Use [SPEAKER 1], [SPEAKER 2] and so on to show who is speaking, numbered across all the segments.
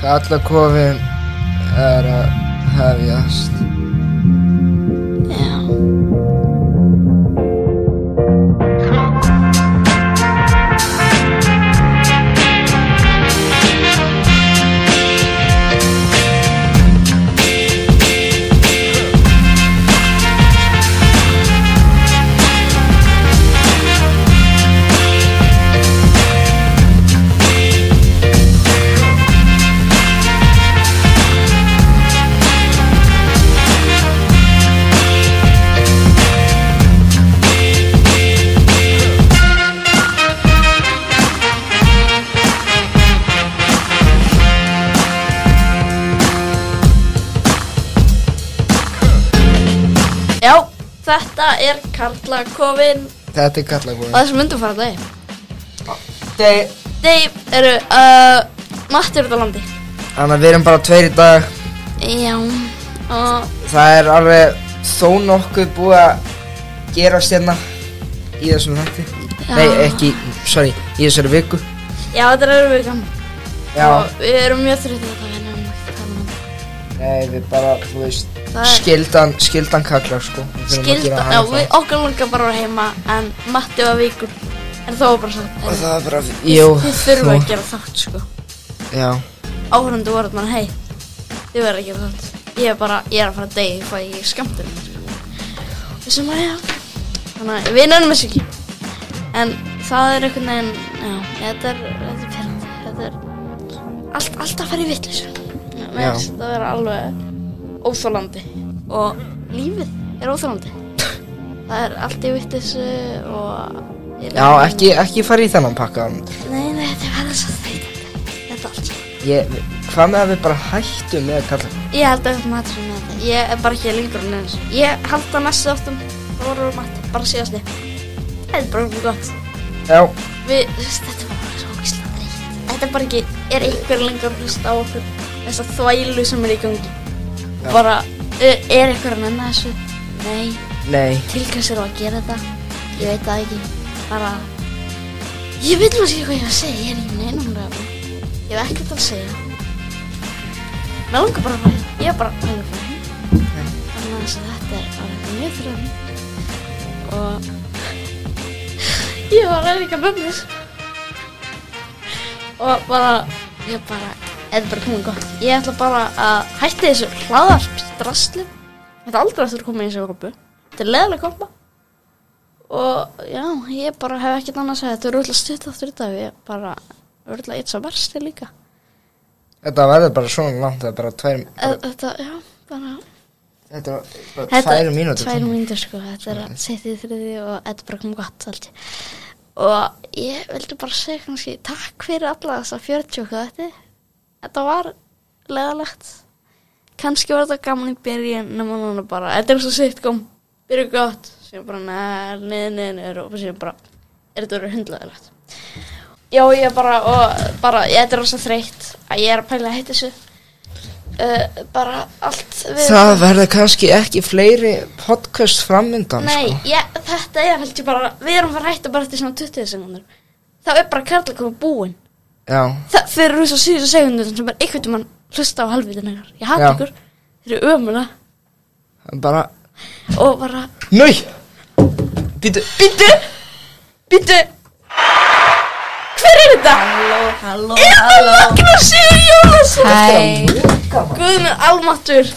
[SPEAKER 1] Kallakofinn er að hefjast.
[SPEAKER 2] Já. Já, þetta er Karlakofinn
[SPEAKER 1] Þetta er
[SPEAKER 2] og
[SPEAKER 1] Kallakofinn.
[SPEAKER 2] þessum myndum fara degi.
[SPEAKER 1] Þeir,
[SPEAKER 2] Degi eru uh, Matti út á landi.
[SPEAKER 1] þannig að við erum bara tveir í dag.
[SPEAKER 2] Já, og
[SPEAKER 1] Það er alveg þó nokkuð búið að gera stjarna í þessum hætti.
[SPEAKER 2] Já.
[SPEAKER 1] Nei, ekki, sorry, í þessari viku.
[SPEAKER 2] já, þetta er öðru vikan.
[SPEAKER 1] Já,
[SPEAKER 2] Og við erum mjög þrjóttir þetta við erum ekki að tala um það.
[SPEAKER 1] nei, við bara, þú veist,
[SPEAKER 2] Það er-
[SPEAKER 1] skildan, skildan kallar, sko. Við þurfum að gera
[SPEAKER 2] Skilda,
[SPEAKER 1] hana
[SPEAKER 2] já,
[SPEAKER 1] það.
[SPEAKER 2] við okkar langar bara að vera heima en Matti var vikur. En þá var bara svo.
[SPEAKER 1] Og það er bara, jú,
[SPEAKER 2] Þið þurfum
[SPEAKER 1] þú-
[SPEAKER 2] að gera þátt, sko.
[SPEAKER 1] Já,
[SPEAKER 2] Áhörundu voru mann, hei, þið verður að gera þátt. Ég er bara, ég er að fara að degi, fæ ég skamtur. Þessum sko. að, já. Þannig að við nefnum þessu ekki. En það er einhvern veginn, já, þetta er, þetta er pyrrandi. Þetta er allt, alltaf að fara í vitleysu. Mér
[SPEAKER 1] Já.
[SPEAKER 2] finnst þetta að vera alveg óþólandi. Og lífið er óþólandi. það er allt í vitleysu og... ég
[SPEAKER 1] já,
[SPEAKER 2] lærði-
[SPEAKER 1] ekki, ekki fara í þennan pakka, Andri.
[SPEAKER 2] Nei, nei, þetta er verður svo þreytandi. Þetta allt saman.
[SPEAKER 1] Ég, hvað með að við bara hættum með að kalla
[SPEAKER 2] Ég held að við matur sem þetta. Ég er bara ekki lengur en eins. Ég held að næstu áttum voru matur, bara síðasti. Það er bara mjög gott.
[SPEAKER 1] Já,
[SPEAKER 2] Við, þú veist, þetta var bara svo ógislega dreitt. Þetta er bara ekki, er einhver lengur að hlusta á okkur þessa þvælu sem er í gangi.
[SPEAKER 1] Já.
[SPEAKER 2] Bara, ö, er einhver að nenna þessu? Nei,
[SPEAKER 1] nei,
[SPEAKER 2] til hvers er að gera þetta? Ég veit það ekki. Bara, ég veit maður ekki hvað ég er að segja. Ég er ekki neinum ræðum. Ég hef ekkert að segja. Mér langar bara að fara heim. Ég er bara alveg að fara heim. Þannig að þess að þetta er alveg mjög þröðum. Og ég var alveg að mömmis. Og bara, ég bara, þetta er bara komið gott. Ég ætla bara að hætta þessu hlaðarp drasli. Þetta aldrei eftir að koma í þessu kompu. Þetta er leðileg kompa. Og já, ég bara hef ekkert annað að segja. Þetta er úrlega stutt aftur í dag. Ég bara, úrlega eitt sem versti líka.
[SPEAKER 1] þetta verður bara svona langt, það er bara tvær,
[SPEAKER 2] Eh, Þetta, já, bara...
[SPEAKER 1] þetta er bara tvær mínútur.
[SPEAKER 2] Tvær mínútur sko, þetta er að setja í þriði og þetta er bara komið gott allt. Og ég vildi bara segja kannski takk fyrir alla þessa 40 og hvað þetta. Þetta var legalegt. Kannski var þetta gaman í byrjun, nema núna bara, þetta er svo sitt kom, byrju gott, sem bara neður, neður, neður og sem bara, er þetta verið hundlaðilegt. Já, ég bara, og bara, ég þetta er rosa þreytt að ég er að pæla að heita þessu. Uh, bara allt við
[SPEAKER 1] Það verður kannski ekki fleiri podcast framöndan,
[SPEAKER 2] Nei,
[SPEAKER 1] sko.
[SPEAKER 2] ég, þetta er held ég bara, við erum fara að hætta bara eftir svona 20 sekundur. Þá er bara karlakofa búin.
[SPEAKER 1] Já,
[SPEAKER 2] Það fyrir þess að síðustu sekundur sem er einhvern veginn hlusta á halvvitin ykkar. Ég hata
[SPEAKER 1] Já.
[SPEAKER 2] ykkur, þeir eru ömulega
[SPEAKER 1] það er bara,
[SPEAKER 2] og bara,
[SPEAKER 1] nöi, býtu,
[SPEAKER 2] býttu, býttu, hver er þetta?
[SPEAKER 3] Halló,
[SPEAKER 2] Er það Magnús Sigur Jólasson?
[SPEAKER 3] Hæ,
[SPEAKER 2] Guð minn almáttur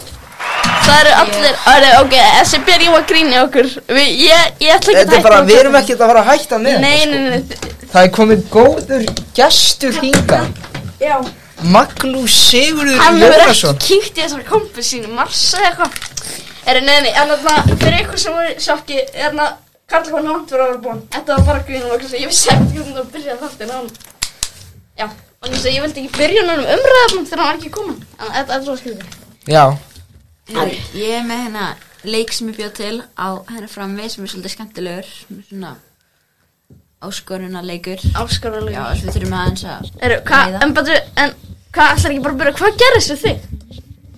[SPEAKER 2] Það eru allir, yeah. ok, þessi byrjum ég var að gríni okkur við, ég, ég ætla ekki að
[SPEAKER 1] þetta er bara,
[SPEAKER 2] hætta um
[SPEAKER 1] við erum ekkert að fara að hætta með.
[SPEAKER 2] Nei,
[SPEAKER 1] þetta,
[SPEAKER 2] nei, nei, nei,
[SPEAKER 1] Sko. Það er komið góður gestur hingað,
[SPEAKER 2] já
[SPEAKER 1] Magnús Sigurður
[SPEAKER 2] Hann hefur ekki
[SPEAKER 1] Jónasson.
[SPEAKER 2] kynkt í þessar kompu sínu Mars eða eitthvað Herri, nei, nei, en þarna, fyrir ykkur sem voru í sjokki hérna, Þarna, Karla kom langt fyrir að vera búin Þetta var bara grínum okkur Ég vissi ekki hvernig það byrja þáttinn hann Já, og þess að ég vildi ekki byrja hann um umræðafnum þegar hann var ekki komin En þetta er svo skrifið
[SPEAKER 1] Já,
[SPEAKER 3] Herri, ég er með hérna leik sem ég bjóð til á hérna frammi sem er svolítið skemmtilegur sem er svona áskoruna leikur Já,
[SPEAKER 2] Áskarlega
[SPEAKER 3] þess við þurfum aðeins að
[SPEAKER 2] Eru, hvað,
[SPEAKER 3] Leiða.
[SPEAKER 2] en betur, en hvað ætlar ekki bara að byrja, hvað gerðist við þig?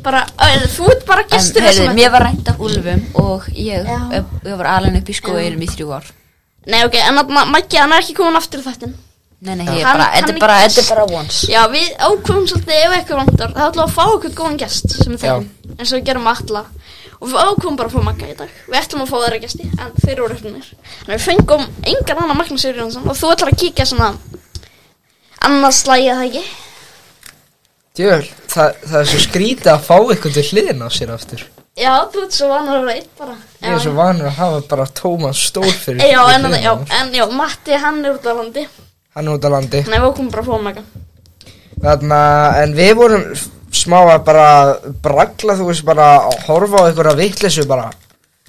[SPEAKER 2] Bara, er, þú ert bara gestur
[SPEAKER 3] heyrðu,
[SPEAKER 2] þessum
[SPEAKER 3] Mér var rænt af úlfum og ég,
[SPEAKER 2] Já.
[SPEAKER 3] ég, ég var alveg upp í skóinum í þrjú ár
[SPEAKER 2] Nei, ok, en að Maggi, hann er ekki komin aftur í þettin
[SPEAKER 3] Nei, nei,
[SPEAKER 4] Þetta er
[SPEAKER 3] ég
[SPEAKER 2] Hann
[SPEAKER 4] bara,
[SPEAKER 2] kann
[SPEAKER 4] þetta er bara,
[SPEAKER 2] ekki-
[SPEAKER 4] þetta er bara once
[SPEAKER 2] Já, við ákveðum svolítið ef eitthvað vantar Það ætlum við að fá eitthvað góðan gest sem við þekkjum eins og við gerum alla og við ákveðum bara að fá Magga í dag Við ætlum að fá þeirra gesti en þeir eru röfnir En við fengum engan annan Magnús Sigurjónsson og þú ætlar að kíkja svona annars slæja það ekki
[SPEAKER 1] Djöfell, það, það er svo skrítið að fá eitthvað til hliðin á sér aftur.
[SPEAKER 2] Já, þú ert svo vanur að reyta bara
[SPEAKER 1] Ég er
[SPEAKER 2] Já,
[SPEAKER 1] svo vanur að hafa bara Tómas stór fyrir. fyrir
[SPEAKER 2] já, en,
[SPEAKER 1] hliðina
[SPEAKER 2] já,
[SPEAKER 1] á mér.
[SPEAKER 2] en já, Matti hann er út á landi
[SPEAKER 1] Hann er út á landi.
[SPEAKER 2] Nei, við ákveðum bara að fá Magga
[SPEAKER 1] Þarna, en við vorum smá að bara bragla, þú veist, bara að horfa á einhverja vitleysu bara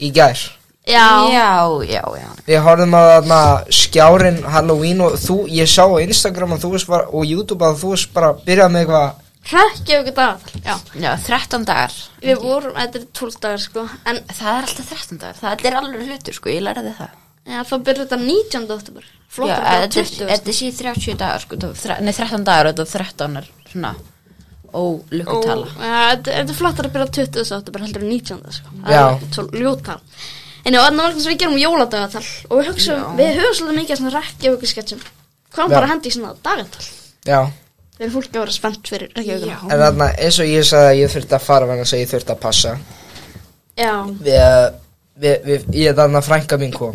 [SPEAKER 1] í gær.
[SPEAKER 2] Já,
[SPEAKER 3] já, já, já.
[SPEAKER 1] Við horfum að þarna skjárin Halloween og þú, ég sá á Instagram að þú veist bara, og YouTube að þú veist bara byrjað með eitthvað,
[SPEAKER 2] hrækja okkur dagatal Já,
[SPEAKER 3] Já, 13 dagar
[SPEAKER 2] við vorum, þetta er 12 dagar sko En
[SPEAKER 3] Það er alltaf 13 dagar, það er alveg hlutur sko, ég lærði það
[SPEAKER 2] Já, þá byrjar þetta 19. oktober
[SPEAKER 3] Já,
[SPEAKER 2] Flottur bara
[SPEAKER 3] þetta
[SPEAKER 2] 20.
[SPEAKER 3] er- þetta sé 30 dagar sko, þú- þre- nei 13 dagar og þetta 13 er svona
[SPEAKER 2] Og,
[SPEAKER 3] ólukutala
[SPEAKER 2] ja, Þetta þetta er flottur að byrja 20. oktober heldur en 19. sko. Það
[SPEAKER 1] Já.
[SPEAKER 2] er Svo ljóttal En já, þannig var við gerum jóladagatal Og við hugsaum, við höfum svolítið mikið svona rekki okkur sketsjum Hvað
[SPEAKER 1] Já.
[SPEAKER 2] bara að hendi í svona dagatal
[SPEAKER 1] já.
[SPEAKER 2] Þegar fólk að vera spennt fyrir rekki okkur
[SPEAKER 1] En þarna, eins og ég sagði að ég þurfti að fara vegna þess að ég þurfti að passa.
[SPEAKER 2] Já,
[SPEAKER 1] Við, við, við, ég þarna frænka mín kom.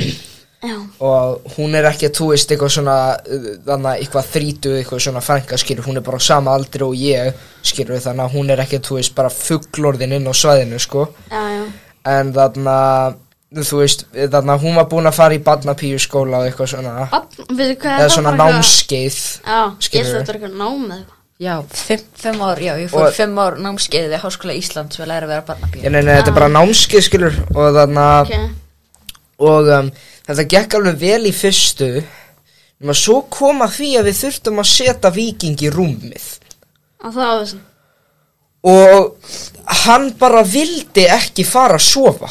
[SPEAKER 2] já,
[SPEAKER 1] og hún er ekki þú veist eitthvað svona uh, þannig að eitthvað þrítu eitthvað svona frænka skilur hún er bara á sama aldri og ég skilur þannig að hún er ekki þú veist bara fugglorðin inn á svæðinu sko
[SPEAKER 2] já, já
[SPEAKER 1] en þannig að þú veist þannig að hún var búin að fara í barnapíu skóla og eitthvað svona
[SPEAKER 2] Barn- Við, hvað
[SPEAKER 1] eða
[SPEAKER 2] er það
[SPEAKER 1] svona
[SPEAKER 2] bara eitthvað-
[SPEAKER 1] námskeið
[SPEAKER 2] Já, ég
[SPEAKER 1] skilurðu.
[SPEAKER 2] ætla þetta er eitthvað nám eða eitthvað
[SPEAKER 3] Já, 5 ár, já, ég fór
[SPEAKER 1] Og-
[SPEAKER 3] 5 ár námskeið við Háskóla Ísland sem að læra að vera barnabíð
[SPEAKER 1] Nei, nei, nei, þetta er bara námskeið skilur og þannig að
[SPEAKER 2] Ok,
[SPEAKER 1] og um, þetta gekk alveg vel í fyrstu nema svo kom að því að við þurftum að setja viking í rúmið
[SPEAKER 2] að það á þessum
[SPEAKER 1] og hann bara vildi ekki fara að sofa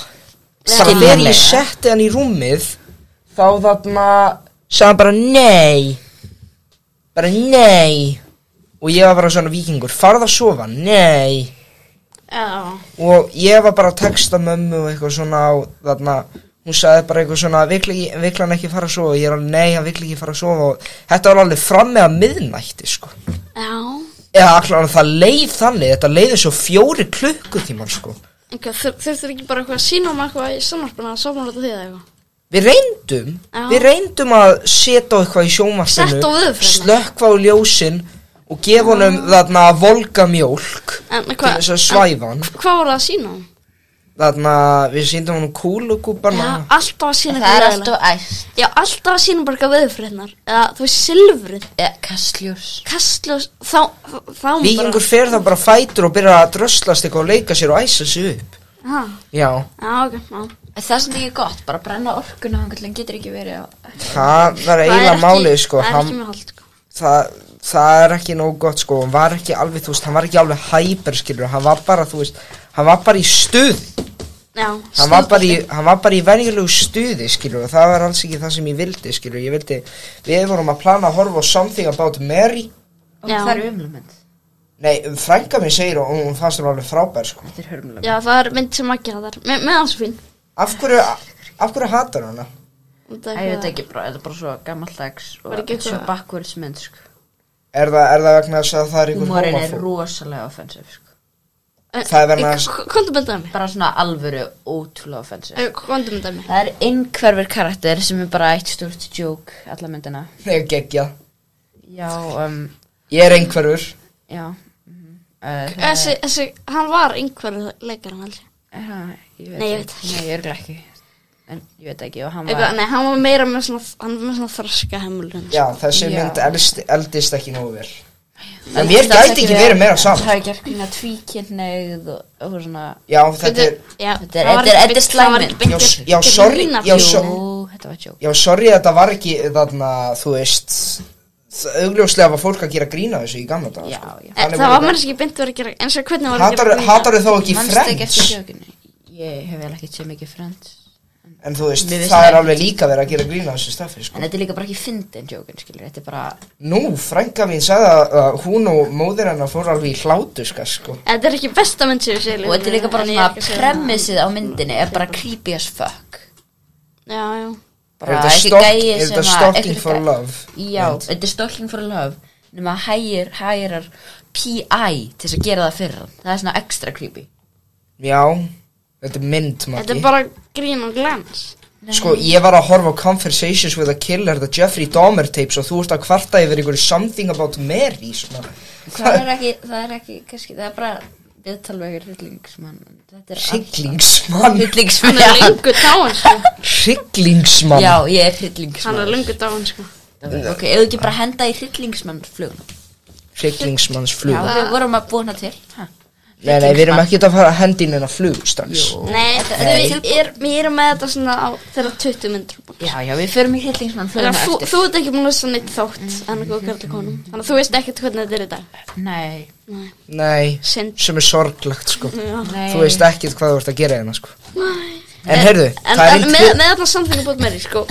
[SPEAKER 1] þannig að þegar
[SPEAKER 3] Skiljanlega.
[SPEAKER 1] ég setti hann í rúmið þá þarna sagði hann bara nei bara nei og ég var bara svona vikingur farð að sofa, nei
[SPEAKER 2] Já,
[SPEAKER 1] og ég var bara að texta mömmu og eitthvað svona og þarna hún sagði bara eitthvað svona vill ekki- vill hann ekki fara að sofa og ég er alveg nei, hann vill ekki fara að sofa og þetta var alveg fram með að miðnætti sko
[SPEAKER 2] já
[SPEAKER 1] eða allan það leið þannig þetta leiði svo fjóri klukkutíman sko
[SPEAKER 2] En hvað, þur- þurftur ekki bara eitthvað að sína um eitthvað í sjónvarpinu að sjónvarpinu því eða eitthvað?
[SPEAKER 1] við reyndum
[SPEAKER 2] Já.
[SPEAKER 1] við reyndum að setja á eitthvað í sjónvarpinu
[SPEAKER 2] Setta á Ah. vöðvafrumna.
[SPEAKER 1] slökkva á ljósin og gefa honum þarna volga mjólk
[SPEAKER 2] En
[SPEAKER 1] til
[SPEAKER 2] hvað-
[SPEAKER 1] þess að svæfa hann
[SPEAKER 2] Hvað voru það að sína um?
[SPEAKER 1] þarna við síndum honum kúlugúbana
[SPEAKER 2] Já, alltaf að sína
[SPEAKER 3] Það er
[SPEAKER 2] eitthvað
[SPEAKER 3] alltaf æst
[SPEAKER 2] Já, alltaf að sína bara eitthvað veðurfrétnar Eða, þú veist, silfrið
[SPEAKER 3] Já, kastljós
[SPEAKER 2] Kastljós, þá, þá þá má
[SPEAKER 1] vikingur fer þá bara á fætur og byrjar að dröslast eitthvað og leika sér og æsa sér upp
[SPEAKER 2] bara Ha,
[SPEAKER 1] já
[SPEAKER 2] Já, ok, já
[SPEAKER 3] Það er samt ekki gott, bara brenna orkuna hann hann getur ekki verið á
[SPEAKER 1] það var
[SPEAKER 2] Það er
[SPEAKER 1] eiginlega
[SPEAKER 2] ekki-
[SPEAKER 1] málið sko
[SPEAKER 2] Það er
[SPEAKER 1] hann,
[SPEAKER 2] ekki mjög hald, sko
[SPEAKER 1] það, það er ekki nóg gott sko hann var ekki alveg, þú veist, hann var ekki alveg hæper skilur, hann var bara, þú veist hann var bara í stuð,
[SPEAKER 2] Já,
[SPEAKER 1] hann var bara í, hann var bara í venjulegu stuði skilur og það var alls ekki það sem ég vildi skilur, ég vildi, við vorum að plana að horfa á Something About Mary
[SPEAKER 3] Og
[SPEAKER 2] Já.
[SPEAKER 3] það er umlumend
[SPEAKER 1] nei, um frænka mér segir og hún fannst hún alveg frábær sko
[SPEAKER 3] Þetta er hörmulegum
[SPEAKER 2] Já, það er mynd sem ekki það er Með hans fín
[SPEAKER 1] af hverju, af hverju hatar hana?
[SPEAKER 2] Út af
[SPEAKER 3] Ég veit
[SPEAKER 2] eitthvað-
[SPEAKER 3] ekki, bara, þetta er bara svo gammaldags
[SPEAKER 2] Var
[SPEAKER 3] og
[SPEAKER 2] ekki
[SPEAKER 3] svo
[SPEAKER 2] eitthvað-
[SPEAKER 3] backwards mynd sko.
[SPEAKER 1] Er það, er það vegna þess að það er einhver
[SPEAKER 3] Húmórin er
[SPEAKER 1] homofób?
[SPEAKER 3] rosalega offensiv sko.
[SPEAKER 2] Eh,
[SPEAKER 1] það er verið
[SPEAKER 2] eh,
[SPEAKER 1] að-
[SPEAKER 2] k- Komdu myndaði mig
[SPEAKER 3] Bara svona alvöru ótrúlega offensiv
[SPEAKER 2] Eh, Komdu myndaði mig
[SPEAKER 3] Það er einhverfur karakter sem er bara eitt stort joke alla myndina
[SPEAKER 1] Nei, geggjað.
[SPEAKER 3] Já, um,
[SPEAKER 1] Ég er einhverfur.
[SPEAKER 3] já mhm. uh, það er-
[SPEAKER 2] Þessi, þessi, hann var einhverju leikarinn held ég
[SPEAKER 3] Ha, ég veit
[SPEAKER 2] Nei, ég
[SPEAKER 3] ekki.
[SPEAKER 2] veit ekki.
[SPEAKER 3] Nei, ég örugglega ekki En ég veit ekki, og hann var
[SPEAKER 2] Eitthvað, nei, hann var meira með svona, hann var með svona þroska hemmulun
[SPEAKER 1] Já, þessi
[SPEAKER 3] Já.
[SPEAKER 1] mynd eldist, eldist ekki nógu vel. En mér gæti ekki verið meira sko.
[SPEAKER 3] Það
[SPEAKER 1] saman.
[SPEAKER 3] er gert grýna tvíkynneið og, og svona
[SPEAKER 1] Já, þetta er,
[SPEAKER 2] já,
[SPEAKER 3] Þetta er-
[SPEAKER 2] það var ekki
[SPEAKER 3] þetta er- þetta er
[SPEAKER 2] beint- það var
[SPEAKER 3] slæmynd.
[SPEAKER 2] ekki beint-
[SPEAKER 1] Já, já,
[SPEAKER 2] þetta er
[SPEAKER 1] sorry,
[SPEAKER 2] lína-
[SPEAKER 1] já,
[SPEAKER 2] Jú.
[SPEAKER 1] sorry.
[SPEAKER 3] Jú, þetta var joke
[SPEAKER 1] já, sorry að þetta var ekki þarna, þú veist, það- augljóslega var fólk að gera grína þessu í gamla dag.
[SPEAKER 3] Já,
[SPEAKER 1] sko.
[SPEAKER 3] já.
[SPEAKER 2] Eh,
[SPEAKER 1] Þannig voru
[SPEAKER 2] Það var mér ekki beint verið að gera eins og hvernig var að
[SPEAKER 1] Hatar,
[SPEAKER 2] gera
[SPEAKER 1] hatar þá ekki
[SPEAKER 3] Manstu ekki
[SPEAKER 1] Friends?
[SPEAKER 3] eftir jokeinu? Ég hef vel ekki séð mikið Friends
[SPEAKER 1] En þú veist,
[SPEAKER 3] Mér finnst
[SPEAKER 1] það
[SPEAKER 3] það
[SPEAKER 1] er
[SPEAKER 3] ekki.
[SPEAKER 1] alveg líka verið að gera grína þessu staffi, sko.
[SPEAKER 3] En þetta er líka bara ekki fyndin jokein, skilur Þetta er bara
[SPEAKER 1] Nú, frænka mín sagði að að hún og móðir hennar fór alveg í hlátuska, sko.
[SPEAKER 2] Þetta er ekki besta mynd sem ég sé í
[SPEAKER 3] Og þetta er líka bara
[SPEAKER 2] en ég
[SPEAKER 3] svona
[SPEAKER 2] er ekki að segja það.
[SPEAKER 3] premissið á myndinni er bara creepy as fuck
[SPEAKER 2] Já, já
[SPEAKER 1] Er
[SPEAKER 3] bara
[SPEAKER 1] þetta
[SPEAKER 3] ekki
[SPEAKER 1] stalk-
[SPEAKER 3] gæi
[SPEAKER 1] er
[SPEAKER 3] sem
[SPEAKER 1] þetta
[SPEAKER 3] að
[SPEAKER 1] stalking
[SPEAKER 3] einhver
[SPEAKER 1] for
[SPEAKER 3] gæi-
[SPEAKER 1] love
[SPEAKER 3] já,
[SPEAKER 1] mynd?
[SPEAKER 3] þetta er stalking for love nema að hægir, hægirar PI til þess að gera það fyrir hann það er svona extra creepy
[SPEAKER 1] Já, þetta er mynd,
[SPEAKER 2] Þetta
[SPEAKER 1] Maggi
[SPEAKER 2] er bara grín og glans
[SPEAKER 1] Sko, ég var að horfa á Conversations with a Killer, þetta Jeffrey Dahmer tapes og þú ert að kvarta yfir einhverju something about Mary, svona
[SPEAKER 3] það er ekki, það er ekki, kannski, það er bara viðtalvegur hryllingsmann þetta er
[SPEAKER 1] Hrygglingsmann
[SPEAKER 2] Hann er
[SPEAKER 3] hryllingsmann
[SPEAKER 2] lengur dáin sko
[SPEAKER 1] Hrygglingsmann
[SPEAKER 3] já, ég
[SPEAKER 2] Hann
[SPEAKER 3] er
[SPEAKER 2] er
[SPEAKER 3] hryllingsmann
[SPEAKER 2] lengur dáin sko
[SPEAKER 3] ok, ef þú ekki bara henda í hryllingsmann fluguna já,
[SPEAKER 1] Hrygglingsmannsflug
[SPEAKER 3] við vorum að búna til ha.
[SPEAKER 1] Nei, nei, við erum ekki að fara að hendi inn en að flug strax
[SPEAKER 2] Nei,
[SPEAKER 3] Nei.
[SPEAKER 2] við er- við erum með þetta svona á þeirra 20 myndur
[SPEAKER 3] já, já, við förum í hryllingsmann fluguna
[SPEAKER 2] Þannig að þú,
[SPEAKER 3] eftir
[SPEAKER 2] þú ert ekki múin að hlusta á neitt þátt en að góða kærlega konum Þannig að þú veist ekkert hvernig þetta er í dag
[SPEAKER 3] nei,
[SPEAKER 2] Nei,
[SPEAKER 1] Nei,
[SPEAKER 2] synd
[SPEAKER 1] sem er sorglegt, sko
[SPEAKER 2] Já.
[SPEAKER 3] nei
[SPEAKER 1] Þú veist ekkert hvað þú ert að gera hérna, sko En
[SPEAKER 2] En-
[SPEAKER 1] heyrðu,
[SPEAKER 2] En,
[SPEAKER 1] það er
[SPEAKER 2] en
[SPEAKER 1] einn
[SPEAKER 2] með,
[SPEAKER 1] tvö-
[SPEAKER 2] með allan samþyngu bótt meiri sko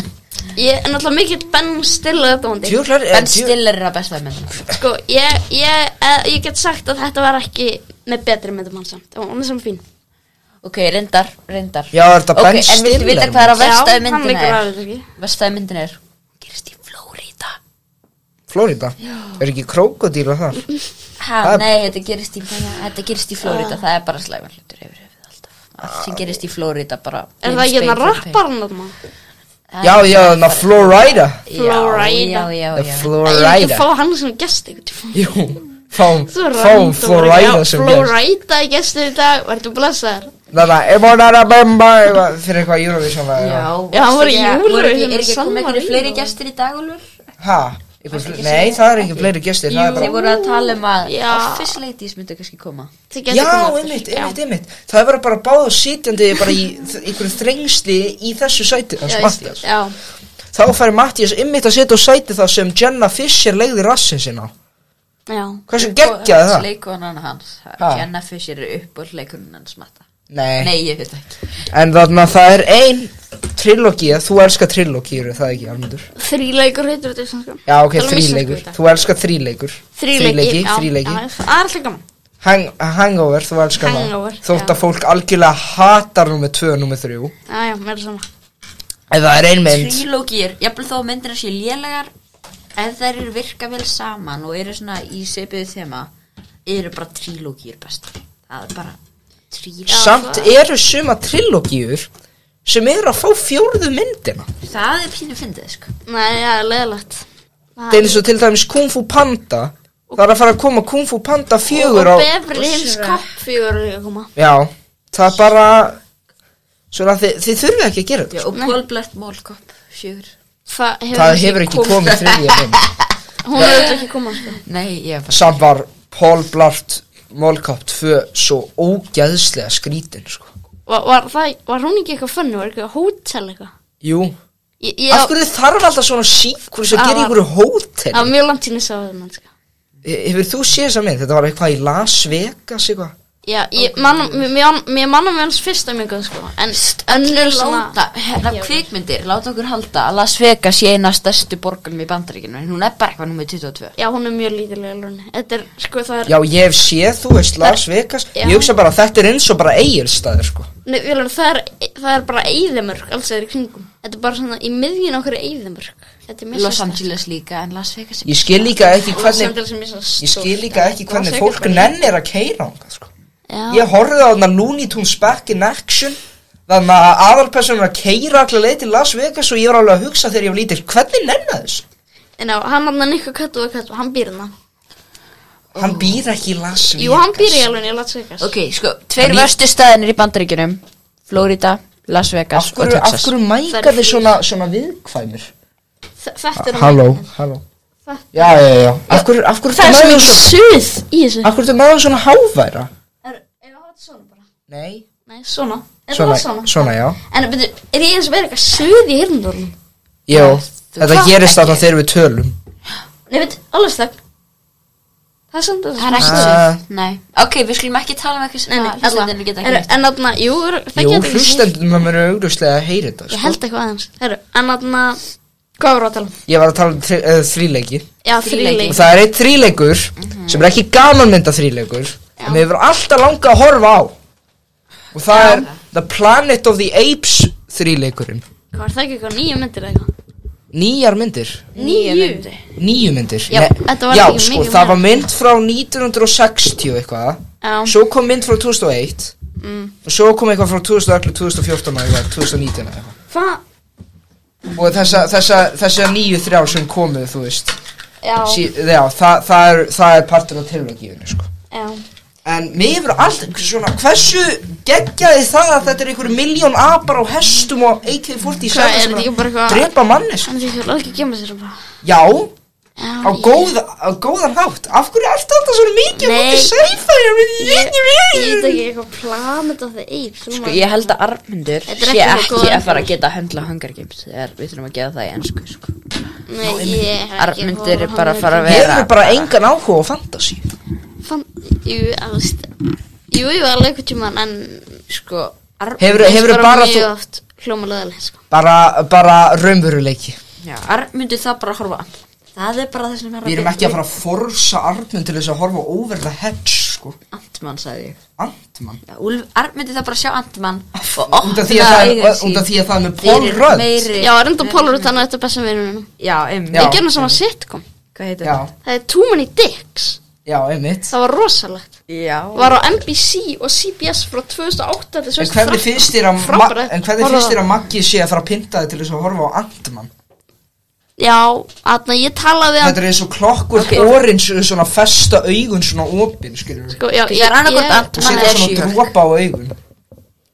[SPEAKER 2] Ég er náttúrulega mikill Ben Stiller þetta hóndi
[SPEAKER 1] Djöflar, eh,
[SPEAKER 3] Ben
[SPEAKER 1] djö-
[SPEAKER 3] Stiller er að besta menn
[SPEAKER 2] Sko, ég, ég, eh, ég get sagt að þetta var ekki með betri myndum hans samt og hún er saman fín
[SPEAKER 3] Ok, reyndar, reyndar
[SPEAKER 1] Já, er þetta
[SPEAKER 3] Ok,
[SPEAKER 1] Ben
[SPEAKER 3] En viltu vita
[SPEAKER 1] Stiller?
[SPEAKER 3] hvað er á
[SPEAKER 2] Já,
[SPEAKER 3] verstaði
[SPEAKER 2] hann
[SPEAKER 3] myndina
[SPEAKER 2] leikur
[SPEAKER 3] er?
[SPEAKER 2] aðeins ekki
[SPEAKER 3] Verstaði myndina er Gerist í Flórída
[SPEAKER 1] Florida, er ekki krókodíla þar?
[SPEAKER 3] Ha,
[SPEAKER 1] Það-
[SPEAKER 3] nei, þetta gerist í, þetta gerist í Flórída Það er bara slæman hlutur yfir höfuð alltaf Allt sem gerist í Flórída bara
[SPEAKER 2] Er það ekki hérna rapparinn þarna?
[SPEAKER 1] Já, já, þannig að Florida
[SPEAKER 3] Já,
[SPEAKER 2] Florida.
[SPEAKER 3] já,
[SPEAKER 1] The
[SPEAKER 3] já
[SPEAKER 2] Ég vil ekki fá
[SPEAKER 1] Florida
[SPEAKER 2] hann sem gest einhvern tíma
[SPEAKER 1] Jú, fáum,
[SPEAKER 2] Svo
[SPEAKER 1] fáum
[SPEAKER 2] random,
[SPEAKER 1] Florida
[SPEAKER 2] já,
[SPEAKER 1] sem gerst
[SPEAKER 2] Florida gestur í dag, verður blessaður
[SPEAKER 1] Þannig að, ef hún er að bæmba fyrir eitthvað Eurovision lag,
[SPEAKER 3] Já,
[SPEAKER 2] Já, hann var í
[SPEAKER 3] ekki-
[SPEAKER 2] Eurovision
[SPEAKER 3] voru ekki- Er ekki
[SPEAKER 2] San
[SPEAKER 3] komið einhverju
[SPEAKER 2] Marino.
[SPEAKER 3] fleiri gestir í dag, Úlfur?
[SPEAKER 1] Ha? Einhver fle- Nei, það er ekki fleiri gestir, það er
[SPEAKER 3] Þið
[SPEAKER 1] bara
[SPEAKER 3] voru að tala um að
[SPEAKER 2] Já.
[SPEAKER 3] Office ladies myndu kannski koma
[SPEAKER 2] Þið
[SPEAKER 1] Já,
[SPEAKER 2] gætu komið aftur.
[SPEAKER 1] einmitt,
[SPEAKER 2] Já.
[SPEAKER 1] einmitt, einmitt Það er bara bara báðu sitjandi bara í þ- einhverju þrengsli í þessu sæti
[SPEAKER 2] Já,
[SPEAKER 1] hans
[SPEAKER 2] ég-
[SPEAKER 1] Mattias
[SPEAKER 2] Já,
[SPEAKER 1] Þá fær Mattias einmitt að sitja og sæti það sem Jenna Fischer legði rassin sinna
[SPEAKER 2] já
[SPEAKER 1] Hversu geggjaði það?
[SPEAKER 3] Leikonan hans
[SPEAKER 1] Ha?
[SPEAKER 3] Jenna Fisher er uppbólleikunin hans matta
[SPEAKER 1] Nei,
[SPEAKER 3] Nei, ég veit ekki
[SPEAKER 1] en þannig að það er ein trilógía, þú elskar trilógíur, það ekki, Armundur?
[SPEAKER 2] Þríleikur heitir þetta sem sko
[SPEAKER 1] Já, ok,
[SPEAKER 2] Tala um
[SPEAKER 1] þríleikur,
[SPEAKER 2] íslensku í dag.
[SPEAKER 1] þú elskar þríleikur
[SPEAKER 2] Þríleiki, já,
[SPEAKER 1] þríleiki
[SPEAKER 2] já, Það er alltaf gaman
[SPEAKER 1] Hang, Hangover, þú elskar það
[SPEAKER 2] Hangover,
[SPEAKER 1] Þótt
[SPEAKER 2] já.
[SPEAKER 1] að fólk algjörlega hatar nummer 2 og nummer 3
[SPEAKER 2] Já, já, mér er sama
[SPEAKER 1] En það er ein mynd
[SPEAKER 3] Trílógir, jafnvel þó að myndirna séu lélegar En þær eru virka vel saman Og eru svona í seipiðu þema Eru bara trílógir best Það er bara trílógir
[SPEAKER 1] Samt
[SPEAKER 2] það-
[SPEAKER 1] eru suma trilógíur sem eru að fá fjórðu myndina
[SPEAKER 3] Það er pínu fyndið, sko
[SPEAKER 2] Nei, já, leðalegt
[SPEAKER 1] Það er eins og til dæmis Kung Fu Panda Það er að fara að koma Kung Fu Panda fjögur á
[SPEAKER 2] Og Beverly Hills
[SPEAKER 3] Shrek.
[SPEAKER 2] Cop fjögur er að koma
[SPEAKER 1] Já, það er bara Svona þið, þið þurfið ekki að gera þetta
[SPEAKER 3] Já, og Pólblett Mólkopp, sjögur
[SPEAKER 2] Það hefur,
[SPEAKER 1] Það hefur ekki komið þriðja mynd
[SPEAKER 2] Hún hefur þetta ekki komað sko
[SPEAKER 3] Nei, ég er bara
[SPEAKER 1] Samt var Paul Blart Mólkopp 2 svo ógæðslega skrítin sko.
[SPEAKER 2] Var, var, það, var hún ekki eitthvað funny, var eitthvað hótel eitthvað?
[SPEAKER 1] Jú,
[SPEAKER 2] Ég,
[SPEAKER 1] Af
[SPEAKER 2] ég,
[SPEAKER 1] hverju þarf alltaf svona síkur sem
[SPEAKER 2] Það
[SPEAKER 1] gerir
[SPEAKER 2] var-
[SPEAKER 1] ykkur hótel?
[SPEAKER 2] það var mjög langt sín að sá það, mann, sko.
[SPEAKER 1] E- Hefur þú séð þessa mynd? Þetta var eitthvað í Las Vegas eitthvað?
[SPEAKER 2] Já, ég manna, mér- mér mér manna með hans fyrsta mjög góð, sko, en önnur svona,
[SPEAKER 3] Láta, hérna kvikmyndir, láta okkur halda að Las Vegas sé eina af stærstu borgunum í bandaríkinu En hún er bara eitthvað nummer 22
[SPEAKER 2] já, hún er mjög lítilega lóni. Þetta er, sko, það er,
[SPEAKER 1] Já, ég hef séð, þú veist, Las Vegas
[SPEAKER 2] Já.
[SPEAKER 1] Ég hugsa bara, þetta er eins og bara eigilstaðir sko.
[SPEAKER 2] Nei, við erum, það er, það er bara eyðimörk, alls er í kringum. Þetta er bara svona, í miðjun okkur er eyðimörk. Þetta er mjög
[SPEAKER 3] Los
[SPEAKER 2] sérstakt.
[SPEAKER 3] Angeles líka, en Las Vegas er
[SPEAKER 1] Ég skil líka ekki
[SPEAKER 2] Los
[SPEAKER 1] hvernig
[SPEAKER 2] Angeles er mjög svona
[SPEAKER 1] Ég
[SPEAKER 2] stórt.
[SPEAKER 1] skil líka ekki hvernig
[SPEAKER 2] Las Vegas
[SPEAKER 1] fólk
[SPEAKER 2] bara-
[SPEAKER 1] nennir að keira hann sko.
[SPEAKER 2] Já,
[SPEAKER 1] Ég horfði á þarna Looney Tunes Back in Action Þannig að aðalpersonum að keira allir leið til Las Vegas og ég var alveg að hugsa þegar ég var lítil Hvernig nennar þess?
[SPEAKER 2] en á, hann hann Nikko Kattu og Kattu, hann býr hann.
[SPEAKER 1] Hann býr ekki í Las Vegas
[SPEAKER 2] Jú, hann býr í alveg í Las Vegas.
[SPEAKER 3] Ok, sko, tveir
[SPEAKER 1] Þannig-
[SPEAKER 3] vörstu staðinir í bandaríkjunum Florida, Las Vegas
[SPEAKER 1] Af
[SPEAKER 3] og
[SPEAKER 1] hverju, af
[SPEAKER 3] Texas
[SPEAKER 1] hverju mæka þið svona, svona viðkvæmir?
[SPEAKER 2] Þe- Þetta er
[SPEAKER 1] halló
[SPEAKER 2] Þetta-
[SPEAKER 1] Já, já, já Af hverju, af hverju
[SPEAKER 2] Það
[SPEAKER 1] ertu með
[SPEAKER 2] er
[SPEAKER 1] þau
[SPEAKER 2] svona suð í þessu.
[SPEAKER 1] Af hverju þú með það svona háværa?
[SPEAKER 2] Er, er það svona bara?
[SPEAKER 1] Nei
[SPEAKER 2] Nei, svona. Er
[SPEAKER 1] Svona,
[SPEAKER 2] það svona?
[SPEAKER 1] svona, já
[SPEAKER 2] En byrju, er ég eins og verið eitthvað suð í hirndorunum?
[SPEAKER 1] Jó,
[SPEAKER 3] þú-
[SPEAKER 1] þetta
[SPEAKER 3] Hvað?
[SPEAKER 1] gerist
[SPEAKER 3] Ekki.
[SPEAKER 1] þarna þegar við tölum
[SPEAKER 2] Nei, veit, alveg stökk. Það er samt að
[SPEAKER 3] Það er ekki
[SPEAKER 1] Ah.
[SPEAKER 3] svo, nei Ok, við skulum ekki tala um eitthvað sem
[SPEAKER 2] Nei, nei,
[SPEAKER 3] að hlustendurnir geta ekki
[SPEAKER 2] Herru,
[SPEAKER 3] neitt
[SPEAKER 2] En þarna, jú, er- það
[SPEAKER 1] Jú,
[SPEAKER 2] getur ekki séð.
[SPEAKER 1] hlustendum að mér er augljóslega að heyri þetta
[SPEAKER 2] Ég
[SPEAKER 1] sko.
[SPEAKER 2] held eitthvað aðeins. Herru, en þarna, hvað voru að tala um?
[SPEAKER 1] Ég var að tala um þri, uh, þríleiki
[SPEAKER 2] Já,
[SPEAKER 3] Þríleiki.
[SPEAKER 2] þrýleik.
[SPEAKER 1] Og það er eitt þríleikur
[SPEAKER 2] Mhm.
[SPEAKER 1] Sem er ekki gamanmynda þríleikur En mér hefur alltaf langa að horfa á Og það
[SPEAKER 3] Já.
[SPEAKER 1] er The Planet of the Apes þríleikurinn
[SPEAKER 2] Var það ekki eitthvað nýju myndir eða eitthvað?
[SPEAKER 1] Nýjar myndir
[SPEAKER 2] Níu?
[SPEAKER 1] Nýju myndir
[SPEAKER 2] Já,
[SPEAKER 1] Nei,
[SPEAKER 2] þetta var
[SPEAKER 1] já
[SPEAKER 2] ekki
[SPEAKER 1] sko,
[SPEAKER 2] mikið
[SPEAKER 1] það var
[SPEAKER 2] meira.
[SPEAKER 1] mynd frá 1960 eitthvað
[SPEAKER 2] Já.
[SPEAKER 1] Svo kom mynd frá 2001
[SPEAKER 2] Mm.
[SPEAKER 1] Og svo kom eitthvað frá 2011, 2014 eða eitthvað, 2019 eða eitthvað
[SPEAKER 2] Hva?
[SPEAKER 1] Og þessa, þessa, þessa nýju þrjár sem komu, þú veist
[SPEAKER 2] Já,
[SPEAKER 1] sí, Já, það, það, er, það er partur af trilogíunni, sko
[SPEAKER 2] já.
[SPEAKER 1] En mér hefur alltaf svona, hversu geggjaði það að þetta er einhverju miljón apar á hestum og AK-47
[SPEAKER 2] Hvað, er þetta ekki bara eitthvað-
[SPEAKER 1] Drepa mannes
[SPEAKER 2] Þannig að ég vil ekki gema sér bara.
[SPEAKER 1] Já,
[SPEAKER 2] Já,
[SPEAKER 1] á, góð, á góðan hátt Af hverju ertu alltaf svona mikið
[SPEAKER 2] Nei.
[SPEAKER 1] Nei Seifa, ég veit
[SPEAKER 2] Ég ég
[SPEAKER 1] ég
[SPEAKER 2] veit
[SPEAKER 1] veit
[SPEAKER 2] ekki eitthvað planet of the apes.
[SPEAKER 3] Sko, ég held að armyndur
[SPEAKER 2] Þetta er
[SPEAKER 3] sé
[SPEAKER 2] ekki svo
[SPEAKER 3] ekki
[SPEAKER 2] góð
[SPEAKER 3] að fara að geta að höndla Hunger Games þegar við þurfum að gefa það í ennsku sko.
[SPEAKER 2] Nei, ég hef ekki
[SPEAKER 3] Arnmundur er
[SPEAKER 2] horfð á
[SPEAKER 3] bara að
[SPEAKER 2] hann
[SPEAKER 3] fara að
[SPEAKER 2] mikið.
[SPEAKER 1] Ég
[SPEAKER 3] vera
[SPEAKER 1] hefur bara engan áhuga á fantasy
[SPEAKER 2] Fann, jú, alveg, jú, jú, alveg eitthvað tíman, en
[SPEAKER 3] Sko,
[SPEAKER 1] Hefur-
[SPEAKER 3] armyndur
[SPEAKER 2] finnst
[SPEAKER 1] hefurðu bara
[SPEAKER 2] mjög
[SPEAKER 1] þú-
[SPEAKER 2] oft hljómalega, sko.
[SPEAKER 1] Bara, bara raunveruleiki
[SPEAKER 3] Armyndur það bara að horfa á. Það er bara það sem er
[SPEAKER 1] Við erum ekki að fara að forsa Arnmund til þess að horfa á Over the Hedge, sko
[SPEAKER 3] Antmann sagði ég
[SPEAKER 1] Antmann
[SPEAKER 3] Já, Úlf- Arnmundur það bara að sjá Antmann og
[SPEAKER 1] Út af því að
[SPEAKER 3] opna
[SPEAKER 1] það
[SPEAKER 3] augun
[SPEAKER 1] er-
[SPEAKER 3] sín
[SPEAKER 1] út af því að það er með Paul
[SPEAKER 3] fyrir
[SPEAKER 1] Rudd
[SPEAKER 3] meiri-
[SPEAKER 2] Já, reynda Pólur út, þannig að þetta er besta vinnunum.
[SPEAKER 3] Já, um,
[SPEAKER 1] Já.
[SPEAKER 2] Ég gerði svona sitcom.
[SPEAKER 3] hvað heitir
[SPEAKER 1] Já,
[SPEAKER 3] það?
[SPEAKER 2] Það er Too Many Dicks.
[SPEAKER 1] já, einmitt
[SPEAKER 2] Það var rosalegt.
[SPEAKER 3] Já,
[SPEAKER 2] Var á NBC og CBS frá 2008 til
[SPEAKER 1] En hvernig
[SPEAKER 2] 2013.
[SPEAKER 1] finnst þér að, Ma
[SPEAKER 2] Frábært.
[SPEAKER 1] en hvernig
[SPEAKER 2] Horfa
[SPEAKER 1] finnst
[SPEAKER 2] á-
[SPEAKER 1] þér að Maggi sé að fara að pynta þig til þess að horfa á Antmann?
[SPEAKER 2] Já, aðna ég talaði að
[SPEAKER 1] Þetta er eins og klokkur
[SPEAKER 3] Ok.
[SPEAKER 1] okay. orin svona festa augun svona opin, skilur við.
[SPEAKER 2] sko, já,
[SPEAKER 3] Það er annarkvort
[SPEAKER 1] Og
[SPEAKER 3] Ant-Man
[SPEAKER 1] setja svona
[SPEAKER 3] eða She-Hulk
[SPEAKER 1] dropa á augun.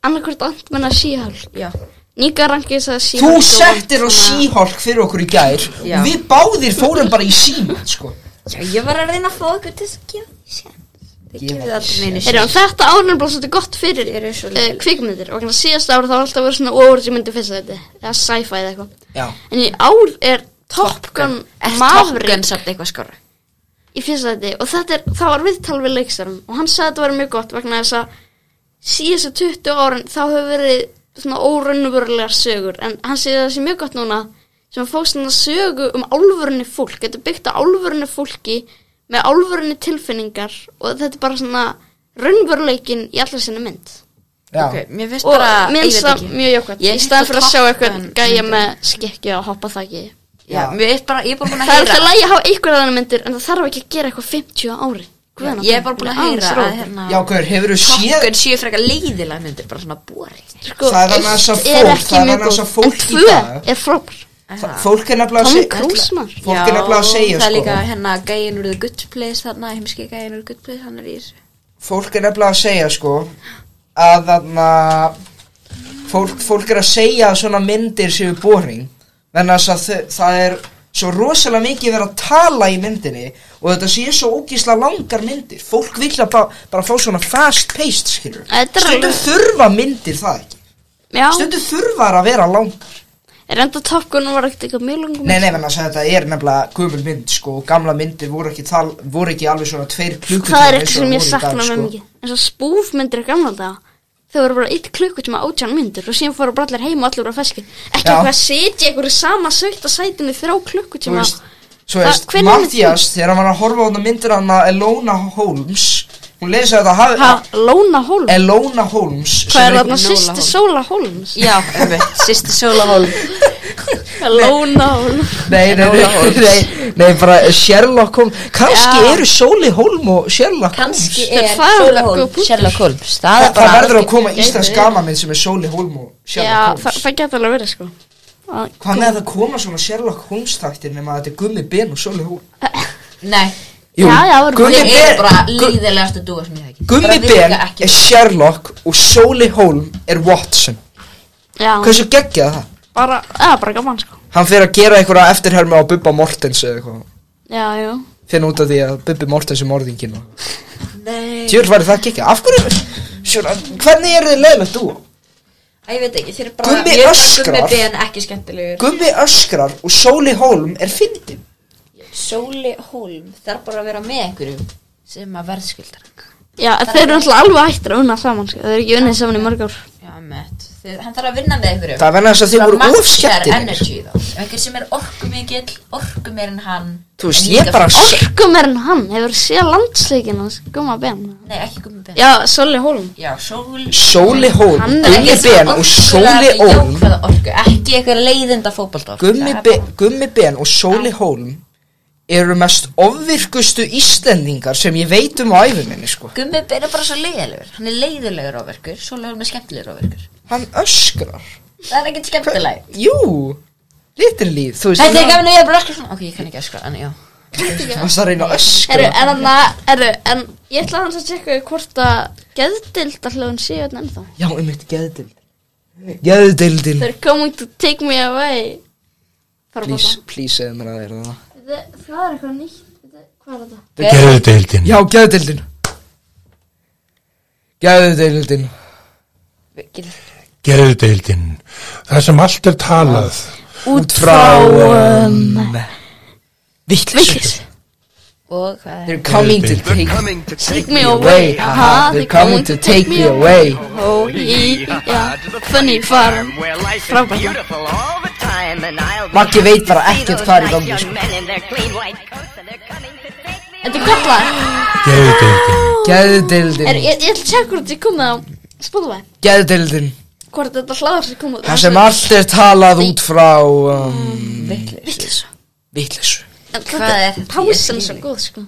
[SPEAKER 2] annarkvort andmenn að síhál
[SPEAKER 3] Já,
[SPEAKER 2] Níka rangið sagði síhál
[SPEAKER 1] Þú settir á
[SPEAKER 2] Hérna,
[SPEAKER 1] síhálk fyrir okkur í gær
[SPEAKER 3] Já.
[SPEAKER 1] og við báðir fórum bara í síman, sko.
[SPEAKER 3] Já, ég var að reyna að fá okkur til þess að gefa því sér Þið
[SPEAKER 1] Gefa
[SPEAKER 3] gefið
[SPEAKER 1] því
[SPEAKER 3] allir neinu
[SPEAKER 2] Erum, hérna, þetta árnum blá svolítið gott fyrir
[SPEAKER 3] Þeir eru svo
[SPEAKER 2] uh,
[SPEAKER 3] lélegir.
[SPEAKER 2] kvikmyndir og kannski síðasta ára þá var alltaf verið svona óvörð sem myndi fyrst þetta eða sci-fi eða eitthvað
[SPEAKER 1] Já.
[SPEAKER 2] en í ár er Top Gun
[SPEAKER 3] Er Top
[SPEAKER 2] Maverick
[SPEAKER 3] Gun samt eitthvað skora?
[SPEAKER 2] í fyrst þetta og þetta er, það var viðtal við leikstarum og hann sagði að þetta var mjög gott vegna þess að síðasta 20 árin þá hefur verið svona óraunverulegar sögur en hann segir að það sé mjög gott núna sem að fá svona sögu um álfurinu fólk þetta er byggt á álfurinu fólki með álfurinu tilfinningar og þetta er bara svona raunveruleikin í allar sinni mynd
[SPEAKER 1] Já.
[SPEAKER 3] Ok, mér finnst
[SPEAKER 2] og
[SPEAKER 3] bara ég
[SPEAKER 2] mér
[SPEAKER 3] veit
[SPEAKER 2] finnst það
[SPEAKER 3] ekki.
[SPEAKER 2] mjög jákvæmt
[SPEAKER 3] Ég
[SPEAKER 2] í staðan
[SPEAKER 3] hef
[SPEAKER 2] fyrir að
[SPEAKER 3] hitt
[SPEAKER 2] sjá
[SPEAKER 3] á
[SPEAKER 2] eitthvað
[SPEAKER 3] Top Gun
[SPEAKER 2] gæja
[SPEAKER 3] myndum.
[SPEAKER 2] með skikki og hoppa það ekki
[SPEAKER 3] Já,
[SPEAKER 1] Já.
[SPEAKER 3] mér finnst bara, ég er bara búin að
[SPEAKER 2] það er
[SPEAKER 3] heyra
[SPEAKER 2] alltaf lægi að hafa einhverja þannig myndir en það þarf ekki að gera eitthvað 50 á ári Guðan,
[SPEAKER 3] Ég er bara búin að heyra að hérna
[SPEAKER 1] Já, hver, hefur þú
[SPEAKER 3] Top
[SPEAKER 1] séð?
[SPEAKER 3] Gun séu frekar leiðilega myndir, bara svona boring
[SPEAKER 2] sko,
[SPEAKER 1] Það er annars að
[SPEAKER 2] eitt
[SPEAKER 1] fólk-
[SPEAKER 2] er ekki
[SPEAKER 1] það er
[SPEAKER 2] mjög
[SPEAKER 1] annars
[SPEAKER 2] góð,
[SPEAKER 1] að fólk
[SPEAKER 2] en
[SPEAKER 1] í
[SPEAKER 2] tvö
[SPEAKER 1] dag-
[SPEAKER 2] er frábær
[SPEAKER 1] Þa- Fólk er nefnilega að
[SPEAKER 2] Tom
[SPEAKER 1] segja,
[SPEAKER 2] Cruise, maður.
[SPEAKER 1] fólk er nefnilega að segja,
[SPEAKER 3] Það er
[SPEAKER 1] sko.
[SPEAKER 3] líka hérna gæin úr The Good Place þarna, heimski gæin úr The Good Place, hann er í þessu
[SPEAKER 1] fólk er nefnilega að segja sko að þarna fólk, fólk er að segja að svona myndir séu boring menn að þau, það er svo rosalega mikið verið að tala í myndinni og þetta séu svo ógísla langar myndir fólk vil að bara, bara fá svona fast paced skilur
[SPEAKER 2] Þetta er
[SPEAKER 1] stundum
[SPEAKER 2] alveg-
[SPEAKER 1] þurfa myndir það ekki
[SPEAKER 2] já,
[SPEAKER 1] stundum þurfa þær að vera langar
[SPEAKER 2] er enda Top Gun var ekkert eitthvað mjög langum
[SPEAKER 1] nei nei menn að þetta er nefnilega gömul mynd sko og gamla myndir voru ekki, tal, voru ekki alveg svona tveir klukkutíma
[SPEAKER 2] það er
[SPEAKER 1] eins
[SPEAKER 2] eitthvað
[SPEAKER 1] og voru í
[SPEAKER 2] sem ég
[SPEAKER 1] dag,
[SPEAKER 2] sakna með
[SPEAKER 1] sko.
[SPEAKER 2] mikið eins og spúfmyndir er gamla þetta þau voru bara eitt klukkutíma átján myndir og síðan fóru bara allir heim og allir voru að feski ekki
[SPEAKER 1] Já.
[SPEAKER 2] eitthvað að sitja eitthvað í sama sögt að sætinu þrjá
[SPEAKER 1] Þú
[SPEAKER 2] klukkutíma
[SPEAKER 1] veist, svo
[SPEAKER 2] Hva-
[SPEAKER 1] veist,
[SPEAKER 2] hvenær er
[SPEAKER 1] Mattias, þegar hann var að horfa á þetta myndir hann að Elona Holmes, hún lesi þetta hafi,
[SPEAKER 2] ha, Lóna Holmes
[SPEAKER 1] Elona Holmes,
[SPEAKER 2] hvað er
[SPEAKER 1] er,
[SPEAKER 2] þarna
[SPEAKER 3] Nóla
[SPEAKER 2] sýsti
[SPEAKER 3] Holmes.
[SPEAKER 2] Sóla Holmes
[SPEAKER 3] Já, einmitt, sýsti sólahólm
[SPEAKER 2] Lóna Holmes
[SPEAKER 1] nei, nei,
[SPEAKER 3] Enola
[SPEAKER 1] nei,
[SPEAKER 3] Holmes.
[SPEAKER 1] nei, nei, bara Sherlock Holmes, kannski
[SPEAKER 3] Já.
[SPEAKER 1] eru Sóli Holm og Sherlock
[SPEAKER 3] Kanski
[SPEAKER 1] Holmes,
[SPEAKER 2] Þetta er
[SPEAKER 3] er
[SPEAKER 2] fagurlega góð
[SPEAKER 3] Sólahólm
[SPEAKER 2] punktur.
[SPEAKER 3] Sherlock Holmes
[SPEAKER 1] það,
[SPEAKER 3] Það er
[SPEAKER 1] það
[SPEAKER 3] bara
[SPEAKER 1] verður að koma íslensk gamaminn sem er Sóli Holm og
[SPEAKER 2] já,
[SPEAKER 1] Sherlock
[SPEAKER 2] það,
[SPEAKER 1] Holmes.
[SPEAKER 2] það geta alveg verið sko Að-
[SPEAKER 1] Hvað með að það koma svona Sherlock Holmes taktir nema að þetta er Gummi Ben og Sóli Holm?
[SPEAKER 3] Nei,
[SPEAKER 2] Já, já, það verður
[SPEAKER 1] Gummi
[SPEAKER 3] Þeir eru
[SPEAKER 1] Ben,
[SPEAKER 3] bara líðilegast að dúa sem ég þekki
[SPEAKER 1] Gummi
[SPEAKER 3] Bara virka
[SPEAKER 1] Ben
[SPEAKER 3] ekki.
[SPEAKER 1] er Sherlock og Sóli Holm er Watson.
[SPEAKER 2] já,
[SPEAKER 1] Hversu geggjað það?
[SPEAKER 2] bara, eða bara gaman sko
[SPEAKER 1] Hann fyrir að gera einhverja eftirhermi á Bubba Mortens eða eitthvað
[SPEAKER 2] já, já
[SPEAKER 1] Finn út af því að Bubbi Mortens er morðingin og...
[SPEAKER 3] Nei
[SPEAKER 1] Tjörl væri það ekki Af hverju, svona, hvernig eru þið leiðilegt dú?
[SPEAKER 3] Æ, ég veit ekki, þeir eru bara
[SPEAKER 1] Gummi
[SPEAKER 3] mér fannst
[SPEAKER 1] öskrar.
[SPEAKER 3] Gummi Ben ekki skemmtilegur
[SPEAKER 1] Gummi öskrar og Sóli Hólm er fyndin
[SPEAKER 3] Sóli Holm þarf bara að vera með einhverjum sem að verðskuldar hann.
[SPEAKER 2] Já, þeir eru alltaf alveg hættir að unna saman, sko. þeir eru ekki unnið saman í mörg ár.
[SPEAKER 3] Já, með Þið, hann þarf að vinna með einhverjum
[SPEAKER 1] Það er vegna þess að þið
[SPEAKER 3] Það
[SPEAKER 1] voru
[SPEAKER 3] matchar
[SPEAKER 1] ofskeptir
[SPEAKER 3] energy í þá. Ef einhver sem er orku mikill, orku meir en hann
[SPEAKER 1] Þú veist,
[SPEAKER 3] en
[SPEAKER 1] ég
[SPEAKER 3] líka
[SPEAKER 1] bara
[SPEAKER 3] fyrir-
[SPEAKER 1] s-
[SPEAKER 2] Orkum er en hann, hefur séð landsleikin hans, gumma ben.
[SPEAKER 3] Nei, ekki gummi ben
[SPEAKER 2] Já, Soli Hólm.
[SPEAKER 3] Já, sól
[SPEAKER 1] Sóli Hólm,
[SPEAKER 2] Hann er
[SPEAKER 1] Gummi
[SPEAKER 3] Ekki
[SPEAKER 1] Ben
[SPEAKER 3] svona
[SPEAKER 1] og
[SPEAKER 3] orkulega
[SPEAKER 1] Sóli Hólm
[SPEAKER 3] jákvæða orku, Ekki eitthvað leiðinda fótballtork
[SPEAKER 1] Gummi, be, Gummi Ben og Sóli Hólm eru mest ofvirkustu Íslendingar sem ég veit um á æfuminni sko.
[SPEAKER 3] Gummi ben er bara svo leiðilegur Hann er leiðilegur ofverkur, sól er með skemmtilegur ofverkur
[SPEAKER 1] Hann öskrar
[SPEAKER 3] Það er ekkert skemmtileg
[SPEAKER 1] Jú, litur líf Þú veist,
[SPEAKER 3] Þetta er
[SPEAKER 1] hann-
[SPEAKER 3] gafin og ég er bara öskra svona Ok, ég kann ekki öskra, en já
[SPEAKER 1] hann varst að reyna að
[SPEAKER 2] Eru,
[SPEAKER 1] öskra
[SPEAKER 2] en þarna, eru, en ég ætla hans að tjekka hvort að geðdildarhlöðun séu hérna ennþá.
[SPEAKER 1] Já, um eitt geðdild Geðdildin
[SPEAKER 2] They're coming to take me away. Fara að
[SPEAKER 1] Please,
[SPEAKER 2] bóta.
[SPEAKER 1] please segðu mér að það er það
[SPEAKER 2] Þe- Það er eitthvað nýtt. Þe- Hvað er þetta?
[SPEAKER 5] Gerðudeildin
[SPEAKER 1] Já, geðdildin Geðdildin
[SPEAKER 5] Gerðudeildin Það sem allt er talað
[SPEAKER 2] Út
[SPEAKER 3] um,
[SPEAKER 1] Fráum Vittlis
[SPEAKER 2] Vittlis.
[SPEAKER 3] Og hvað er
[SPEAKER 1] They're coming to
[SPEAKER 5] They're
[SPEAKER 1] take
[SPEAKER 6] coming to take
[SPEAKER 2] Take me
[SPEAKER 1] away,
[SPEAKER 2] away,
[SPEAKER 1] haha,
[SPEAKER 2] haha,
[SPEAKER 1] they're coming to take me away
[SPEAKER 2] Oh, hee, já, funny farm.
[SPEAKER 6] where life is
[SPEAKER 2] Frábært.
[SPEAKER 6] beautiful all the time and I'll be
[SPEAKER 1] Maggi veit bara
[SPEAKER 6] happy to
[SPEAKER 1] ekkert
[SPEAKER 6] see
[SPEAKER 1] hvað er í
[SPEAKER 6] those nice
[SPEAKER 1] gangi, sko.
[SPEAKER 6] young men in their clean white coats and they're coming to take me
[SPEAKER 2] Þetta er kallað.
[SPEAKER 5] Gerðudeildin
[SPEAKER 2] Er,
[SPEAKER 1] Geðdildin
[SPEAKER 2] ég, ég ætla að tjekka hvort ég komið á Spotify.
[SPEAKER 1] Geðdildin
[SPEAKER 2] Hvort þetta hlaðar sem komið.
[SPEAKER 1] Það sem allt er talað út frá um,
[SPEAKER 2] Vittlis.
[SPEAKER 1] Vittlisu
[SPEAKER 2] En
[SPEAKER 3] Hvað
[SPEAKER 2] þetta
[SPEAKER 3] er
[SPEAKER 2] er
[SPEAKER 3] þetta?
[SPEAKER 2] pásin
[SPEAKER 3] Ég skil
[SPEAKER 2] svo
[SPEAKER 3] ekki.
[SPEAKER 2] góð, sko.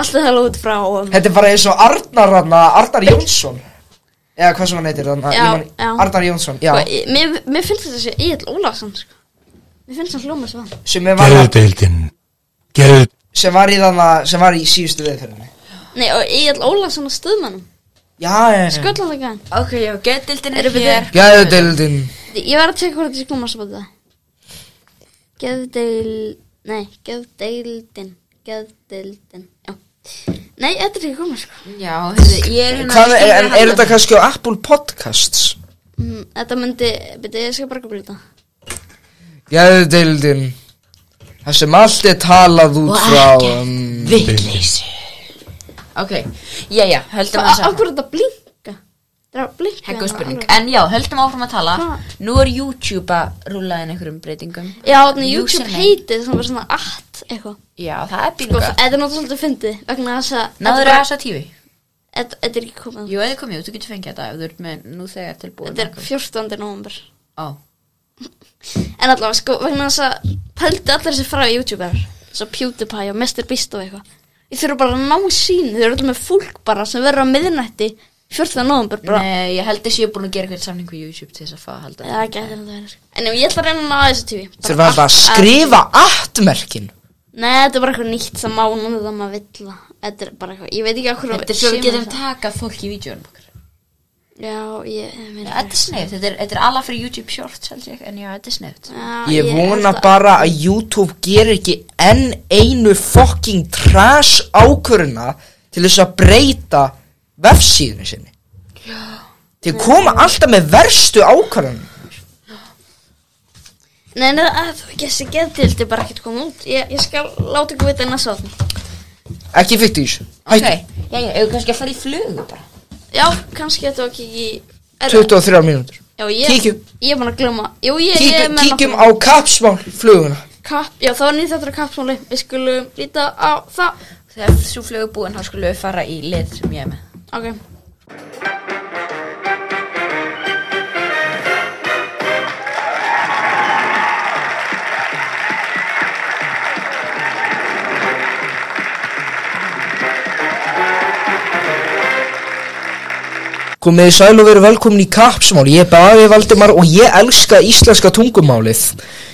[SPEAKER 2] Allt er það út frá um,
[SPEAKER 1] Þetta er bara eins og Arnar hann Arnar Jónsson Eða hvað sem hann heitir hann
[SPEAKER 2] Já, já.
[SPEAKER 1] Arnar Jónsson, já
[SPEAKER 2] Sko, ég- mér, mér finnst þetta sé Egil Ólafsson sko. Mér finnst hann hljóma svo
[SPEAKER 1] Sem er var,
[SPEAKER 5] Gerðudeildin Gerðudeildin
[SPEAKER 1] sem var í þannig Sem var í síðustu viðferðinni
[SPEAKER 2] Nei, og Egil Ólafsson á stöðmannum
[SPEAKER 1] Já, já, já
[SPEAKER 2] Sköldlandagan
[SPEAKER 3] Ok, já, geðdildin er
[SPEAKER 2] Erum við
[SPEAKER 3] hér
[SPEAKER 1] Geðdildin
[SPEAKER 2] Ég var að tjekka hvort þessi hljóma svo þetta Geðdeil Nei, geðdeildin Geðdeildin Já Nei, þetta er ekki koma sko
[SPEAKER 3] Já, heyrðu, ég er hérna
[SPEAKER 1] Hvað, er, er,
[SPEAKER 3] Ég
[SPEAKER 1] er þetta kannski á Apple Podcasts?
[SPEAKER 2] mm, Þetta myndi Byrja, ég skal bara koma þetta
[SPEAKER 1] Geðdildin Það sem allt er talað út frá um,
[SPEAKER 3] Ok, já, já, höldum að
[SPEAKER 2] Akkur þetta blinka Það er að blinka
[SPEAKER 3] Það er góð
[SPEAKER 2] hérna
[SPEAKER 3] spurning,
[SPEAKER 2] alveg.
[SPEAKER 3] en já, höldum áfram að tala
[SPEAKER 2] Ha.
[SPEAKER 3] Nú er YouTube að rúla inn einhverjum breytingum
[SPEAKER 2] Já, þannig YouTube
[SPEAKER 3] Username.
[SPEAKER 2] heitið sem var svona att eitthvað
[SPEAKER 3] Já, það er
[SPEAKER 2] Sko,
[SPEAKER 3] bílinga
[SPEAKER 2] þetta er náttúrulega svolítið fyndið vegna þess að þetta
[SPEAKER 3] Náður
[SPEAKER 2] bara-
[SPEAKER 3] að þessa tífi?
[SPEAKER 2] Þetta þetta er ekki komið
[SPEAKER 3] Jú, eða komið, þú getur fengið þetta ef þú ert með nú þegar tilbúin
[SPEAKER 2] Þetta er 14. november
[SPEAKER 3] Ó,
[SPEAKER 2] En allavega sko, vegna þess að Pældi allir þessi frá youtuber Svo PewDiePie og MrBeast og eitthvað Ég þurfa bara að ná sín Þeir eru allir með fólk bara sem verður á miðnætti 14. november bara
[SPEAKER 3] nei, ég held þess ég er búin að gera eitthvað samning við YouTube til þess að fá að halda
[SPEAKER 2] Það gæti þetta verið sko. En ef ég ætla að reyna að ná þessu tífi
[SPEAKER 1] Þurfa bara að skrifa attmerkin
[SPEAKER 2] Nei, þetta er bara eitthvað nýtt sem mánum þetta maður vill það. Þetta er bara eitthvað, ég veit ekki okkur
[SPEAKER 3] Þetta er svo við getum takað fólk í vídjónum okkar
[SPEAKER 2] Já, ég meina
[SPEAKER 3] Þetta er snöð, þetta er, þetta er alla fyrir YouTube Shorts held ég, en já, þetta er snöð
[SPEAKER 2] Já,
[SPEAKER 1] Ég vona
[SPEAKER 2] held að-
[SPEAKER 1] bara að YouTube gerir ekki enn einu fucking trash ákvöruna til þess að breyta vefsíðinu sinni. Þeir koma alltaf með verstu ákvörunum.
[SPEAKER 2] Nei, nei, að þú ekki þessi geðdildi bara ekkert koma út Ég, ég skal láta ykkur vita næsta áfram
[SPEAKER 1] Ekki fyrir þessu.
[SPEAKER 3] Ok,
[SPEAKER 1] Hættu.
[SPEAKER 3] já, já, hefur kannski að fara í flugu bara
[SPEAKER 2] Já, kannski þetta var kikið í er-
[SPEAKER 1] 23 mínútur.
[SPEAKER 2] Já, ég,
[SPEAKER 1] kíkjum.
[SPEAKER 2] Ég er búin að glöma Jú, ég, ég er
[SPEAKER 1] Kíkjum,
[SPEAKER 2] með
[SPEAKER 1] kíkjum á
[SPEAKER 2] nokkuð.
[SPEAKER 1] kapsmál fluguna.
[SPEAKER 2] Kapp, já, það var nýtt þetta kappsmáli Við skulum líta á það
[SPEAKER 3] Þegar svo flugu búin, þá skulum við fara í lið sem ég er með
[SPEAKER 2] Ok
[SPEAKER 1] Komið í sæl og veru velkomin í kapsmál. Ég er Bafi Valdimar og ég elska íslenska tungumálið.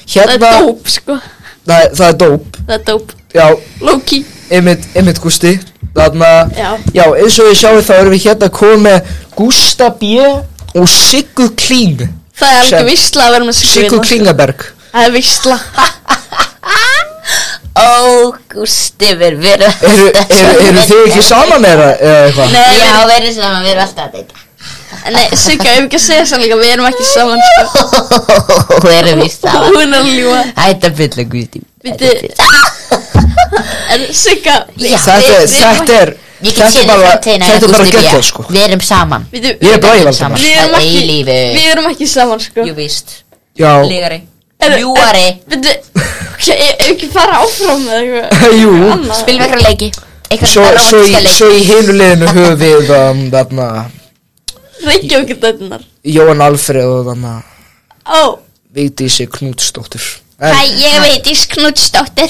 [SPEAKER 2] Það er
[SPEAKER 1] Hérna,
[SPEAKER 2] dóp, sko
[SPEAKER 1] það er, það er dóp.
[SPEAKER 2] Það er dóp
[SPEAKER 1] Já,
[SPEAKER 2] Loki
[SPEAKER 1] Einmitt, einmitt Gústi Þarna,
[SPEAKER 2] Já.
[SPEAKER 1] eins og við sjáum þá erum við hérna að koma með Gústa B og Siggu Kling
[SPEAKER 2] Það er
[SPEAKER 1] Sem-
[SPEAKER 2] alveg vissla að vera með
[SPEAKER 1] Siggu
[SPEAKER 2] sigurinn
[SPEAKER 1] Klingaberg
[SPEAKER 2] Það er vissla
[SPEAKER 3] Ó, Gústi, við verðum
[SPEAKER 1] Eru, eru, eru þið ekki saman með það eða eitthvað?
[SPEAKER 3] Nei, já, við erum saman, við erum alltaf að deyta
[SPEAKER 2] Nei, Sigga, ef ekki að segja það líka Við erum ekki saman, sko
[SPEAKER 3] Við erum í
[SPEAKER 2] Hún er að ljúga
[SPEAKER 3] Hætt að fylla Guði
[SPEAKER 2] Viti En Sigga
[SPEAKER 1] Þetta,
[SPEAKER 2] við-
[SPEAKER 1] er-
[SPEAKER 2] við-
[SPEAKER 1] þetta er Þetta
[SPEAKER 3] Ég get séð
[SPEAKER 1] er
[SPEAKER 3] í
[SPEAKER 1] bara-
[SPEAKER 3] framtíðina
[SPEAKER 1] þetta er bara
[SPEAKER 3] Gústi B.
[SPEAKER 1] geggjað, sko.
[SPEAKER 3] Við erum saman
[SPEAKER 2] Við,
[SPEAKER 1] Ég er bara
[SPEAKER 3] Við erum
[SPEAKER 1] Valdimar.
[SPEAKER 3] saman
[SPEAKER 2] við, erum
[SPEAKER 3] að
[SPEAKER 2] ekki,
[SPEAKER 3] eilífu
[SPEAKER 2] við erum ekki saman sko
[SPEAKER 3] Jú víst
[SPEAKER 1] Já,
[SPEAKER 3] Lígari
[SPEAKER 2] Heyrðu,
[SPEAKER 3] Ljúari
[SPEAKER 2] eh, Byrju, ok, ég hef ekki fara áfram með eitthvað
[SPEAKER 1] jú
[SPEAKER 2] annað.
[SPEAKER 3] Spilum eitthvað leiki Eitthvað
[SPEAKER 1] Svo, svo, í,
[SPEAKER 3] rómantíska leiki.
[SPEAKER 1] svo í hinu liðinu höfum við um, þarna
[SPEAKER 2] Reykjavík dætnar
[SPEAKER 1] Jóhann Alfreð og þarna
[SPEAKER 2] Ó,
[SPEAKER 1] Vigdísi Knútsdóttur
[SPEAKER 7] Hæ,
[SPEAKER 1] En
[SPEAKER 7] ég veit í Knútsdóttir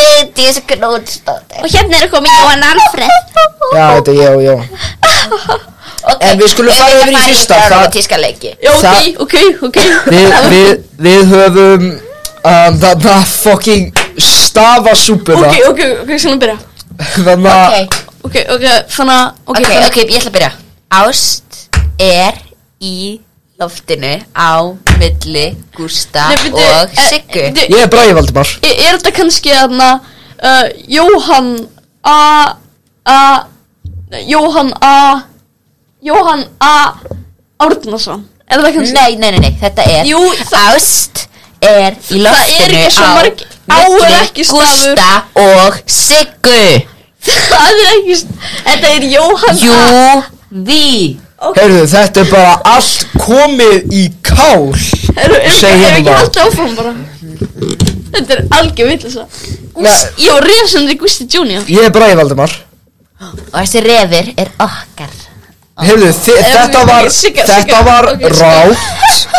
[SPEAKER 3] Vigdís Knútsdóttir
[SPEAKER 7] og hérna er komið Jóhann Alfred
[SPEAKER 1] já, þetta er ég og Jóhann
[SPEAKER 3] okay.
[SPEAKER 1] En við skulum fara yfir í fyrsta,
[SPEAKER 3] Það
[SPEAKER 1] það-
[SPEAKER 3] er romantíska leiki
[SPEAKER 2] já ok,
[SPEAKER 1] Það-
[SPEAKER 2] ok, ok
[SPEAKER 1] Við, við, við höfum um, þarna fucking stafasúpuna
[SPEAKER 2] Ok, ok, ok, svona byrja
[SPEAKER 1] Þarna
[SPEAKER 3] Ok,
[SPEAKER 2] Ok, ok, þannig að
[SPEAKER 3] ok,
[SPEAKER 2] þannig að-
[SPEAKER 3] ok, ég ætla að byrja Ást er í loftinu á milli Gústa
[SPEAKER 2] Nei, byrju,
[SPEAKER 3] og
[SPEAKER 2] eh,
[SPEAKER 3] Siggu
[SPEAKER 2] byrju,
[SPEAKER 1] Ég er Bragi Valdimar
[SPEAKER 2] Er er þetta kannski þarna uh, Jóhann A A nei, Jóhann A Jóhann A Árnason Er það kannski
[SPEAKER 3] Nei, nei, nei, nei, þetta er
[SPEAKER 2] Jú, það-
[SPEAKER 3] Ást er í loftinu
[SPEAKER 2] Það er ekki svo
[SPEAKER 3] á
[SPEAKER 2] marg- á er
[SPEAKER 3] milli
[SPEAKER 2] ekki stafur.
[SPEAKER 3] Gústa og Siggu
[SPEAKER 2] Það er ekki s- Þetta er Jóhann
[SPEAKER 3] Jú,
[SPEAKER 2] A
[SPEAKER 3] því
[SPEAKER 1] Heyrðu, þetta er bara allt komið í kál
[SPEAKER 2] Eru er, er,
[SPEAKER 1] Segjum
[SPEAKER 2] er ekki
[SPEAKER 1] það.
[SPEAKER 2] haldið áfram bara Þetta er algjör vitleisa
[SPEAKER 1] Nei.
[SPEAKER 2] Ég var resandi Gusti Junior
[SPEAKER 1] Ég er Bragi Valdimar
[SPEAKER 3] Og þessi refir er okkar
[SPEAKER 1] Heyrðu, þi-
[SPEAKER 2] Ef
[SPEAKER 1] þetta
[SPEAKER 2] Ah. ég-
[SPEAKER 1] var,
[SPEAKER 2] ok, Sigga,
[SPEAKER 1] þetta
[SPEAKER 2] Sigga,
[SPEAKER 1] var
[SPEAKER 2] ok, Sigga.
[SPEAKER 1] rátt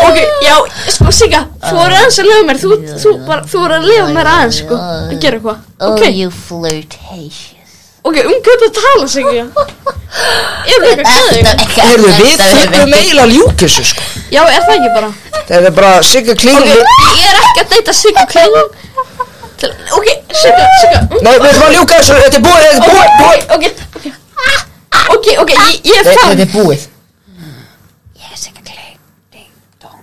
[SPEAKER 2] Ok, já, sko Sigga Þú voru aðeins að leiða mér Þú, þú, bara, þú voru að leiða mér aðeins sko Að gera eitthvað
[SPEAKER 3] Oh,
[SPEAKER 2] Ok,
[SPEAKER 3] you flirtatious
[SPEAKER 2] ok, um hvað það tala Sigga Ég er eitthvað gæðið
[SPEAKER 1] Heyrðu, við þurfum eiginlega ljúkissu sko
[SPEAKER 2] Já, er það ekki bara?
[SPEAKER 1] Þetta er bara Sigga klingum við-
[SPEAKER 2] Ég er ekki að deyta Sigga Klingum Til- Ok, Sigga, Sigga mm,
[SPEAKER 1] Nei, við erum að ljúka þessu, þetta er búið, þetta er búið, búið
[SPEAKER 2] Ok, ok Ok, ok, ég, ég er
[SPEAKER 1] Þetta
[SPEAKER 2] fann
[SPEAKER 1] er búið
[SPEAKER 3] Ég er Sigga Kling, ding dong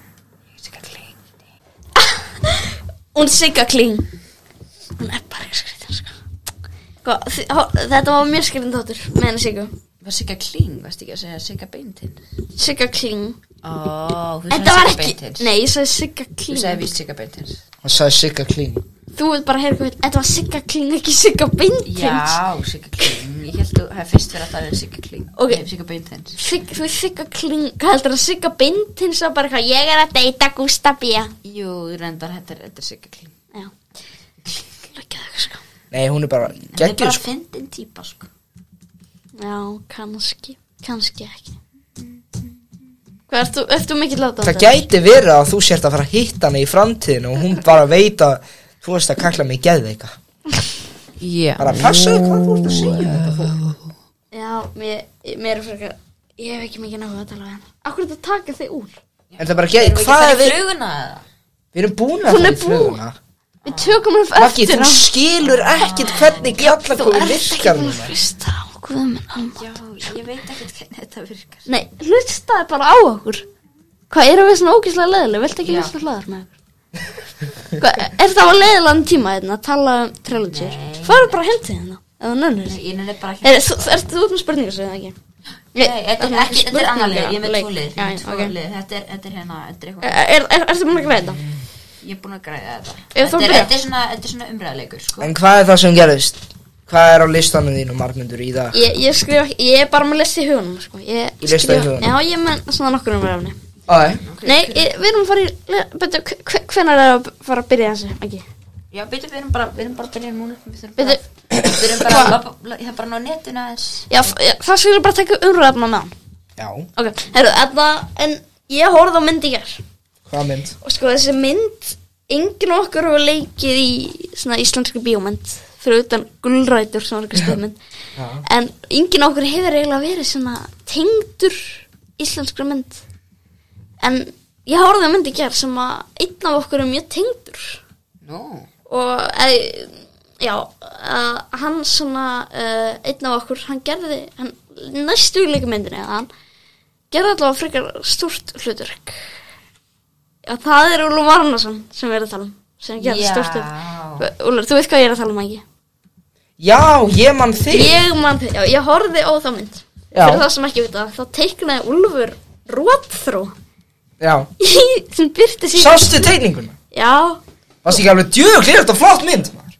[SPEAKER 3] Ég er Sigga Kling
[SPEAKER 2] Hún Sigga Kling Hún er bara ekki skritin, sko Hva, þi- hó- Þetta var mjög skritin þáttur með henni Siggu
[SPEAKER 3] Var Sigga Kling, varstu ekki að segja Sigga Beintinn?
[SPEAKER 2] Sigga Kling
[SPEAKER 3] Ó, þú
[SPEAKER 2] Þetta var ekki Nei, ég sagði Sigga
[SPEAKER 3] Þú
[SPEAKER 2] Kling
[SPEAKER 3] sagði víst Sigga Beintins
[SPEAKER 1] Hann sagði Sigga klingum
[SPEAKER 2] Þú veit bara að heyra hvað við- Þetta var Sigga Kling, ekki Sigga Beintins
[SPEAKER 3] Já, Sigga Kling Ég held að það er fyrst verið að það er Sigga Kling
[SPEAKER 2] Ok.
[SPEAKER 3] Nei, Sigga Beintins
[SPEAKER 2] Sigg, þú veist Sigga Kling Hvað heldur að Sigga Beintins var bara eitthvað Ég er að deyta Gústa B
[SPEAKER 3] Jú, reyndar, þetta er, þetta er Sigga Kling
[SPEAKER 2] Já Lekkið það sko
[SPEAKER 1] Nei, hún er bara
[SPEAKER 3] Þetta er
[SPEAKER 1] geggjur
[SPEAKER 3] bara
[SPEAKER 1] sko
[SPEAKER 3] fyndin típa, sko
[SPEAKER 2] Já, kannski, kannski ekki Hvað, ert þú, ert þú mikið láta
[SPEAKER 1] Það gæti verið að þú sért að fara að hitta hana í framtíðinu og hún bara veit að þú veist að kalla mig geðveika
[SPEAKER 3] Já
[SPEAKER 1] Bara passaðu hvað þú ert að segja við þetta fólk
[SPEAKER 2] Já, mér, mér er frekar Ég hef ekki mikið náhuga að tala við hennar Akkur er þetta að taka þig úr?
[SPEAKER 1] En það er bara geð, hvað
[SPEAKER 3] Hvað
[SPEAKER 1] er við
[SPEAKER 3] fluguna eða?
[SPEAKER 1] Við erum búin að það
[SPEAKER 2] Hún er
[SPEAKER 1] í
[SPEAKER 2] búin.
[SPEAKER 1] fluguna
[SPEAKER 2] Við tökum hann
[SPEAKER 1] Maggi,
[SPEAKER 2] eftir
[SPEAKER 1] þú skilur ekkit hvernig kalla
[SPEAKER 2] Þú
[SPEAKER 1] hvað
[SPEAKER 2] ert ekki
[SPEAKER 1] virkar
[SPEAKER 2] búin að
[SPEAKER 1] núna
[SPEAKER 2] hlusta á Guð minn alma
[SPEAKER 3] Já, ég veit ekkert hvernig þetta virkar
[SPEAKER 2] Nei, hlustaði bara á okkur Hvað, erum við svona ógeðslega leðileg? Viltu ekki
[SPEAKER 3] Já.
[SPEAKER 2] hlusta hlaðar með okkur? Hvað, er það á leðilegan tíma hérna að tala um trilogyr? Fara bara heim til hérna, ef þú nönnur
[SPEAKER 3] Nei, Ég nefnir bara ekki
[SPEAKER 2] Er, þú, er, þú ert með spurningar, segir það ekki?
[SPEAKER 3] Nei, þetta er
[SPEAKER 2] ok,
[SPEAKER 3] ekki, þetta er annar lið, ég er með
[SPEAKER 2] leik.
[SPEAKER 3] tvo lið, ég
[SPEAKER 2] Já,
[SPEAKER 3] er með
[SPEAKER 2] já,
[SPEAKER 3] tvo
[SPEAKER 2] ok.
[SPEAKER 3] lið, þetta er, þetta er hérna, þetta er eitthvað,
[SPEAKER 2] Er, er, er, ertu búin að græða þetta?
[SPEAKER 3] ég er búin að græða þetta.
[SPEAKER 2] Ef þú
[SPEAKER 3] Þetta er,
[SPEAKER 2] byrjar.
[SPEAKER 3] þetta er svona, þetta er svona umræðuleikur, sko.
[SPEAKER 1] En hvað er það sem gerðist? Hvað er á listanum þínu margmyndur í dag?
[SPEAKER 2] Ég, ég skrif, ekki- ég er bara með list í hugunum, sko Ég
[SPEAKER 1] Í lista í
[SPEAKER 2] skrifa-
[SPEAKER 1] huganum?
[SPEAKER 2] Já, ég er með svona nokkur um ræfni
[SPEAKER 1] Æ,
[SPEAKER 2] Nei, ég, við erum að fara í Betur, hvenær er að fara að byrja þessu, ekki?
[SPEAKER 3] Já, byrju, við erum bara, við erum bara að byrja núna, við þurfum
[SPEAKER 2] Byrju.
[SPEAKER 3] bara, við erum bara, að labba- la- ég þarf bara að ná netinu aðeins.
[SPEAKER 2] Já, f- já, það skulle bara taka umræðna með hann
[SPEAKER 1] já,
[SPEAKER 2] Ok, herru, þetta, en ég horfði á myndi hér
[SPEAKER 1] hvað mynd?
[SPEAKER 2] Og sko, þessi mynd, enginn okkur hefur leikið í svona íslenski bíómynd Fyrir utan gulrætur sem var eitthvað stöðmynd
[SPEAKER 1] Já.
[SPEAKER 2] En enginn okkur hefur eiginlega verið svona tengdur íslenskri mynd En ég horfði á mynd í gerð sem að einn af okkur er mjög tengdur
[SPEAKER 3] Nú,
[SPEAKER 2] og e, já, uh, hann svona uh, einn af okkur, hann gerði hann, næstu í leikumyndinni eða hann gerði allavega frekar stórt hluturk já, það er Úlfur Varnason sem við erum að tala um sem gerði
[SPEAKER 3] Já.
[SPEAKER 2] stórt hluturk Úlfur, þú veit hvað ég er að tala um ekki
[SPEAKER 1] Já, ég mann þig
[SPEAKER 2] ég, man, já, ég horfði á þá mynd
[SPEAKER 1] Já.
[SPEAKER 2] fyrir það sem ekki vita, þá teiknaði Úlfur rótþró
[SPEAKER 1] Já,
[SPEAKER 2] sem byrti síðan
[SPEAKER 1] sástu teikninguna?
[SPEAKER 2] já,
[SPEAKER 1] Varst ekki alveg djög, þetta flott mynd maður.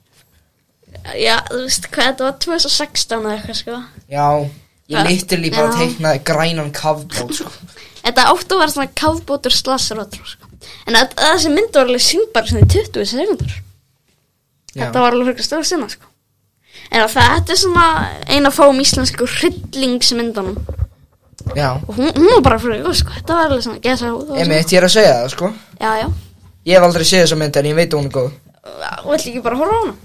[SPEAKER 2] já, þú veist hvað þetta var 2016 eða eitthvað sko
[SPEAKER 1] Já, ég
[SPEAKER 2] Já.
[SPEAKER 1] literally bara
[SPEAKER 2] Já.
[SPEAKER 1] teiknaði grænan kafbót sko.
[SPEAKER 2] Þetta áttu að vera svona kafbótur slasarótrú sko. En að, að þessi mynd var alveg sínd bara svona í 20 sekundur
[SPEAKER 1] Já.
[SPEAKER 2] Þetta var alveg fyrir stóra sinna sko. En að þetta er svona eina fáum íslensku hryllingsmyndunum
[SPEAKER 1] Já,
[SPEAKER 2] Og hún, hún var bara fyrir góð sko. Þetta var alveg svona gesa húð
[SPEAKER 1] emitt, ég er að segja það sko
[SPEAKER 2] Já, já,
[SPEAKER 1] Ég hef aldrei séð þessa mynd en ég veit að hún er góð
[SPEAKER 2] vill ekki bara horfa á hana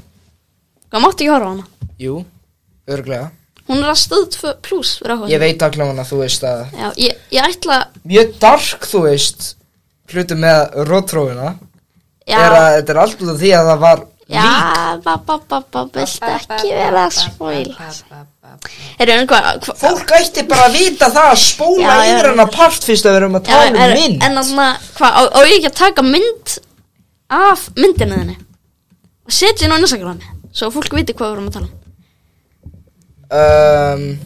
[SPEAKER 2] Hvað mátti ekki horfa á hana
[SPEAKER 1] Jú, örglega
[SPEAKER 2] Hún er að stöð 2 plus fyrir áhuga
[SPEAKER 1] Ég veit allavega að þú veist að
[SPEAKER 2] Já, ég, ég ætla
[SPEAKER 1] Mjög dark, þú veist Hlutum með rótrófina
[SPEAKER 2] Já,
[SPEAKER 1] er að, Þetta er alltaf því að það var
[SPEAKER 2] já, ba, ba, ba, ba, vilt ekki vera að spóila Er það einhvað,
[SPEAKER 1] Fólk ætti bara að vita það að spóla
[SPEAKER 2] Já, já,
[SPEAKER 1] yfir
[SPEAKER 2] já.
[SPEAKER 1] hana part fyrst að við erum að
[SPEAKER 2] Já,
[SPEAKER 1] tala um
[SPEAKER 2] er-
[SPEAKER 1] mynd
[SPEAKER 2] En þannig að, hvað, á, á ég ekki að taka mynd af myndinu þinni og setja inn á Instagrami svo fólk viti hvað við erum að tala um
[SPEAKER 1] um,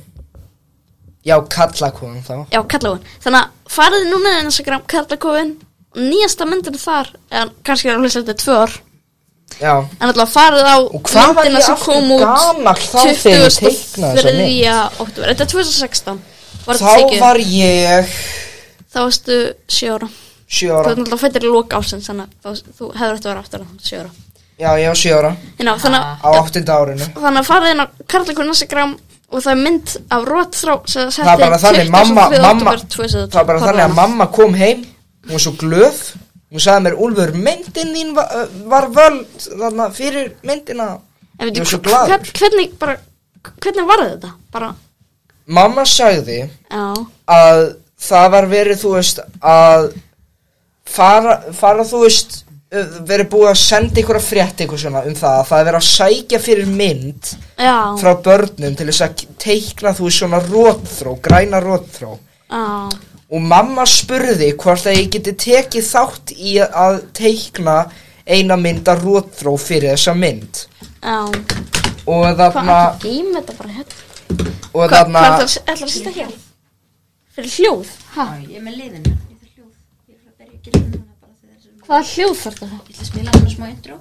[SPEAKER 1] Já, kalla hún þá
[SPEAKER 2] Já, kallakofin Þannig að farið núna inn á Instagram kallakofin og nýjasta myndinu þar en kannski er að hlusta þetta tvö ár
[SPEAKER 1] Já,
[SPEAKER 2] en alltaf farið á
[SPEAKER 1] Og hvað var ég
[SPEAKER 2] myndina sem
[SPEAKER 1] aftur
[SPEAKER 2] kom út
[SPEAKER 1] gamall þá þegar ég teiknaði þessa
[SPEAKER 2] 23. oktober Þetta er 2016 var
[SPEAKER 1] þá
[SPEAKER 2] þetta tekið
[SPEAKER 1] var ég
[SPEAKER 2] Þá varstu 7 ára
[SPEAKER 1] Sjö
[SPEAKER 2] Þú
[SPEAKER 1] ára
[SPEAKER 2] er náttúrulega fættir í loka ásins þannig að þú- þú hefur eftir að vera aftur á 7 ára
[SPEAKER 1] Já, ég var sjö ára
[SPEAKER 2] Ná, Þannig
[SPEAKER 1] Á
[SPEAKER 2] að
[SPEAKER 1] áttunda árinu
[SPEAKER 2] þannig að farið inn á Karlakur Instagram og það er mynd af rótþrá sem
[SPEAKER 1] Það var bara þannig, mamma, mamma Það var
[SPEAKER 2] var
[SPEAKER 1] bara þannig að mamma kom heim Hún var svo glöð Hún sagði mér, Úlfur, myndin þín var, var völd Þarna fyrir myndina Ég
[SPEAKER 2] en veitu,
[SPEAKER 1] var svo
[SPEAKER 2] hv-
[SPEAKER 1] glaður.
[SPEAKER 2] hvern- hvernig, bara, hvernig var þetta bara,
[SPEAKER 1] Mamma sagði
[SPEAKER 2] já,
[SPEAKER 1] að það var verið, þú veist, að fara, fara þú veist, uh, verið búið að senda ykkur að frétta ykkur svona um það, að það er verið að sækja fyrir mynd
[SPEAKER 2] já,
[SPEAKER 1] frá börnum til þess að teikna þú veist svona rótþró, græna rótþró
[SPEAKER 2] já
[SPEAKER 1] og mamma spurði hvort að ég geti tekið þátt í að teikna eina mynda rótþró fyrir þessa mynd
[SPEAKER 2] já
[SPEAKER 1] og
[SPEAKER 2] hvað
[SPEAKER 1] þarna,
[SPEAKER 2] ætlar að geima þetta bara hér
[SPEAKER 1] og
[SPEAKER 2] hvað
[SPEAKER 1] þarna
[SPEAKER 2] ætlar ætlar að setja hér fyrir hljóð, ha,
[SPEAKER 3] Ég er með liðin Ég þarf hljóð Ég er að berja ekki hljóð núna bara þegar þessum
[SPEAKER 2] hvaða hljóð þarf þetta
[SPEAKER 3] Ég ætla að spila svona smá intro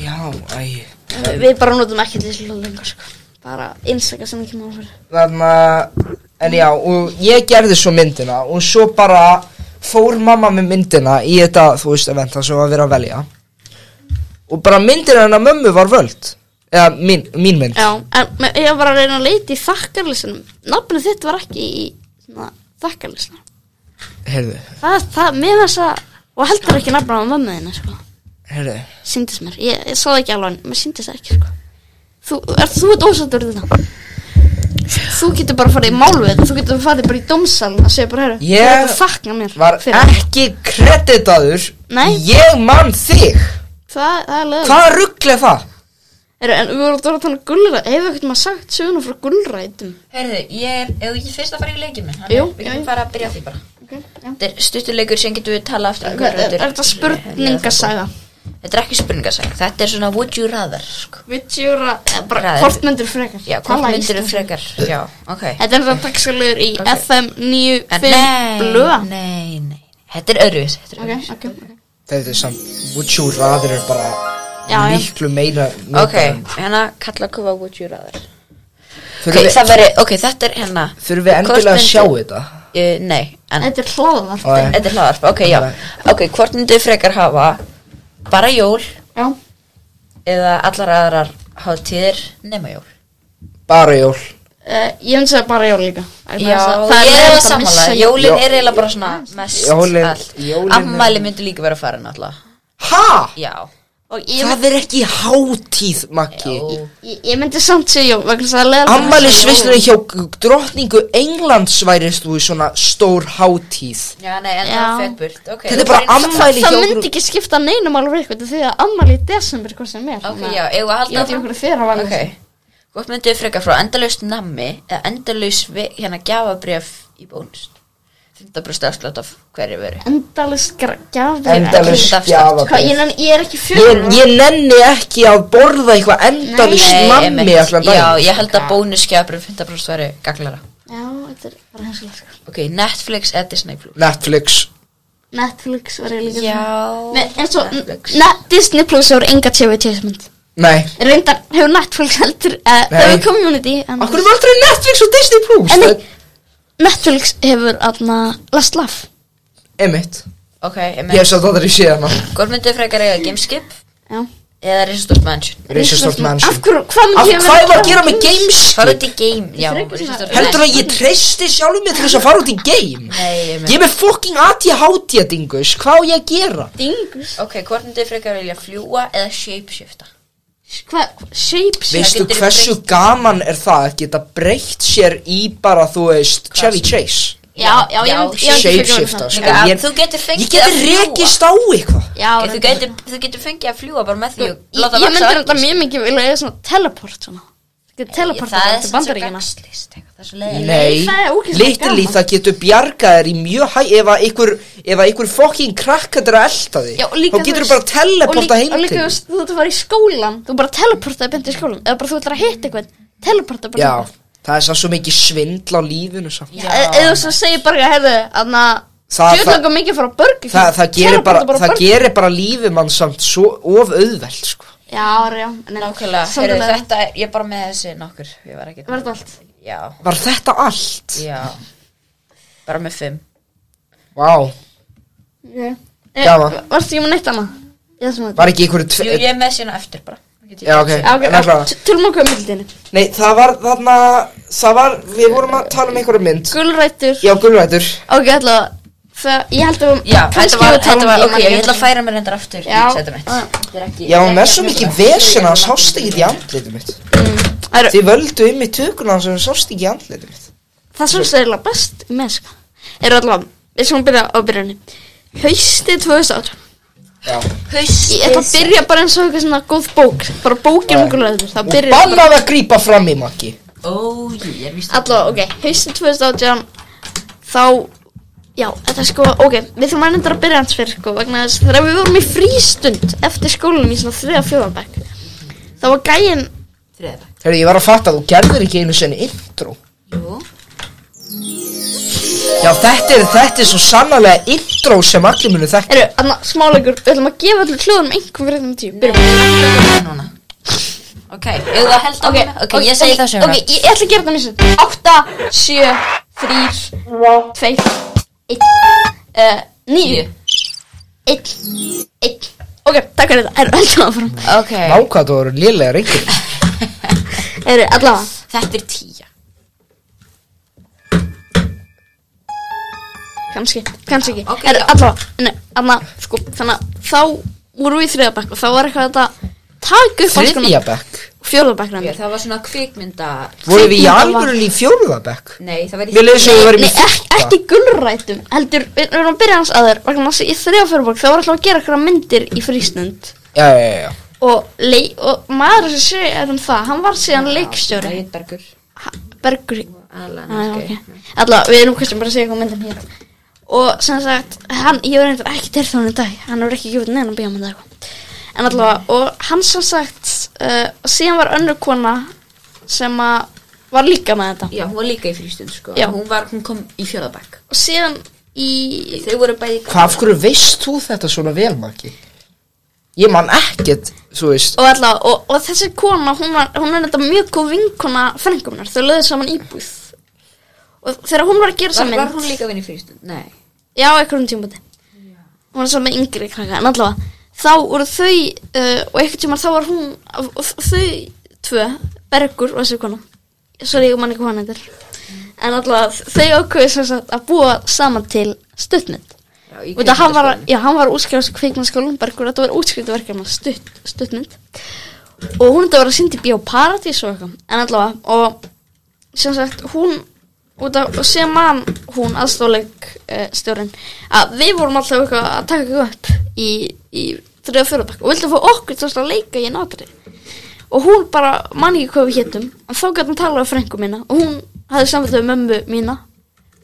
[SPEAKER 1] já, æ,
[SPEAKER 2] við bara notum ekki þessi hljóð lengur sko. bara einsaka sem ekki mála fyrir
[SPEAKER 1] þarna en já, og ég gerði svo myndina og svo bara fór mamma með myndina í þetta, þú veist, event það sem var verið að velja og bara myndina hennar mömmu var völd eða mín, mín mynd
[SPEAKER 2] Já, en me- ég var bara að reyna að leita í þakkarlistanum Nafnið þitt var ekki í svona, þakkarlistanum
[SPEAKER 1] heyrðu,
[SPEAKER 2] Það, það, mér var þess að Og heldur ekki nafnið á mömmu þinni, sko
[SPEAKER 1] heyrðu,
[SPEAKER 2] Sýndist mér, ég, ég sá það ekki alveg en Mér sýndist það ekki, sko Þú, er, þú ert ósættur við þetta Þú getur bara að fara í mál við þetta Þú getur farið bara í dómsalin að segja bara heru
[SPEAKER 1] Ég
[SPEAKER 2] Þú getur þakka mér
[SPEAKER 1] var
[SPEAKER 2] fyrir þetta."
[SPEAKER 1] ekki kreditaður
[SPEAKER 2] Nei.
[SPEAKER 1] ég man þig
[SPEAKER 2] Það, það er leður
[SPEAKER 1] hvað ruggla það?
[SPEAKER 2] Heru, En við vorum að tala um gullræð Hefur ekkert maður sagt söguna frá gullræðum
[SPEAKER 3] Heyrðu, ég er, eða ekki fyrst að fara í leikinn minn
[SPEAKER 2] Jú, já,
[SPEAKER 3] Við getum
[SPEAKER 2] já.
[SPEAKER 3] fara að byrja á því bara
[SPEAKER 2] okay,
[SPEAKER 3] Þetta er stuttuleikur sem getum við talað aftur um
[SPEAKER 2] Er, er,
[SPEAKER 3] Guðbrandur.
[SPEAKER 2] er þetta spurningasaga?
[SPEAKER 3] Þetta er ekki spurningasæk Þetta er svona would you rather sko.
[SPEAKER 2] Vitsjúra, eh, bara
[SPEAKER 3] Ræður.
[SPEAKER 2] hvort myndir frekar
[SPEAKER 3] Já, hvort
[SPEAKER 2] Tala
[SPEAKER 3] myndir
[SPEAKER 2] íslensku.
[SPEAKER 3] frekar Já, ok
[SPEAKER 2] Þetta er það dagskalur í
[SPEAKER 3] Ok.
[SPEAKER 2] FM
[SPEAKER 3] En
[SPEAKER 2] 95
[SPEAKER 3] nei,
[SPEAKER 2] blöða
[SPEAKER 3] nei, nei Þetta er öðruvis Þetta er
[SPEAKER 2] Ok,
[SPEAKER 3] öðruvis
[SPEAKER 2] ok, ok
[SPEAKER 1] þetta er samt, would you rather er bara
[SPEAKER 2] Já, já.
[SPEAKER 1] miklu meira
[SPEAKER 3] Ok, hérna kalla kufa would you rather Ok,
[SPEAKER 1] þurfum
[SPEAKER 3] það veri, ok, þetta er hérna
[SPEAKER 1] þurfum við
[SPEAKER 3] Hvort
[SPEAKER 1] endilega að
[SPEAKER 3] myndi-
[SPEAKER 1] sjá þetta
[SPEAKER 3] uh, Nei, en
[SPEAKER 2] Þetta er hlaðvarp
[SPEAKER 1] Ó, já.
[SPEAKER 3] Þetta er hlaðarp, ok, já Ok, hvort myndir frekar hafa bara jól
[SPEAKER 2] Já,
[SPEAKER 3] eða allar aðrar hátíðir nema jól
[SPEAKER 1] bara jól
[SPEAKER 2] uh, ég myndi segja bara jól líka Vegna
[SPEAKER 3] Já,
[SPEAKER 2] þess að leiðinlegt
[SPEAKER 3] ég er
[SPEAKER 2] að
[SPEAKER 3] að sammála
[SPEAKER 2] missa jól.
[SPEAKER 3] Jólin er eiginlega bara svona mest
[SPEAKER 1] Jólin-
[SPEAKER 3] allt
[SPEAKER 1] jólin-
[SPEAKER 3] Ammæli myndi líka vera farin alltaf
[SPEAKER 1] hæ?
[SPEAKER 3] Já
[SPEAKER 2] Og ég,
[SPEAKER 1] Það er ekki hátíð, Maggi
[SPEAKER 3] Jó.
[SPEAKER 2] ég, ég myndi samt segja jól vegna þess að leiðilegt að missa jól.
[SPEAKER 1] Ammælisvislunni hjá drottningu Englands værist þú í svona stór hátíð
[SPEAKER 3] Já, nei, en
[SPEAKER 2] Já.
[SPEAKER 3] það er fett burt okay,
[SPEAKER 1] Þetta er bara
[SPEAKER 3] það eins-
[SPEAKER 1] ammæli
[SPEAKER 2] Það
[SPEAKER 1] hjá
[SPEAKER 2] myndi ekki skipta neinum alveg eitthvað því að ammali í desember hvort sem er
[SPEAKER 3] Ok, já, eigum við að
[SPEAKER 2] Ég
[SPEAKER 3] halda
[SPEAKER 2] ætla okkur fyrir að valja
[SPEAKER 3] Ok, hvort myndið frekar frá endalaust nammi eða endalaust hérna gjafabrif í bónus 50% afslátt af hverju veru
[SPEAKER 2] Endalist gjafir
[SPEAKER 1] Endalaus
[SPEAKER 3] Ekki-
[SPEAKER 2] Hvað, sko. ég,
[SPEAKER 1] gjafabréf
[SPEAKER 2] nenni- ég er ekki
[SPEAKER 1] ég,
[SPEAKER 2] fjögur
[SPEAKER 1] ég nenni ekki að borða eitthvað endalus
[SPEAKER 3] Nei,
[SPEAKER 1] nammi
[SPEAKER 3] einmitt.
[SPEAKER 1] allan
[SPEAKER 3] Já,
[SPEAKER 1] dag
[SPEAKER 3] ég held að bónus gjafabrif 50% væri gaglara
[SPEAKER 2] Já, þetta er bara hensilega sko
[SPEAKER 3] Ok, Netflix eða Disney Plus
[SPEAKER 1] Netflix
[SPEAKER 2] Netflix var ég líka
[SPEAKER 3] Já
[SPEAKER 2] Nei, en svo,
[SPEAKER 3] Netflix.
[SPEAKER 2] ne, Disney Plus hefur enga TV-tjæsmynd
[SPEAKER 1] Nei,
[SPEAKER 2] Reyndar hefur Netflix heldur uh, Það
[SPEAKER 1] Nei.
[SPEAKER 2] hefur community en,
[SPEAKER 1] okkur er aldrei Netflix og Disney Plus
[SPEAKER 2] en,
[SPEAKER 1] Það
[SPEAKER 2] nei, Netflix hefur aðna Last Laugh
[SPEAKER 1] er mitt
[SPEAKER 3] Ok, ég
[SPEAKER 1] Ég
[SPEAKER 3] með
[SPEAKER 1] hef satt aldrei séð hana
[SPEAKER 3] Hvort myndið frekar eiga gameskip
[SPEAKER 2] Já
[SPEAKER 3] eða Resistort Mansion?
[SPEAKER 1] Reisastort
[SPEAKER 2] Af
[SPEAKER 1] mannsjón
[SPEAKER 2] hverju, hvað
[SPEAKER 1] Af
[SPEAKER 2] myndi ég
[SPEAKER 1] hvað var að
[SPEAKER 2] gera?
[SPEAKER 1] gera með games?
[SPEAKER 3] Fara út í game, já
[SPEAKER 2] Frekar svona-
[SPEAKER 3] Resistort
[SPEAKER 1] Heldur að ég treysti sjálfum mig til þess að fara út í game?
[SPEAKER 3] Nei, ég
[SPEAKER 1] Ég er með fucking ADHD dingus, hvað á ég að gera?
[SPEAKER 2] Dingus
[SPEAKER 3] Ok, hvort myndið frekar vilja fljúa eða shapeshifta?
[SPEAKER 2] Hvað, shapes
[SPEAKER 1] Veistu
[SPEAKER 3] getur
[SPEAKER 1] hversu
[SPEAKER 3] breytt-
[SPEAKER 1] gaman er það að geta breytt sér í bara, þú veist, Chevy Chase?
[SPEAKER 2] Já, já, ég
[SPEAKER 3] Já,
[SPEAKER 2] myndi ég myndi frekar vilja
[SPEAKER 1] shapeshifter,
[SPEAKER 2] það.
[SPEAKER 1] sko.
[SPEAKER 3] Líka,
[SPEAKER 1] ég-
[SPEAKER 3] þú getur
[SPEAKER 1] Ég
[SPEAKER 3] fengið að
[SPEAKER 1] geti
[SPEAKER 3] fljúga.
[SPEAKER 1] rekist á eitthvað
[SPEAKER 2] Já,
[SPEAKER 3] Þú
[SPEAKER 2] reyndar.
[SPEAKER 3] getur, þú getur fengið að fljúa bara með því
[SPEAKER 2] Ég,
[SPEAKER 3] og láta
[SPEAKER 2] ég myndi
[SPEAKER 3] vaxa
[SPEAKER 2] reynda
[SPEAKER 3] öll.
[SPEAKER 2] mjög mikið vilja eiga svona teleport svona Ég get Teleport
[SPEAKER 3] Það er
[SPEAKER 2] til
[SPEAKER 3] sem svo
[SPEAKER 2] bandaríkina
[SPEAKER 3] gangslist Það er svo leiðið
[SPEAKER 1] Nei,
[SPEAKER 2] það er ógeðslega
[SPEAKER 1] litli
[SPEAKER 2] gaman.
[SPEAKER 1] það getur bjargað þér í mjög hæ Ef að einhver, ef að einhver fucking krakkaður að elta þig
[SPEAKER 2] Já, og líka,
[SPEAKER 1] Þá getur
[SPEAKER 2] þú
[SPEAKER 1] þú bara
[SPEAKER 2] veist- og líka-
[SPEAKER 1] teleporta heim
[SPEAKER 2] Og
[SPEAKER 1] til
[SPEAKER 2] líka þú
[SPEAKER 1] þín.
[SPEAKER 2] veist, þú ert að fara í skólan Þú bara teleportaði beint í skólan Eða bara þú ætlar að
[SPEAKER 3] Mm.
[SPEAKER 2] hitta eitthvað Teleporta bara
[SPEAKER 1] Já, það er svo svo mikið svindl á lífinu samt
[SPEAKER 3] Já.
[SPEAKER 2] E- Eða svo segir bara, heyrðu, aðna
[SPEAKER 1] Það-
[SPEAKER 2] Þjóð
[SPEAKER 1] það-
[SPEAKER 2] langar mikið að fara á burger
[SPEAKER 1] Þa, það, gerir bara, það
[SPEAKER 2] gerir
[SPEAKER 1] gerir bara lífið mann samt svo of auðvelt sko.
[SPEAKER 2] Já, já en-
[SPEAKER 3] Nákvæmlega,
[SPEAKER 2] samt
[SPEAKER 3] heyrðu
[SPEAKER 2] alveg.
[SPEAKER 3] þetta, ég er bara með þessi nokkur Ég var ekki
[SPEAKER 2] Var þetta allt?
[SPEAKER 3] Já,
[SPEAKER 1] Var þetta allt?
[SPEAKER 3] já Bara með fimm
[SPEAKER 1] Vá,
[SPEAKER 2] Ok. E,
[SPEAKER 1] Gaman.
[SPEAKER 2] Varstu ekki með neitt annað? Ég þessum að
[SPEAKER 1] var ekki einhverju
[SPEAKER 3] Jú,
[SPEAKER 1] tve...
[SPEAKER 3] ég er með sína eftir bara Ég get-
[SPEAKER 1] Já, ok,
[SPEAKER 2] Já, ok,
[SPEAKER 1] en allavega.
[SPEAKER 2] t- Tölum okkur um myndinni
[SPEAKER 1] Nei, það var þarna Það var, við vorum að tala um einhverju mynd
[SPEAKER 2] Gulrætur
[SPEAKER 1] Já, gulrætur
[SPEAKER 2] Ok, allavega Það, ég held að
[SPEAKER 3] Já,
[SPEAKER 2] kannski
[SPEAKER 3] þetta var,
[SPEAKER 2] við tölum
[SPEAKER 3] þetta
[SPEAKER 2] um
[SPEAKER 3] var, ok,
[SPEAKER 2] hana
[SPEAKER 3] ég ætla
[SPEAKER 2] hérna.
[SPEAKER 3] að færa mér reyndar aftur í
[SPEAKER 2] Já. Ah,
[SPEAKER 3] sæti mitt
[SPEAKER 2] Já.
[SPEAKER 3] Þetta er ekki-
[SPEAKER 1] Já, hún
[SPEAKER 3] þetta
[SPEAKER 1] er
[SPEAKER 3] ekki
[SPEAKER 1] svo mikið
[SPEAKER 3] mikilvægt.
[SPEAKER 1] vesina að sást ekki í andlitum mitt
[SPEAKER 2] Það eru-
[SPEAKER 1] Þið völdu um í tökuna sem sást ekki í andlitum mitt
[SPEAKER 2] Það svolítið er eiginlega best með sko. Er allavega, við skulum byrja á byrjunni Haustið 2018
[SPEAKER 1] Já
[SPEAKER 2] Ég ætla að byrja bara eins og eitthvað svona góð bók Bara bókin um gulrætur Það
[SPEAKER 1] Og
[SPEAKER 2] byrja bara
[SPEAKER 1] bannað að grípa fram í makki
[SPEAKER 3] Ó, jú, ég er víst
[SPEAKER 2] Allavega, ok, haustið 2018 Þá Já, þetta er sko, ok, við þurfum að nefnda að byrja hans fyrir sko, vegna þess þegar við vorum í frístund eftir skólanum í svona þriða fjóðanbæk þá var gæinn
[SPEAKER 3] Þriða dag
[SPEAKER 1] Þegar ég var að fatta að þú gerðir ekki einu sinni intro
[SPEAKER 3] Jú,
[SPEAKER 1] Já, þetta er, þetta er svo sannarlega intro sem allir munu þekka
[SPEAKER 2] eru, anna, smáleikur, við ætlum að gefa allir hljóðum einhver fyrir þeim tíu, byrjum
[SPEAKER 3] það núna Ok, ég það held á
[SPEAKER 2] Ok,
[SPEAKER 3] okay, ok, ég segi það sem
[SPEAKER 2] Ok, ég ég ætla að gera þetta mér sem 8, 7, 3, 2, 1, 9, 1, 1 Ok, takk fyrir þetta, er alltaf áfram
[SPEAKER 3] Ok,
[SPEAKER 1] Nákvæða þú eru lélega reyngur
[SPEAKER 2] Er allavega
[SPEAKER 3] þetta er tíja
[SPEAKER 2] kannski, kannski ekki
[SPEAKER 3] Ok,
[SPEAKER 2] okay, er,
[SPEAKER 3] já.
[SPEAKER 2] allavega, nei, anna, sko, þannig að þá vorum við í þriðabæk og þá var eitthvað þetta taka upp alls
[SPEAKER 1] Þriðja
[SPEAKER 2] konar
[SPEAKER 1] bekk
[SPEAKER 2] fjórðabæk
[SPEAKER 3] Ok,
[SPEAKER 2] reyndar.
[SPEAKER 3] Það var svona kvikmynda
[SPEAKER 1] Voru við í
[SPEAKER 2] Kvikmyndalag.
[SPEAKER 1] alvörun í fjóruða bekk
[SPEAKER 3] Nei, það var í
[SPEAKER 1] Mér leiði svo við varum
[SPEAKER 2] Nei,
[SPEAKER 1] í
[SPEAKER 2] ekki, ekki gulrætum, heldur, við við erum að byrja hans aður vegna þess að í þriða fjórðabæk þá var alltaf að gera eitthvað myndir í frístund
[SPEAKER 1] Já, já, já, já
[SPEAKER 2] og, lei, og maður sem segir um það, hann var síðan leikstjóri
[SPEAKER 3] Bergur
[SPEAKER 2] Ha- Bergur
[SPEAKER 3] Alan,
[SPEAKER 2] Ah, okay. Alla, við erum kannski bara að segja hvað myndin hér hérna. og sem sagt, hann, ég var einhvern ekki til þannig í dag, hann hefur ekki gefið neina bíómynd eða eitthvað, en
[SPEAKER 3] Mm.
[SPEAKER 2] allavega og hann sem sagt, uh, síðan var önnur kona sem að var líka með þetta
[SPEAKER 3] Já, hún var líka í frístund sko
[SPEAKER 2] Já.
[SPEAKER 3] Hún, var, hún kom í fjöðabæk
[SPEAKER 2] og síðan í
[SPEAKER 3] Þau voru bæði
[SPEAKER 1] Hvað af hverju veist þú þetta svona vel, Maggi? Ég man ekkert, þú veist
[SPEAKER 2] og allavega, og, og þessi kona hún, var, hún er þetta mjög góð vinkona frengumnar, þau löðu saman íbúð og þegar hún var að gera
[SPEAKER 3] var,
[SPEAKER 2] saman
[SPEAKER 3] var hún líka að vinna í frístund? Nei
[SPEAKER 2] Já, einhverjum tímabæti Hún var saman með yngri krakka En allavega, þá voru þau uh, Og einhvern tímann þá var hún og þ- Þau tvö, Bergur og þessi kona Sorry, ég man ekki hvað hann heitir En allavega, þau ákveðu sem sagt Að búa saman til stuttmynd
[SPEAKER 3] Já, í
[SPEAKER 2] Út að hann var,
[SPEAKER 3] kvikmyndaskólanum.
[SPEAKER 2] já, hann var útskrifast kveikmannskólanum Bergur, þetta var útskriftaverkefna stutt, stuttmynd Og hún þetta var að syndi Bíó Paradís og eitthvað En allavega, og sem sagt, hún út af, og sem man hún aðstóðleik uh, stjórinn að við vorum alltaf eitthvað að taka eitthvað upp í, í þriða fjörðabakk og vildum fá okkur til að leika í nátri og hún bara man ekki hvað við héttum en þá gæti hún talað á frængu mína og hún hafði samvælt við mömmu mína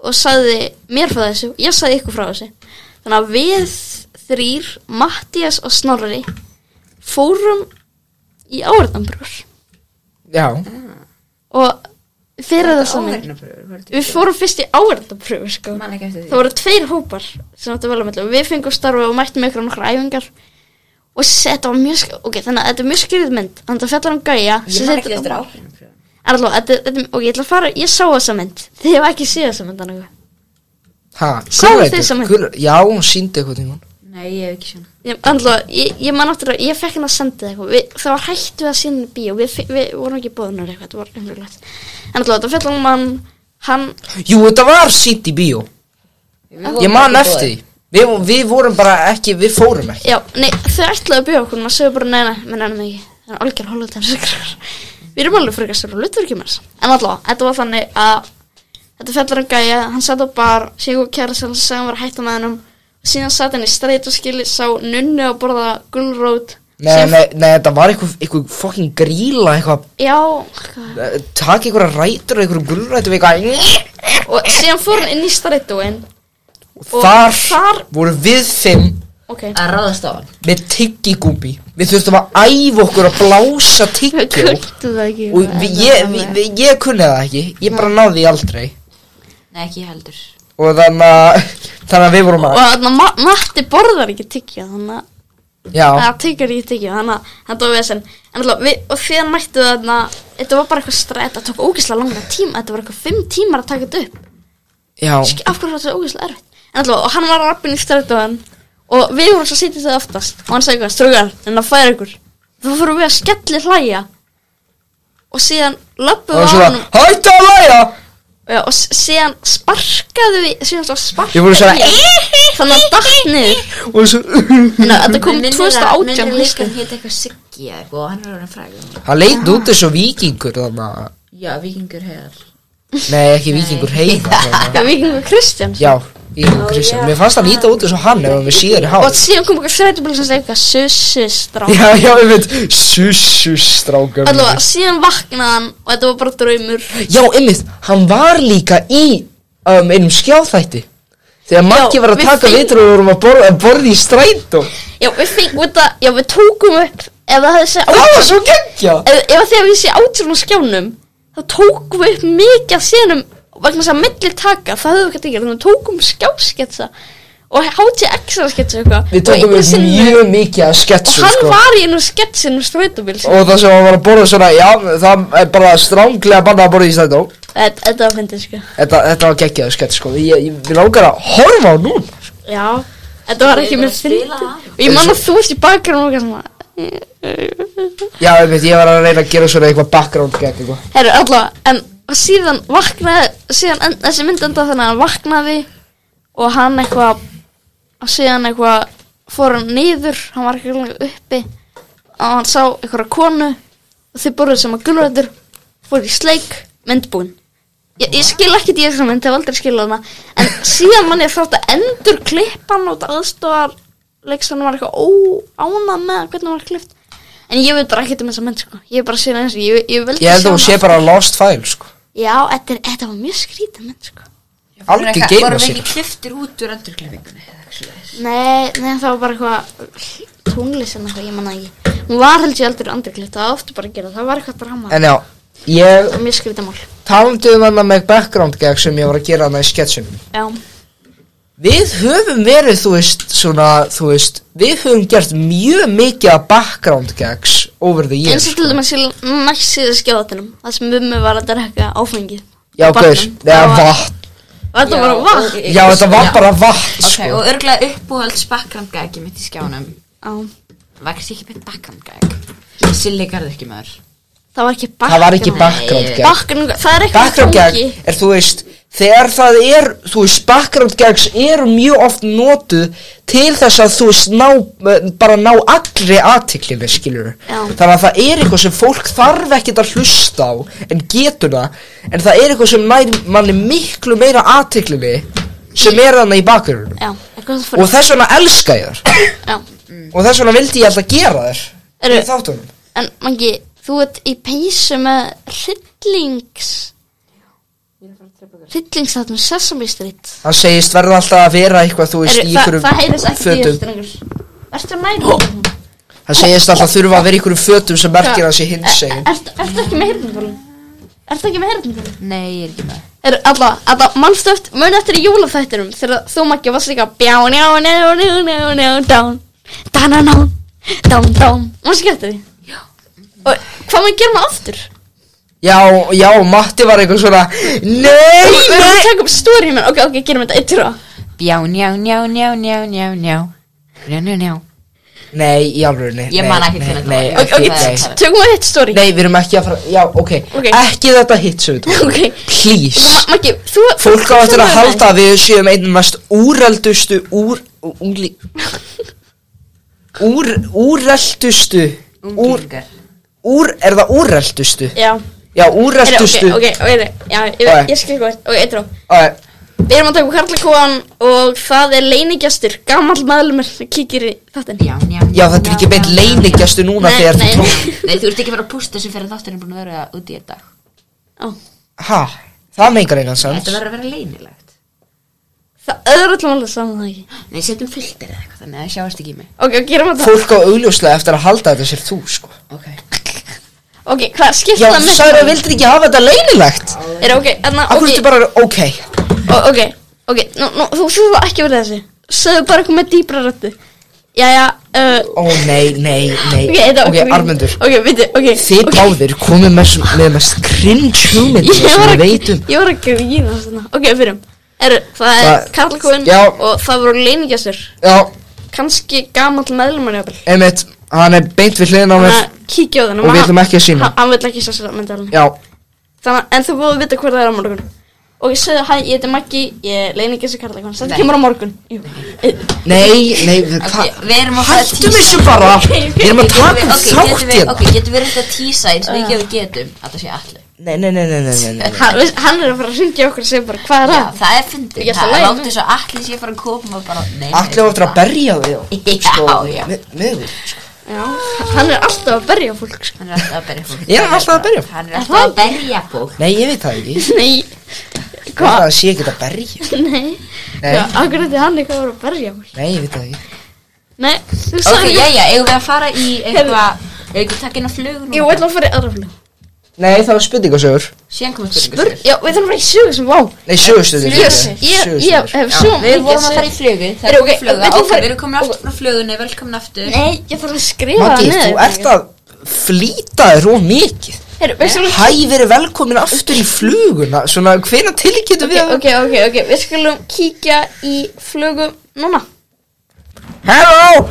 [SPEAKER 2] og sagði mér frá þessu og ég sagði ykkur frá þessu þannig að við þrýr, Mattias og Snorri fórum í áriðanbrúr
[SPEAKER 1] Já,
[SPEAKER 2] og fyrir þess að minn
[SPEAKER 3] Áheyrnarpröfur
[SPEAKER 2] við fórum fyrst í áverðapröfu sko.
[SPEAKER 3] Man ekki eftir því
[SPEAKER 2] það voru tveir hópar sem áttu vel að mellu við fengum starfi og mættum ykkur nokkra æfingar og s- þetta var mjög sk- ok, þannig að þetta er mjög skrið mynd þannig að þetta fjallar um gæja sem
[SPEAKER 3] Ég man
[SPEAKER 2] situr-
[SPEAKER 3] ekki eftir ákveðnum pröfum.
[SPEAKER 2] Erló, þetta, þetta, ok, ég ætla að fara, ég sá þessa mynd Þið hefur ekki séð þessa mynd annað
[SPEAKER 1] Ha,
[SPEAKER 2] Sáu
[SPEAKER 1] gulrætur,
[SPEAKER 2] þið saman?
[SPEAKER 1] gul- Já, hún síndi eitthvað tíma
[SPEAKER 3] Nei, ég hef ekki svona.
[SPEAKER 2] Erló, ég, ég man aftur að, ég fekk hann að senda það eitthvað við, Það var hægt við að sína bíó, við, fe- við vorum ekki bóðunar eitthvað, þetta var umröðlegt En alltaf, þetta fjallar um hann, hann,
[SPEAKER 1] Jú, þetta var sínt í bíó Ég man eftir því við, við vorum bara ekki, við fórum ekki
[SPEAKER 2] já, nei, þau ætlaðu að bíó okkur Maður sögur bara, nei, nei, menn ennum ekki Það er algjör hólað þessu krakkar Við erum alveg frekar stóra hlutverkjum hans En alltaf, þetta var þannig að Þetta fjallar um gæja, hann satt á bar Síðan kom kæra sem sagði hann var hægt á meðanum Síðan satt henni streit og skili Sá nunnu að borða gulrót
[SPEAKER 1] Nei, nei, nei, þetta var eitthvað, eitthvað fucking gríla eitthvað,
[SPEAKER 2] Já, oh
[SPEAKER 1] eh, taka eitthvað rætur og eitthvað gulrætur og eitthvað
[SPEAKER 2] og síðan fór hann inn í strætóin
[SPEAKER 1] og þar,
[SPEAKER 2] þar-
[SPEAKER 1] voru við fimm
[SPEAKER 2] Ok,
[SPEAKER 3] Að ráðast á hann.
[SPEAKER 1] með tyggigúbi við þurftum að æfa okkur að blása
[SPEAKER 2] við
[SPEAKER 1] tyggjó
[SPEAKER 2] kvöldu það ekki
[SPEAKER 1] og við, ég, við, við, ég kunni það ekki ég bara náði því aldrei
[SPEAKER 3] Nei, ekki ég heldur.
[SPEAKER 1] og þannig að þannig að við vorum
[SPEAKER 2] Og
[SPEAKER 1] að
[SPEAKER 2] þannig að ma Matti borðar ekki tyggja Þannig að
[SPEAKER 1] já,
[SPEAKER 2] það tyggjar ekki tyggja Þannig að hann tók við þessum En alltaf, við, og því hann mættu þannig að Þetta var bara eitthvað stræt Þetta tók ógeðslega langa tíma Þetta var eitthvað fimm tímar að taka þetta upp
[SPEAKER 1] já
[SPEAKER 2] Ski, Af hverju var þetta ógeðslega erfitt En alltaf, og hann var rappin í strætóin Og við vorum svo sýtið það oftast Og hann sagði eitthvað, strögar, en það færa ykkur Þá fórum við að skelli hlæja Og síðan löpum
[SPEAKER 1] og
[SPEAKER 2] við á
[SPEAKER 1] svo
[SPEAKER 2] hann
[SPEAKER 1] að hættu að læra
[SPEAKER 2] Já, og s- síðan sparkaðu við, síðan svo sparkaðu
[SPEAKER 1] Ég voru svona,
[SPEAKER 2] í hann. þannig að datt niður
[SPEAKER 1] og svo
[SPEAKER 2] þannig að þetta kom
[SPEAKER 3] Minnir að-
[SPEAKER 2] 2018
[SPEAKER 3] minnir líka
[SPEAKER 2] haustið.
[SPEAKER 3] að hétt eitthvað Siggi eða eitthvað og hann er orðin frægur.
[SPEAKER 1] hann leit út eins og vikingur þannig að
[SPEAKER 3] Já, vikingur heiðar.
[SPEAKER 1] nei ekki vikingur heiða þannig að-
[SPEAKER 2] hvað vikingur Kristján
[SPEAKER 1] já vikingur Kristján mér fannst hann líta út eins og hann ef hann við síðar í
[SPEAKER 2] og
[SPEAKER 1] hálf
[SPEAKER 2] síðan kom okkur strætubíl sem segja eitthvað sussustrá
[SPEAKER 1] já já ég veit sussus strákum
[SPEAKER 2] allavega síðan vaknaði hann og þetta var bara draumur
[SPEAKER 1] Já, ymmið, hann var líka í um, einum skjáþætti Þegar Maggi var að
[SPEAKER 2] við
[SPEAKER 1] taka
[SPEAKER 2] finn-
[SPEAKER 1] vitur og við vorum að borða, borða í strætó
[SPEAKER 2] já við fengum þetta, já við tókum upp ef það hefði segja
[SPEAKER 1] Það var
[SPEAKER 2] ef,
[SPEAKER 1] svo geggja
[SPEAKER 2] ef þegar við segja átjörn á skjánum þá tókum við upp mikið af sínum vegna þess að milli taka, það höfum við ekki að gera þannig að við tókum skjásketsa og HTX sketsa eitthvað
[SPEAKER 1] Við
[SPEAKER 2] Og
[SPEAKER 1] tókum
[SPEAKER 2] einu
[SPEAKER 1] við
[SPEAKER 2] sinni-
[SPEAKER 1] mjög mikið af
[SPEAKER 2] Og
[SPEAKER 1] sketsum
[SPEAKER 2] hann
[SPEAKER 1] sko.
[SPEAKER 2] var í einu sketsin um strætóbíl
[SPEAKER 1] Og það sem hann var að borða svona, já, það er bara stránglega bannað að borða í strætó
[SPEAKER 2] Þetta þetta var fyndið sko
[SPEAKER 1] Þetta, þetta var geggjaðu skets, sko Ég, ég, ég langar að horfa á núna
[SPEAKER 2] Já Þetta var ekki
[SPEAKER 3] Ég bara
[SPEAKER 2] mér
[SPEAKER 3] spila
[SPEAKER 2] fyndið
[SPEAKER 3] það.
[SPEAKER 2] Og ég man að þú ert í bakgrunum og eitthvað svona
[SPEAKER 1] Já, ég veit, ég var að reyna að gera svona eitthvað background gegg eitthvað
[SPEAKER 2] Herru, allavega En síðan vaknaði Síðan en, þessi mynd enda þannig að hann vaknaði Og hann eitthvað Og síðan eitthvað Fór hann niður Hann var ekki lengur uppi Og hann sá eitthvað konu Og þau borðið sem að gulrætur Fór í sleik Myndbúinn Ég, ég skil ekkert í þessu mynd, ég hef aldrei skilað hana En síðan mann ég þátt að endur klippan út aðstofar Leiksanum var eitthvað óánað með hvernig hann var klipt En ég veit bara ekkert um þessa mynd sko Ég er bara síðan eins og ég, ég vildi
[SPEAKER 1] Ég held
[SPEAKER 2] sjá
[SPEAKER 1] að hún sé
[SPEAKER 2] hana.
[SPEAKER 1] bara lost file, sko
[SPEAKER 2] Já, þetta, er, þetta var mjög skrítið mynd sko
[SPEAKER 1] Algjör gamer
[SPEAKER 3] Vorum við
[SPEAKER 1] sigur.
[SPEAKER 3] ekki kliftir út úr endurklifingunni? eða eitthvað svoleiðis?
[SPEAKER 2] Nei, nei, það var bara eitthvað Tunglisin eitthvað, ég manna ekki Hún var held ég aldrei andurklipt, það var ofta bara að gera Það var eitthvað drama,
[SPEAKER 1] En já, ég
[SPEAKER 2] það var mjög skrítið mál
[SPEAKER 1] talandi um hana með background gegg sem ég var að gera hana í sketsunum
[SPEAKER 2] Já,
[SPEAKER 1] Við höfum verið, þú veist, svona, þú veist, við höfum gert mjög mikið af background gags over the years.
[SPEAKER 2] eins og til dæmis í næst síðu skjáðatunum Það sem mummi var að drekka áfengi
[SPEAKER 1] Já,
[SPEAKER 2] Á
[SPEAKER 1] gaur,
[SPEAKER 2] barnum.
[SPEAKER 1] eða
[SPEAKER 2] Það var-
[SPEAKER 1] vatn.
[SPEAKER 2] Og Þetta
[SPEAKER 3] Já,
[SPEAKER 2] var
[SPEAKER 3] og-
[SPEAKER 2] vatn
[SPEAKER 1] Já, þetta var
[SPEAKER 3] Já.
[SPEAKER 1] bara vatn,
[SPEAKER 3] Ok,
[SPEAKER 1] sko.
[SPEAKER 3] og örgulega uppbúhalds bakgrandgæki mitt í skjánum
[SPEAKER 2] Já.
[SPEAKER 3] var kannski ekki beint bakgrandgæk Silli garði ekki maður
[SPEAKER 2] Það var ekki bakgrunn
[SPEAKER 1] Það var ekki background gag.
[SPEAKER 2] Bakgrunn, það er eitthvað
[SPEAKER 1] Background gag
[SPEAKER 2] gangi.
[SPEAKER 1] er, þú veist, þegar það er, þú veist, background gags eru mjög oft notuð til þess að, þú veist, ná, bara ná allri aðtiklinni, skilur.
[SPEAKER 2] Já.
[SPEAKER 1] Þannig að það er eitthvað sem fólk þarf ekkert að hlusta á, en getur það, en það er eitthvað sem nær manni miklu meira aðtiklinni sem er þannig í bakgrunum.
[SPEAKER 2] Já, eitthvað það
[SPEAKER 1] Og
[SPEAKER 2] fyrir
[SPEAKER 1] þess vegna elska ég þér.
[SPEAKER 2] Já,
[SPEAKER 1] Og þess vegna vildi ég alltaf gera þér.
[SPEAKER 2] Mm. Eru-
[SPEAKER 1] Í þáttunum.
[SPEAKER 2] en mangi, þú ert í peysu með hryllings Hryllings þáttum Sesame Street
[SPEAKER 1] Hann segist verða alltaf að vera eitthvað, þú veist,
[SPEAKER 2] Eru,
[SPEAKER 1] í
[SPEAKER 2] það,
[SPEAKER 1] einhverjum
[SPEAKER 2] það heyrðis ekki í
[SPEAKER 1] fötum.
[SPEAKER 2] þér strengur Ertu nægur?
[SPEAKER 1] Hann segist alltaf þurfa að vera í einhverjum fötum sem merkir hans í hinsegin
[SPEAKER 2] Ertu ertu ekki með heyrðumfólum? Ertu ekki með heyrðumfólum?
[SPEAKER 3] Nei, ég er ekki með
[SPEAKER 2] Er alla, alla, mannstu eftir, muni eftir í jólafættinum þegar þú makkja varst líka bjá, njá, njá, njá, njá, njá, down, dananán, dám, dám, maður skemmtir því og hvað maður gerir maður aftur
[SPEAKER 1] Já, já, Matti var eitthvað svona Nei,
[SPEAKER 2] við erum að
[SPEAKER 1] nei
[SPEAKER 2] taka upp stóri menn, ok, ok, gerum þetta eitt trúa
[SPEAKER 3] Bjá, njá, njá, njá, njá, njá, njá Njá, njá, njá
[SPEAKER 1] Nei, í alvörunni
[SPEAKER 3] Ég
[SPEAKER 1] nei,
[SPEAKER 3] man ekki
[SPEAKER 1] nei,
[SPEAKER 3] hvernig þetta
[SPEAKER 1] nei,
[SPEAKER 3] var.
[SPEAKER 2] ok,
[SPEAKER 1] ekki,
[SPEAKER 2] ok,
[SPEAKER 1] nei.
[SPEAKER 2] tökum við eitt stóri
[SPEAKER 1] nei, við erum ekki að fara Já, ok,
[SPEAKER 2] Ok.
[SPEAKER 1] ekki þetta hitsöðu
[SPEAKER 2] ok,
[SPEAKER 1] Please
[SPEAKER 2] Maggi, þú
[SPEAKER 1] Fólk á
[SPEAKER 2] þú-
[SPEAKER 1] eftir
[SPEAKER 2] þú-
[SPEAKER 1] að halda að við séum einn mest úreldustu úr, úrli, úr, úreldustu úr,
[SPEAKER 3] Unglingar
[SPEAKER 1] úr, er það úreldustu?
[SPEAKER 2] já,
[SPEAKER 1] Já,
[SPEAKER 2] Heyrðu,
[SPEAKER 1] úreldustu
[SPEAKER 2] ok, ok, ok, heyrðu, já,
[SPEAKER 1] Ok.
[SPEAKER 2] ég, ég skil hvað ok, eitt trúa
[SPEAKER 1] okay.
[SPEAKER 2] Við erum að taka upp karlakóan og það er leinigjastur, gamall meðlumur sem kíkir í þáttinn.
[SPEAKER 3] Já, njá,
[SPEAKER 1] Já, þetta er ekki beint leinigjast núna
[SPEAKER 2] Nei,
[SPEAKER 1] þegar þú
[SPEAKER 2] nei.
[SPEAKER 1] tók
[SPEAKER 3] Nei, þú ert ekki að vera að pústa sem fyrir þátturinn búin að vera út í þetta
[SPEAKER 2] Ó.
[SPEAKER 1] Ha, það meikar engan sans
[SPEAKER 3] Þetta verður að vera leynilegt
[SPEAKER 2] Það öðru allum alveg saman það ekki.
[SPEAKER 3] Nei, setjum filter eða eitthvað þannig að það sjáast ekki í mig
[SPEAKER 2] Ok, gerum við það.
[SPEAKER 1] Fólk á augljóslega eftir að halda þetta sér þú, sko
[SPEAKER 3] Ok
[SPEAKER 2] Ok, hvað skipt
[SPEAKER 1] Já,
[SPEAKER 2] það
[SPEAKER 1] þú
[SPEAKER 2] með?
[SPEAKER 1] sagði að vildir ekki hafa þetta leinilegt
[SPEAKER 2] Er ok, enna,
[SPEAKER 1] Akkur
[SPEAKER 2] ok,
[SPEAKER 1] ertu bara, ok
[SPEAKER 2] ó, ok, ok, nú, nú, þú fyrir það ekki að vera þessi. Sögðu bara eitthvað með dýbra röttu. Jæja, uh,
[SPEAKER 1] Ó, nei, nei, nei
[SPEAKER 2] ok, þetta
[SPEAKER 1] Ok, Armendur
[SPEAKER 2] Ok, veitu, ok.
[SPEAKER 1] Þið
[SPEAKER 2] ok.
[SPEAKER 1] báðir komið með, s- með mest cringe hugmyndir
[SPEAKER 2] Ég
[SPEAKER 1] sem
[SPEAKER 2] var
[SPEAKER 1] við
[SPEAKER 2] að,
[SPEAKER 1] veitum
[SPEAKER 2] ég var að grína svona. Ok, fyrirum. Er, það er
[SPEAKER 1] Það-
[SPEAKER 2] karlakóan
[SPEAKER 1] Já.
[SPEAKER 2] og það voru leinigjastur.
[SPEAKER 1] Já,
[SPEAKER 2] Kanski gamall meðlumur jafnvel.
[SPEAKER 1] einmitt, hann er beint við hliðin á mér
[SPEAKER 2] Þannig að kíkja á þennan
[SPEAKER 1] Og við ætlum ekki að sýna.
[SPEAKER 2] hann, hann vill ekki sá sér að mynda alveg
[SPEAKER 1] Já,
[SPEAKER 2] Þannig að en þú búið að vita hver það er á morgun Og ég segði hæ, ég heiti Maggi, ég leini ekki þessu karla Þetta
[SPEAKER 3] Nei.
[SPEAKER 2] kemur á morgun Jú. Eh,
[SPEAKER 1] nei, nei, við-
[SPEAKER 3] Ok,
[SPEAKER 1] það
[SPEAKER 3] við erum að fara að
[SPEAKER 1] Hættum
[SPEAKER 3] tísa-
[SPEAKER 1] þessu bara Við erum að taka
[SPEAKER 3] Getum
[SPEAKER 1] upp þátt
[SPEAKER 3] við- ok, getum við-
[SPEAKER 1] hérna
[SPEAKER 3] Ok, getum við reynda að tísa eins mikið og við getum að það sé allir
[SPEAKER 1] Nei, nei, nei, nei, nei, nei, nei.
[SPEAKER 2] Hann, veist, hann er að fara að hringja okkur og segja bara hvað er
[SPEAKER 3] Já,
[SPEAKER 2] að
[SPEAKER 3] það er fyndið
[SPEAKER 2] Ég ætla að
[SPEAKER 3] Það er
[SPEAKER 2] læra
[SPEAKER 3] látið
[SPEAKER 2] mig.
[SPEAKER 3] svo allir sé að fara að koma og bara Nei, nei,
[SPEAKER 1] Allir áttur að
[SPEAKER 3] bara-
[SPEAKER 1] berja þig og
[SPEAKER 3] Já, já
[SPEAKER 1] með, með þig sko.
[SPEAKER 2] Já, hann er alltaf að berja fólk sko.
[SPEAKER 3] Hann er alltaf að berja fólk
[SPEAKER 1] Ég er alltaf að berja fólk.
[SPEAKER 3] Hann er alltaf að berja fólk
[SPEAKER 1] Nei, ég veit það ekki
[SPEAKER 2] Nei,
[SPEAKER 1] Hvað?
[SPEAKER 2] hvað?
[SPEAKER 1] Það sé ekki að berja
[SPEAKER 2] Nei,
[SPEAKER 1] Nei.
[SPEAKER 2] Já, akkur þetta hann eitthvað að vera að berja fólk
[SPEAKER 1] Nei, ég veit það ekki
[SPEAKER 2] Nei, þú
[SPEAKER 3] Ok,
[SPEAKER 2] sagði
[SPEAKER 3] já, já, eigum við að fara í eitthvað Eigum við að taka inn á flugun
[SPEAKER 2] Ég ætla að fara í aðra flug
[SPEAKER 1] Nei, það var spurningasögur
[SPEAKER 3] Síðan komum
[SPEAKER 2] Bur,
[SPEAKER 3] spurningar
[SPEAKER 2] Já, við þurfum að fara í sögur sem vá
[SPEAKER 1] Nei, sögustundir
[SPEAKER 2] Ég, ég, ég hef svo
[SPEAKER 3] Við
[SPEAKER 2] mikið
[SPEAKER 3] vorum að
[SPEAKER 2] sögur.
[SPEAKER 3] fara í flugu Það
[SPEAKER 2] Eru,
[SPEAKER 3] er
[SPEAKER 2] ok, vill
[SPEAKER 3] komið fluga
[SPEAKER 2] þú
[SPEAKER 3] Ok,
[SPEAKER 2] fara-
[SPEAKER 3] við erum komin aftur frá flugunni Velkomin aftur
[SPEAKER 2] Nei, ég þarf að skrifa
[SPEAKER 1] Maggi,
[SPEAKER 2] það niður.
[SPEAKER 1] þú ert að flýta þér og mikið
[SPEAKER 2] Heyrðu, við skulum-
[SPEAKER 1] Hæ, verið velkomin aftur í fluguna Svona, hvena tilkynntu við
[SPEAKER 2] Ok, ok, ok, ok, við skulum kíkja í flugum núna
[SPEAKER 1] Halló,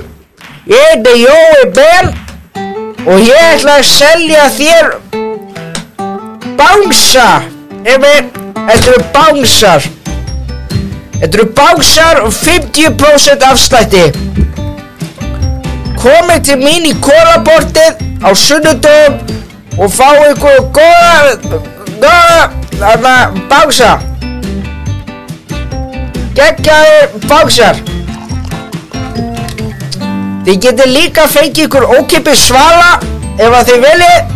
[SPEAKER 1] ég heiti Jói Ben og ég ætla að selja þér bánsa Yfir, þetta eru bánsar Þetta eru bánsar og 50% afslætti Komið til mín í kólabortið á sunnudum og fáið ykkur góða, góða, þarna, bánsa Gekkjaði bánsar Þið getið líka fengið ykkur ókipið svala ef að þið viljið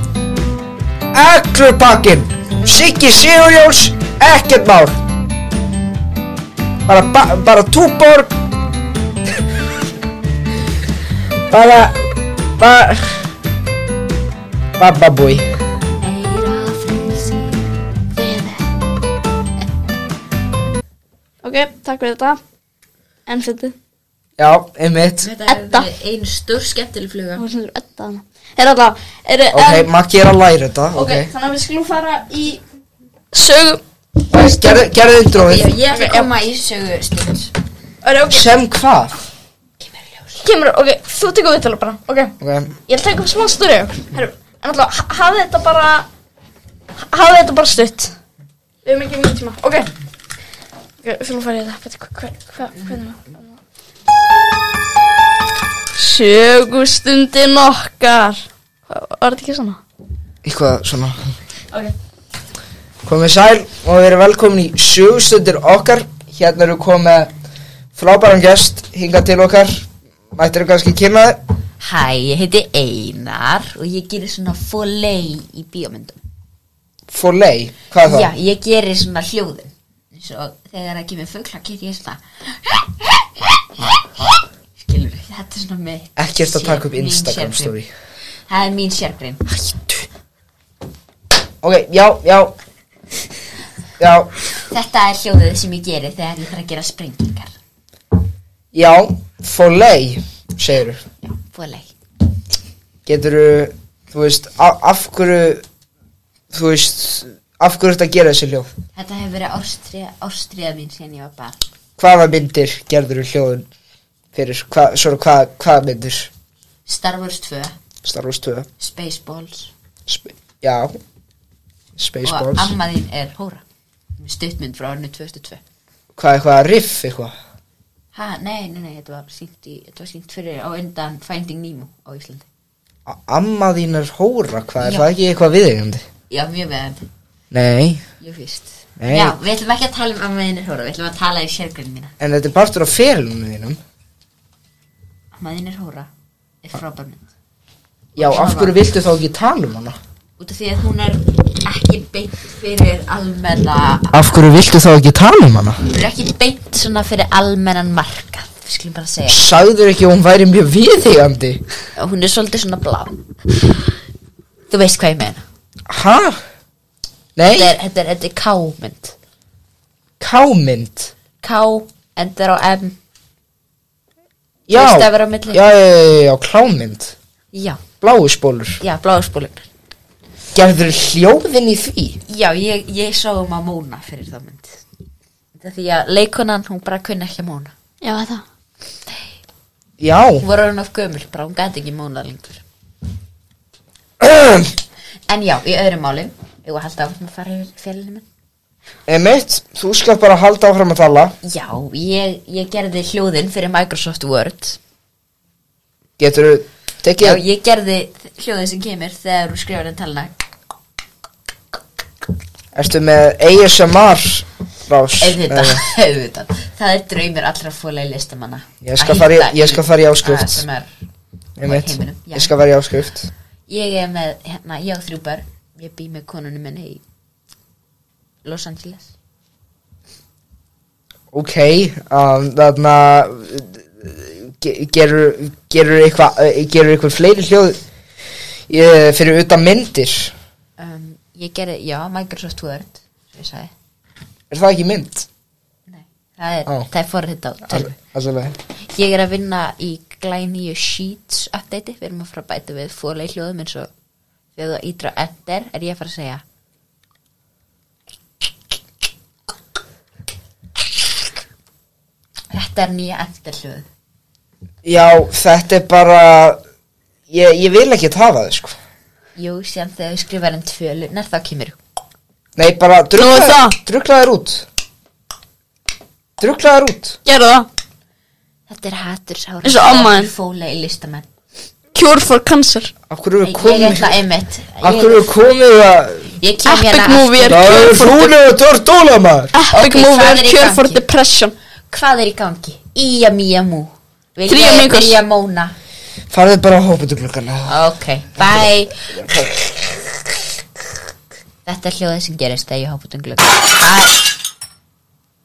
[SPEAKER 1] Allur pakkin Siggi Sigurjóns Ekkert mál Bara, ba bara túbor Bara Bara Bababúi
[SPEAKER 2] Ok, takk fyrir þetta En fyrir
[SPEAKER 1] Já, einmitt
[SPEAKER 3] Þetta hefur
[SPEAKER 2] Edda.
[SPEAKER 3] verið ein stór skemmtileg fluga
[SPEAKER 2] Þú sendur ötta hana Er alltaf, er
[SPEAKER 1] Ok, Maggi er að læra þetta
[SPEAKER 2] ok,
[SPEAKER 1] Ok,
[SPEAKER 2] þannig að við skulum fara í sögum
[SPEAKER 1] okay. Gerðu, gerðu
[SPEAKER 3] Já,
[SPEAKER 1] intróið
[SPEAKER 3] Ég ætla að koma í sögu stundins
[SPEAKER 2] Er ok,
[SPEAKER 1] Sem hvað?
[SPEAKER 2] kemur, ok, þú tekur viðtala bara Ok,
[SPEAKER 1] Ok,
[SPEAKER 2] ég ætla að taka upp smá störu Herru, en alltaf, hafði þetta bara Hafði þetta bara stutt Við höfum ekki mjög tíma, ok Ok, við skulum fara í þetta Bíddu, hva- hva- hva- Hvernig var Sögustundin okkar Hva- Var þetta ekki svona?
[SPEAKER 1] eitthvað svona
[SPEAKER 2] Ok.
[SPEAKER 1] Komið sæl og verið velkomin í sögustundir okkar Hérna eru komið frábæran gest hingað til okkar Mættir eru kannski kynna þið
[SPEAKER 3] Hæ, ég heiti Einar og ég gerir svona foley í bíómyndum.
[SPEAKER 1] Foley, hvað er það?
[SPEAKER 3] Já, ég gerir svona hljóðin. Svo þegar það kemur fugla gerir ég svona... Skilur, þetta er svona mitt.
[SPEAKER 1] Ekkert að taka upp
[SPEAKER 3] Mín
[SPEAKER 1] Instagram story
[SPEAKER 3] sérgrein. Það er mín sérgrein. Hættu.
[SPEAKER 1] Ok, já, já Já,
[SPEAKER 3] Þetta er hljóðið sem ég gerir þegar ég þarf að gera sprengingar.
[SPEAKER 1] já, foley, segirðu
[SPEAKER 3] Já, foley.
[SPEAKER 1] Geturðu, þú veist, a- af hverju Þú veist, af hverju ertu að gera þessi hljóð
[SPEAKER 3] Þetta hefur verið ástriða, ástriða mín síðan ég var barn.
[SPEAKER 1] Hvaða myndir gerðurðu hljóðun Fyrir, hva, svona, hvað, hvaða myndir
[SPEAKER 3] Star Wars 2,
[SPEAKER 1] Star Wars 2
[SPEAKER 3] Spaceballs
[SPEAKER 1] Sp Já
[SPEAKER 3] og
[SPEAKER 1] Spaceballs
[SPEAKER 3] amma þín er Hóra. Stuttmynd frá árinu 2002.
[SPEAKER 1] Hvað, eitthvað, riff, eitthvað
[SPEAKER 3] Ha, nei, nei, nei, þetta var sínt, í, þetta var sínt fyrir á undan Finding Nemo á Íslandi.
[SPEAKER 1] A- Amma þín er hóra, hvað er
[SPEAKER 3] Já.
[SPEAKER 1] það ekki eitthvað viðeigandi?
[SPEAKER 3] Já, mjög veðandi.
[SPEAKER 1] Nei,
[SPEAKER 3] Jú, fyrst.
[SPEAKER 1] Nei.
[SPEAKER 3] Já, við ætlum ekki að tala um amma þín er Hóra, við ætlum að tala í sérgrunni mína.
[SPEAKER 1] en þetta er partur af ferilunum þínum
[SPEAKER 3] Amma þín er Hóra, er frábær mynd.
[SPEAKER 1] Já, af hverju viltu þá ekki tala um hana?
[SPEAKER 3] Út af því að hún er ekki beint fyrir almenna
[SPEAKER 1] Af hverju viltu þá ekki tala um hana?
[SPEAKER 3] Hún er ekki beint svona fyrir almennan markað, við skulum bara segja.
[SPEAKER 1] Sagður ekki að hún væri mjög viðeigandi
[SPEAKER 3] Og hún er svolítið svona blá. Þú veist hvað ég meina.
[SPEAKER 1] Ha?
[SPEAKER 3] Þetta
[SPEAKER 1] Nei,
[SPEAKER 3] er, þetta er, þetta er K-mynd.
[SPEAKER 1] kámynd
[SPEAKER 3] K, endar á M.
[SPEAKER 1] Já,
[SPEAKER 3] Tveir
[SPEAKER 1] já,
[SPEAKER 3] stafir á milli.
[SPEAKER 1] já, já, já, klámynd
[SPEAKER 3] Já,
[SPEAKER 1] Bláuspólur
[SPEAKER 3] já, bláðspólun.
[SPEAKER 1] Gerður hljóðin í því?
[SPEAKER 3] Já, ég, ég sá um að Móna fyrir þá mynd. Þetta því að leikonan, hún bara kunni ekki að Móna.
[SPEAKER 2] Já, þetta.
[SPEAKER 1] Já
[SPEAKER 3] Hún var orðin of gömul, bara hún gæti ekki Móna lengur. En já, í öðru máli, ég var haldið áfram að fara yfir fjölinu minn.
[SPEAKER 1] Emmett, þú skal bara halda áfram að tala
[SPEAKER 3] Já, ég, ég gerði hljóðin fyrir Microsoft Word.
[SPEAKER 1] Geturðu
[SPEAKER 3] Já,
[SPEAKER 1] tekið
[SPEAKER 3] ég gerði hljóðið sem kemur þegar þú skrifar inn talna
[SPEAKER 1] Ertu með ASMR rás?
[SPEAKER 3] Auðvitað,
[SPEAKER 1] Nei,
[SPEAKER 3] auðvitað Það er draumir allra fólega listamanna
[SPEAKER 1] Ég skal fara í- ég skal fara í áskrift.
[SPEAKER 3] sem er
[SPEAKER 1] Einmitt,
[SPEAKER 3] heiminum, já.
[SPEAKER 1] ég skal vera í áskrift
[SPEAKER 3] Ég er með, hérna, ég á þrjú börn Ég bý með konunum minni í Los Angeles
[SPEAKER 1] Ok, um, þarna ge- gerur gerur eitthvað eh, gerur eitthvað fleiri hljóð eh, fyrir utan myndir er
[SPEAKER 3] um, Ég gerði, já, Microsoft Word sem ég sagði
[SPEAKER 1] það ekki mynd?
[SPEAKER 3] Nei, það er,
[SPEAKER 1] Ó.
[SPEAKER 3] það er forrið á tölvu
[SPEAKER 1] Alveg
[SPEAKER 3] Ég er að vinna í glænýju Sheets update Við erum að fara að bæta við fólega hljóðum eins og þegar þú ítra enter er ég að fara að segja Þetta er nýja enter hljóð
[SPEAKER 1] Já, þetta er bara ég, ég vil ekki hafa það sko
[SPEAKER 3] Jú, síðan þegar þú skrifar enn tvölunar þá kemur
[SPEAKER 1] Nei, bara
[SPEAKER 2] Nú er það.
[SPEAKER 1] druklaður út druklaður út
[SPEAKER 2] Gerðu það.
[SPEAKER 3] Þetta er hatur sára
[SPEAKER 2] Eins og amma þín.
[SPEAKER 3] Fólega í listamenn
[SPEAKER 2] Cure for cancer.
[SPEAKER 1] Af hverju við
[SPEAKER 3] Ég ég
[SPEAKER 1] komum
[SPEAKER 3] ætla einmitt
[SPEAKER 1] Af
[SPEAKER 3] Ég-
[SPEAKER 1] hverju við komum að
[SPEAKER 3] Ég kem
[SPEAKER 2] Epic
[SPEAKER 3] hérna
[SPEAKER 2] movie er-
[SPEAKER 3] aftur.
[SPEAKER 1] Það er hrúlega dördóla maður
[SPEAKER 2] Epic
[SPEAKER 3] Ok,
[SPEAKER 2] movie
[SPEAKER 3] hvað
[SPEAKER 2] er
[SPEAKER 3] er í
[SPEAKER 2] Cure for
[SPEAKER 3] gangi?
[SPEAKER 2] depression.
[SPEAKER 3] Hvað er í gangi? Ía mía mú
[SPEAKER 2] Tría amigos.
[SPEAKER 3] Ía móna
[SPEAKER 1] Farðu bara að hópa til gluggana
[SPEAKER 3] Ok, bye Þetta er hljóðið sem gerist þegar ég hoppa út um glugg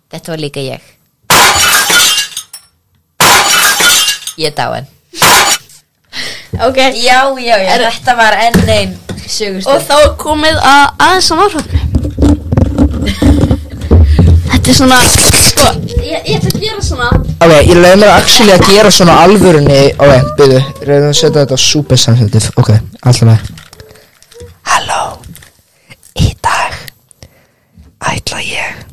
[SPEAKER 3] Þetta var líka ég Ég er dáin
[SPEAKER 2] Ok.
[SPEAKER 3] Já, já, já, þetta var enn einn
[SPEAKER 2] Og
[SPEAKER 3] sögustund
[SPEAKER 2] þá er komið að aðeins að náttúrulega. Þetta er svona, sko, ég, ég ætla að gera svona.
[SPEAKER 1] Ok, ég leiði mér actually að gera svona alvörunni Ok, byrju, reyðum að setja þetta á super sensitive Ok, alltaf með Halló Í dag ætla ég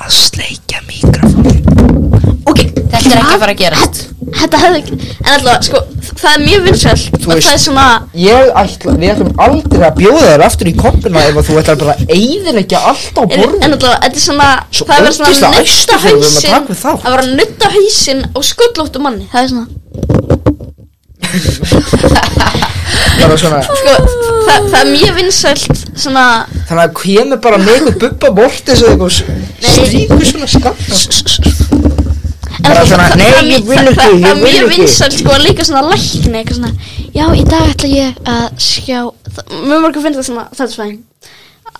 [SPEAKER 1] að sleikja mikrofón
[SPEAKER 2] Ok,
[SPEAKER 3] Þetta er ekki að fara að gerast
[SPEAKER 2] Þetta hefði ekki, en alltaf, sko, það er mjög vinsælt og
[SPEAKER 1] veist-
[SPEAKER 2] það er svona,
[SPEAKER 1] Ég ætla, við ætlum aldrei að bjóða þér aftur í kompuna ef að þú ætlar bara að eyðileggja allt á
[SPEAKER 2] en, en
[SPEAKER 1] borðinu
[SPEAKER 2] alltaf, þetta er svona,
[SPEAKER 1] Svo
[SPEAKER 2] það er verið
[SPEAKER 1] ógeðslega
[SPEAKER 2] svona að nutta
[SPEAKER 1] æstur þegar við erum að
[SPEAKER 2] hausinn,
[SPEAKER 1] taka við þá.
[SPEAKER 2] það var að nutta hausinn á sköllóttu manni, það er svona,
[SPEAKER 1] Bara svona
[SPEAKER 2] sko, það, það er mjög vinsælt, svona,
[SPEAKER 1] Þannig að kemur bara með ykkur bubba mortis eða eitthvað Stríkur svona skammt
[SPEAKER 2] en
[SPEAKER 1] Bara
[SPEAKER 2] alltaf,
[SPEAKER 1] svona,
[SPEAKER 2] það-
[SPEAKER 1] nei,
[SPEAKER 2] það er
[SPEAKER 1] ég
[SPEAKER 2] mjög-
[SPEAKER 1] vil
[SPEAKER 2] það-
[SPEAKER 1] ekki,
[SPEAKER 2] það-
[SPEAKER 1] ég
[SPEAKER 2] Það er
[SPEAKER 1] vil
[SPEAKER 2] mjög
[SPEAKER 1] ekki.
[SPEAKER 2] vinsælt, sko, að líka svona lækni, eitthvað svona, já, í dag ætla ég að sjá, það- mjög mörg að finna það svona, það er svona,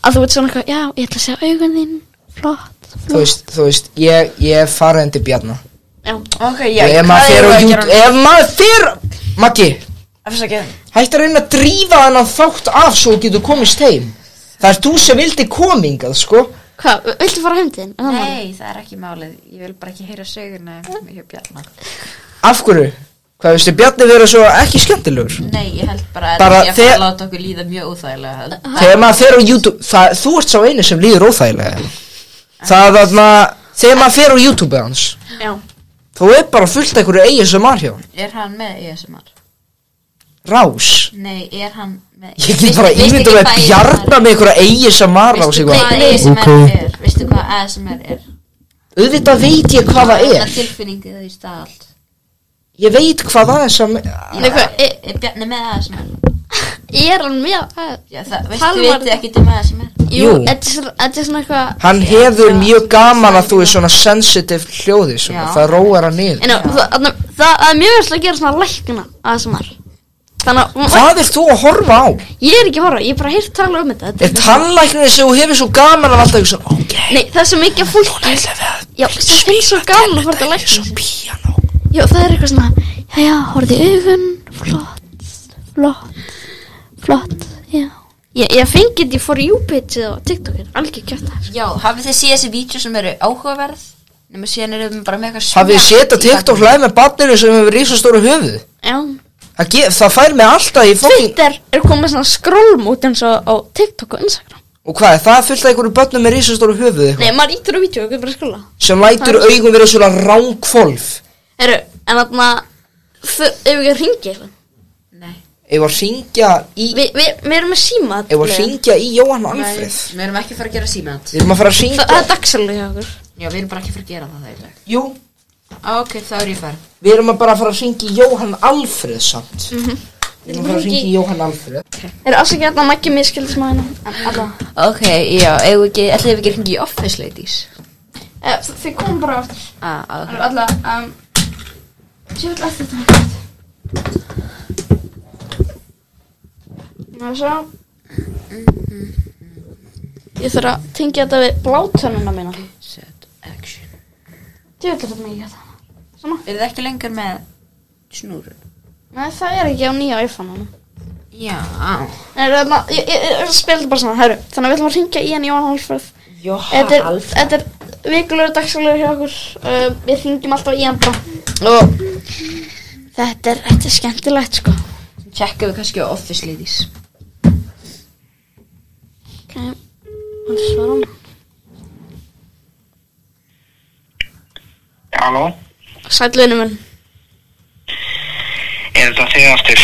[SPEAKER 2] að þú veit svona eitthvað, já, ég ætla að sjá augun þín, flott,
[SPEAKER 1] Þú veist, þú veist, ég, ég er farið undir bjarna
[SPEAKER 2] já,
[SPEAKER 3] Ok, já,
[SPEAKER 1] Ef maður fer á YouTube Ef maður fer Maggi Hætti að reyna að drífa þennan þátt af Svo þú getur komist heim Það er þú sem vildi komingað sko
[SPEAKER 2] hvað, viltu fara heimdinn, en það
[SPEAKER 3] Nei, það er ekki málið Ég vil bara ekki heyra söguna hjá Bjarnar
[SPEAKER 1] Af hverju? Hvað veistu, Bjarni vera svo ekki skemmtilegur
[SPEAKER 3] Nei, ég held bara að
[SPEAKER 1] Bara
[SPEAKER 3] ég fara
[SPEAKER 1] þe-
[SPEAKER 3] að láta okkur líða mjög óþægilega
[SPEAKER 1] Þegar maður fer á YouTube það, Þú ert sá einu sem líður óþægilega Það að maður Þegar maður fer á YouTube hans
[SPEAKER 2] Já.
[SPEAKER 1] Þú er bara fullt af einhverju eigin sem maður hjá honum.
[SPEAKER 3] Er hann með ASMR?
[SPEAKER 1] Rás
[SPEAKER 3] Nei, er hann með
[SPEAKER 1] Ég get bara ímynda með bjarna með einhverja eigin sem maður rás
[SPEAKER 3] Veistu hvað
[SPEAKER 1] eitthvað
[SPEAKER 3] ASMR
[SPEAKER 5] Ok.
[SPEAKER 3] er? Veistu hvað ASMR er?
[SPEAKER 1] Auðvitað veit ég sko. hvað það
[SPEAKER 3] Svona
[SPEAKER 1] er
[SPEAKER 3] tilfinningu það í stað allt
[SPEAKER 1] Ég veit hvað það er sem
[SPEAKER 3] Já,
[SPEAKER 2] Nei, hvað,
[SPEAKER 3] er, er Bjarni með ASMR?
[SPEAKER 2] Ég er hann mjög að...
[SPEAKER 3] Já, það, veistu,
[SPEAKER 2] Hann var-
[SPEAKER 3] veitu ekki um ASMR
[SPEAKER 1] Jú.
[SPEAKER 2] Jú, þetta er svona- þetta er svona eitthvað...
[SPEAKER 1] Hann hefur mjög gaman að þú er svona sensitive hljóði svona,
[SPEAKER 3] Já.
[SPEAKER 1] það róar hann niður
[SPEAKER 2] En á, það, þarna- það, það er mjög veist að gera svona lækna að sem var. Þannig að
[SPEAKER 1] Hvað er þú að horfa á?
[SPEAKER 2] ég er ekki að horfa, ég er bara heyrt tala um þetta. þetta
[SPEAKER 1] Er tannlæknir sem þú hefur svo gaman að alltaf ekki svona Ok,
[SPEAKER 2] Nei, það er svo mikið fólki. Já, það finnst svo gaman að fara til lækna.
[SPEAKER 1] piano
[SPEAKER 2] Já, það er eitthvað svona, já, já, horfði í augun, flott, flott, flott, já. Ég, ég fengi þetta í For You page hérna. og TikTokin, algjör kjöta.
[SPEAKER 3] Já, hafið þið séð þessi vídeo sem eru áhugaverð? Nefnum síðan eru við bara með eitthvað
[SPEAKER 1] Hafið þið
[SPEAKER 3] smjátt
[SPEAKER 1] setja
[SPEAKER 3] í
[SPEAKER 1] TikTok
[SPEAKER 3] bakgrunni.
[SPEAKER 1] hlæð með barninu sem hefur rísastóru höfuð
[SPEAKER 2] Já.
[SPEAKER 1] Það, ge- það fær mig alltaf í fokking
[SPEAKER 2] Twitter er komið svona skrólmút eins og á TikTok og Instagram.
[SPEAKER 1] Og hvað, er það fullt af einhverju börnum með rísastóru höfuð eitthvað?
[SPEAKER 2] Nei, maður ítur á vídeo og getur bara að skrolla.
[SPEAKER 1] Sem lætur augum vera svona rángvolf
[SPEAKER 2] Eru, en þarna, þau- ef við ekki að ringi eitthvað.
[SPEAKER 3] Nei,
[SPEAKER 1] Ef að syngja í
[SPEAKER 2] Við vi, vi erum með síma
[SPEAKER 1] Ef að syngja í Jóhann
[SPEAKER 3] nei,
[SPEAKER 1] Alfreð
[SPEAKER 3] við erum ekki að fara að gera símant
[SPEAKER 1] Við erum að fara að
[SPEAKER 2] Það
[SPEAKER 1] syngja
[SPEAKER 2] það er dagsalega hjá okkur.
[SPEAKER 3] Já, við erum bara ekki að fara að gera það það í dag
[SPEAKER 1] Jú,
[SPEAKER 3] Á, Ok, þá er ég farin
[SPEAKER 1] við erum að bara að fara að syngja í Jóhann Alfreð samt
[SPEAKER 2] Mhm.
[SPEAKER 1] Við erum að fara að syngja í Jóhann Alfreð
[SPEAKER 2] Eru afsakið að það mækki miskildis maður hérna.
[SPEAKER 3] Ok, já, eigum við ekki, ætlum við ekki að hringi í Office Ladies
[SPEAKER 2] Eh, Þið komum bara aftur.
[SPEAKER 3] Ah, ok
[SPEAKER 2] Alla, um, ég vil eftir þetta Ná, svo Mhm. Ég þarf að tengja þetta við blátönuna mína
[SPEAKER 3] Set action
[SPEAKER 2] Ég vil þetta mikið þetta
[SPEAKER 3] Er þið ekki lengur með snúrun?
[SPEAKER 2] Nei, það er ekki á nýja iPhone-unum
[SPEAKER 3] Já
[SPEAKER 2] Nei, þarna- Ég, ég, ég, ég spil þetta bara svona, herru Þannig að við ætlum að ringja í hann Jóhann Hálfröð Þetta er, þetta er vikulegur dagsalega hjá okkur uh, Við ringjum alltaf í hann bara Og þetta er, þetta er skemmtilegt sko
[SPEAKER 3] Tjekkum við kannski á Office Ladies
[SPEAKER 2] Ok, hann svarar hann
[SPEAKER 6] Halló,
[SPEAKER 2] Sælunum minn.
[SPEAKER 6] er þetta þig aftur?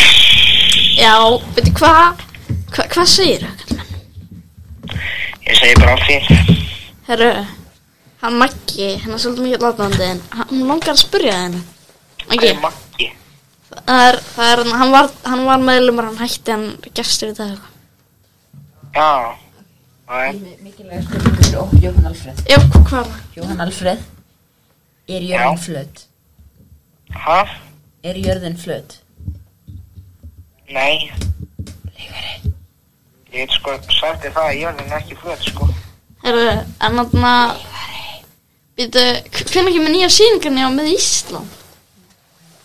[SPEAKER 2] Já, veitu hvað? Hva, hvað segir þau?
[SPEAKER 6] Ég segi bara af því.
[SPEAKER 2] Herru, hann Maggi, hennar svolítið mikið látandi en hann hún langar að spyrja henni. Maggi,
[SPEAKER 6] Ég Maggi.
[SPEAKER 2] það er, það er, hann var, hann var meðlumur, hann hætti hann gestur í dag eitthvað.
[SPEAKER 6] Já. Nei,
[SPEAKER 3] Mikilvæg spurningu fyrir okkur um Jóhann Alfred
[SPEAKER 2] Já, hva- hvað var það?
[SPEAKER 3] Jóhann Alfred Er jörðin
[SPEAKER 6] Já.
[SPEAKER 3] flöt?
[SPEAKER 6] hæ?
[SPEAKER 3] Er jörðin flöt?
[SPEAKER 6] Nei,
[SPEAKER 3] Leikari
[SPEAKER 6] ég get sko sagt þér það að jörðin er ekki flöt, sko.
[SPEAKER 2] Herru, en hann að, veitu, hvernig kemur nýja síningarni á með Ísland?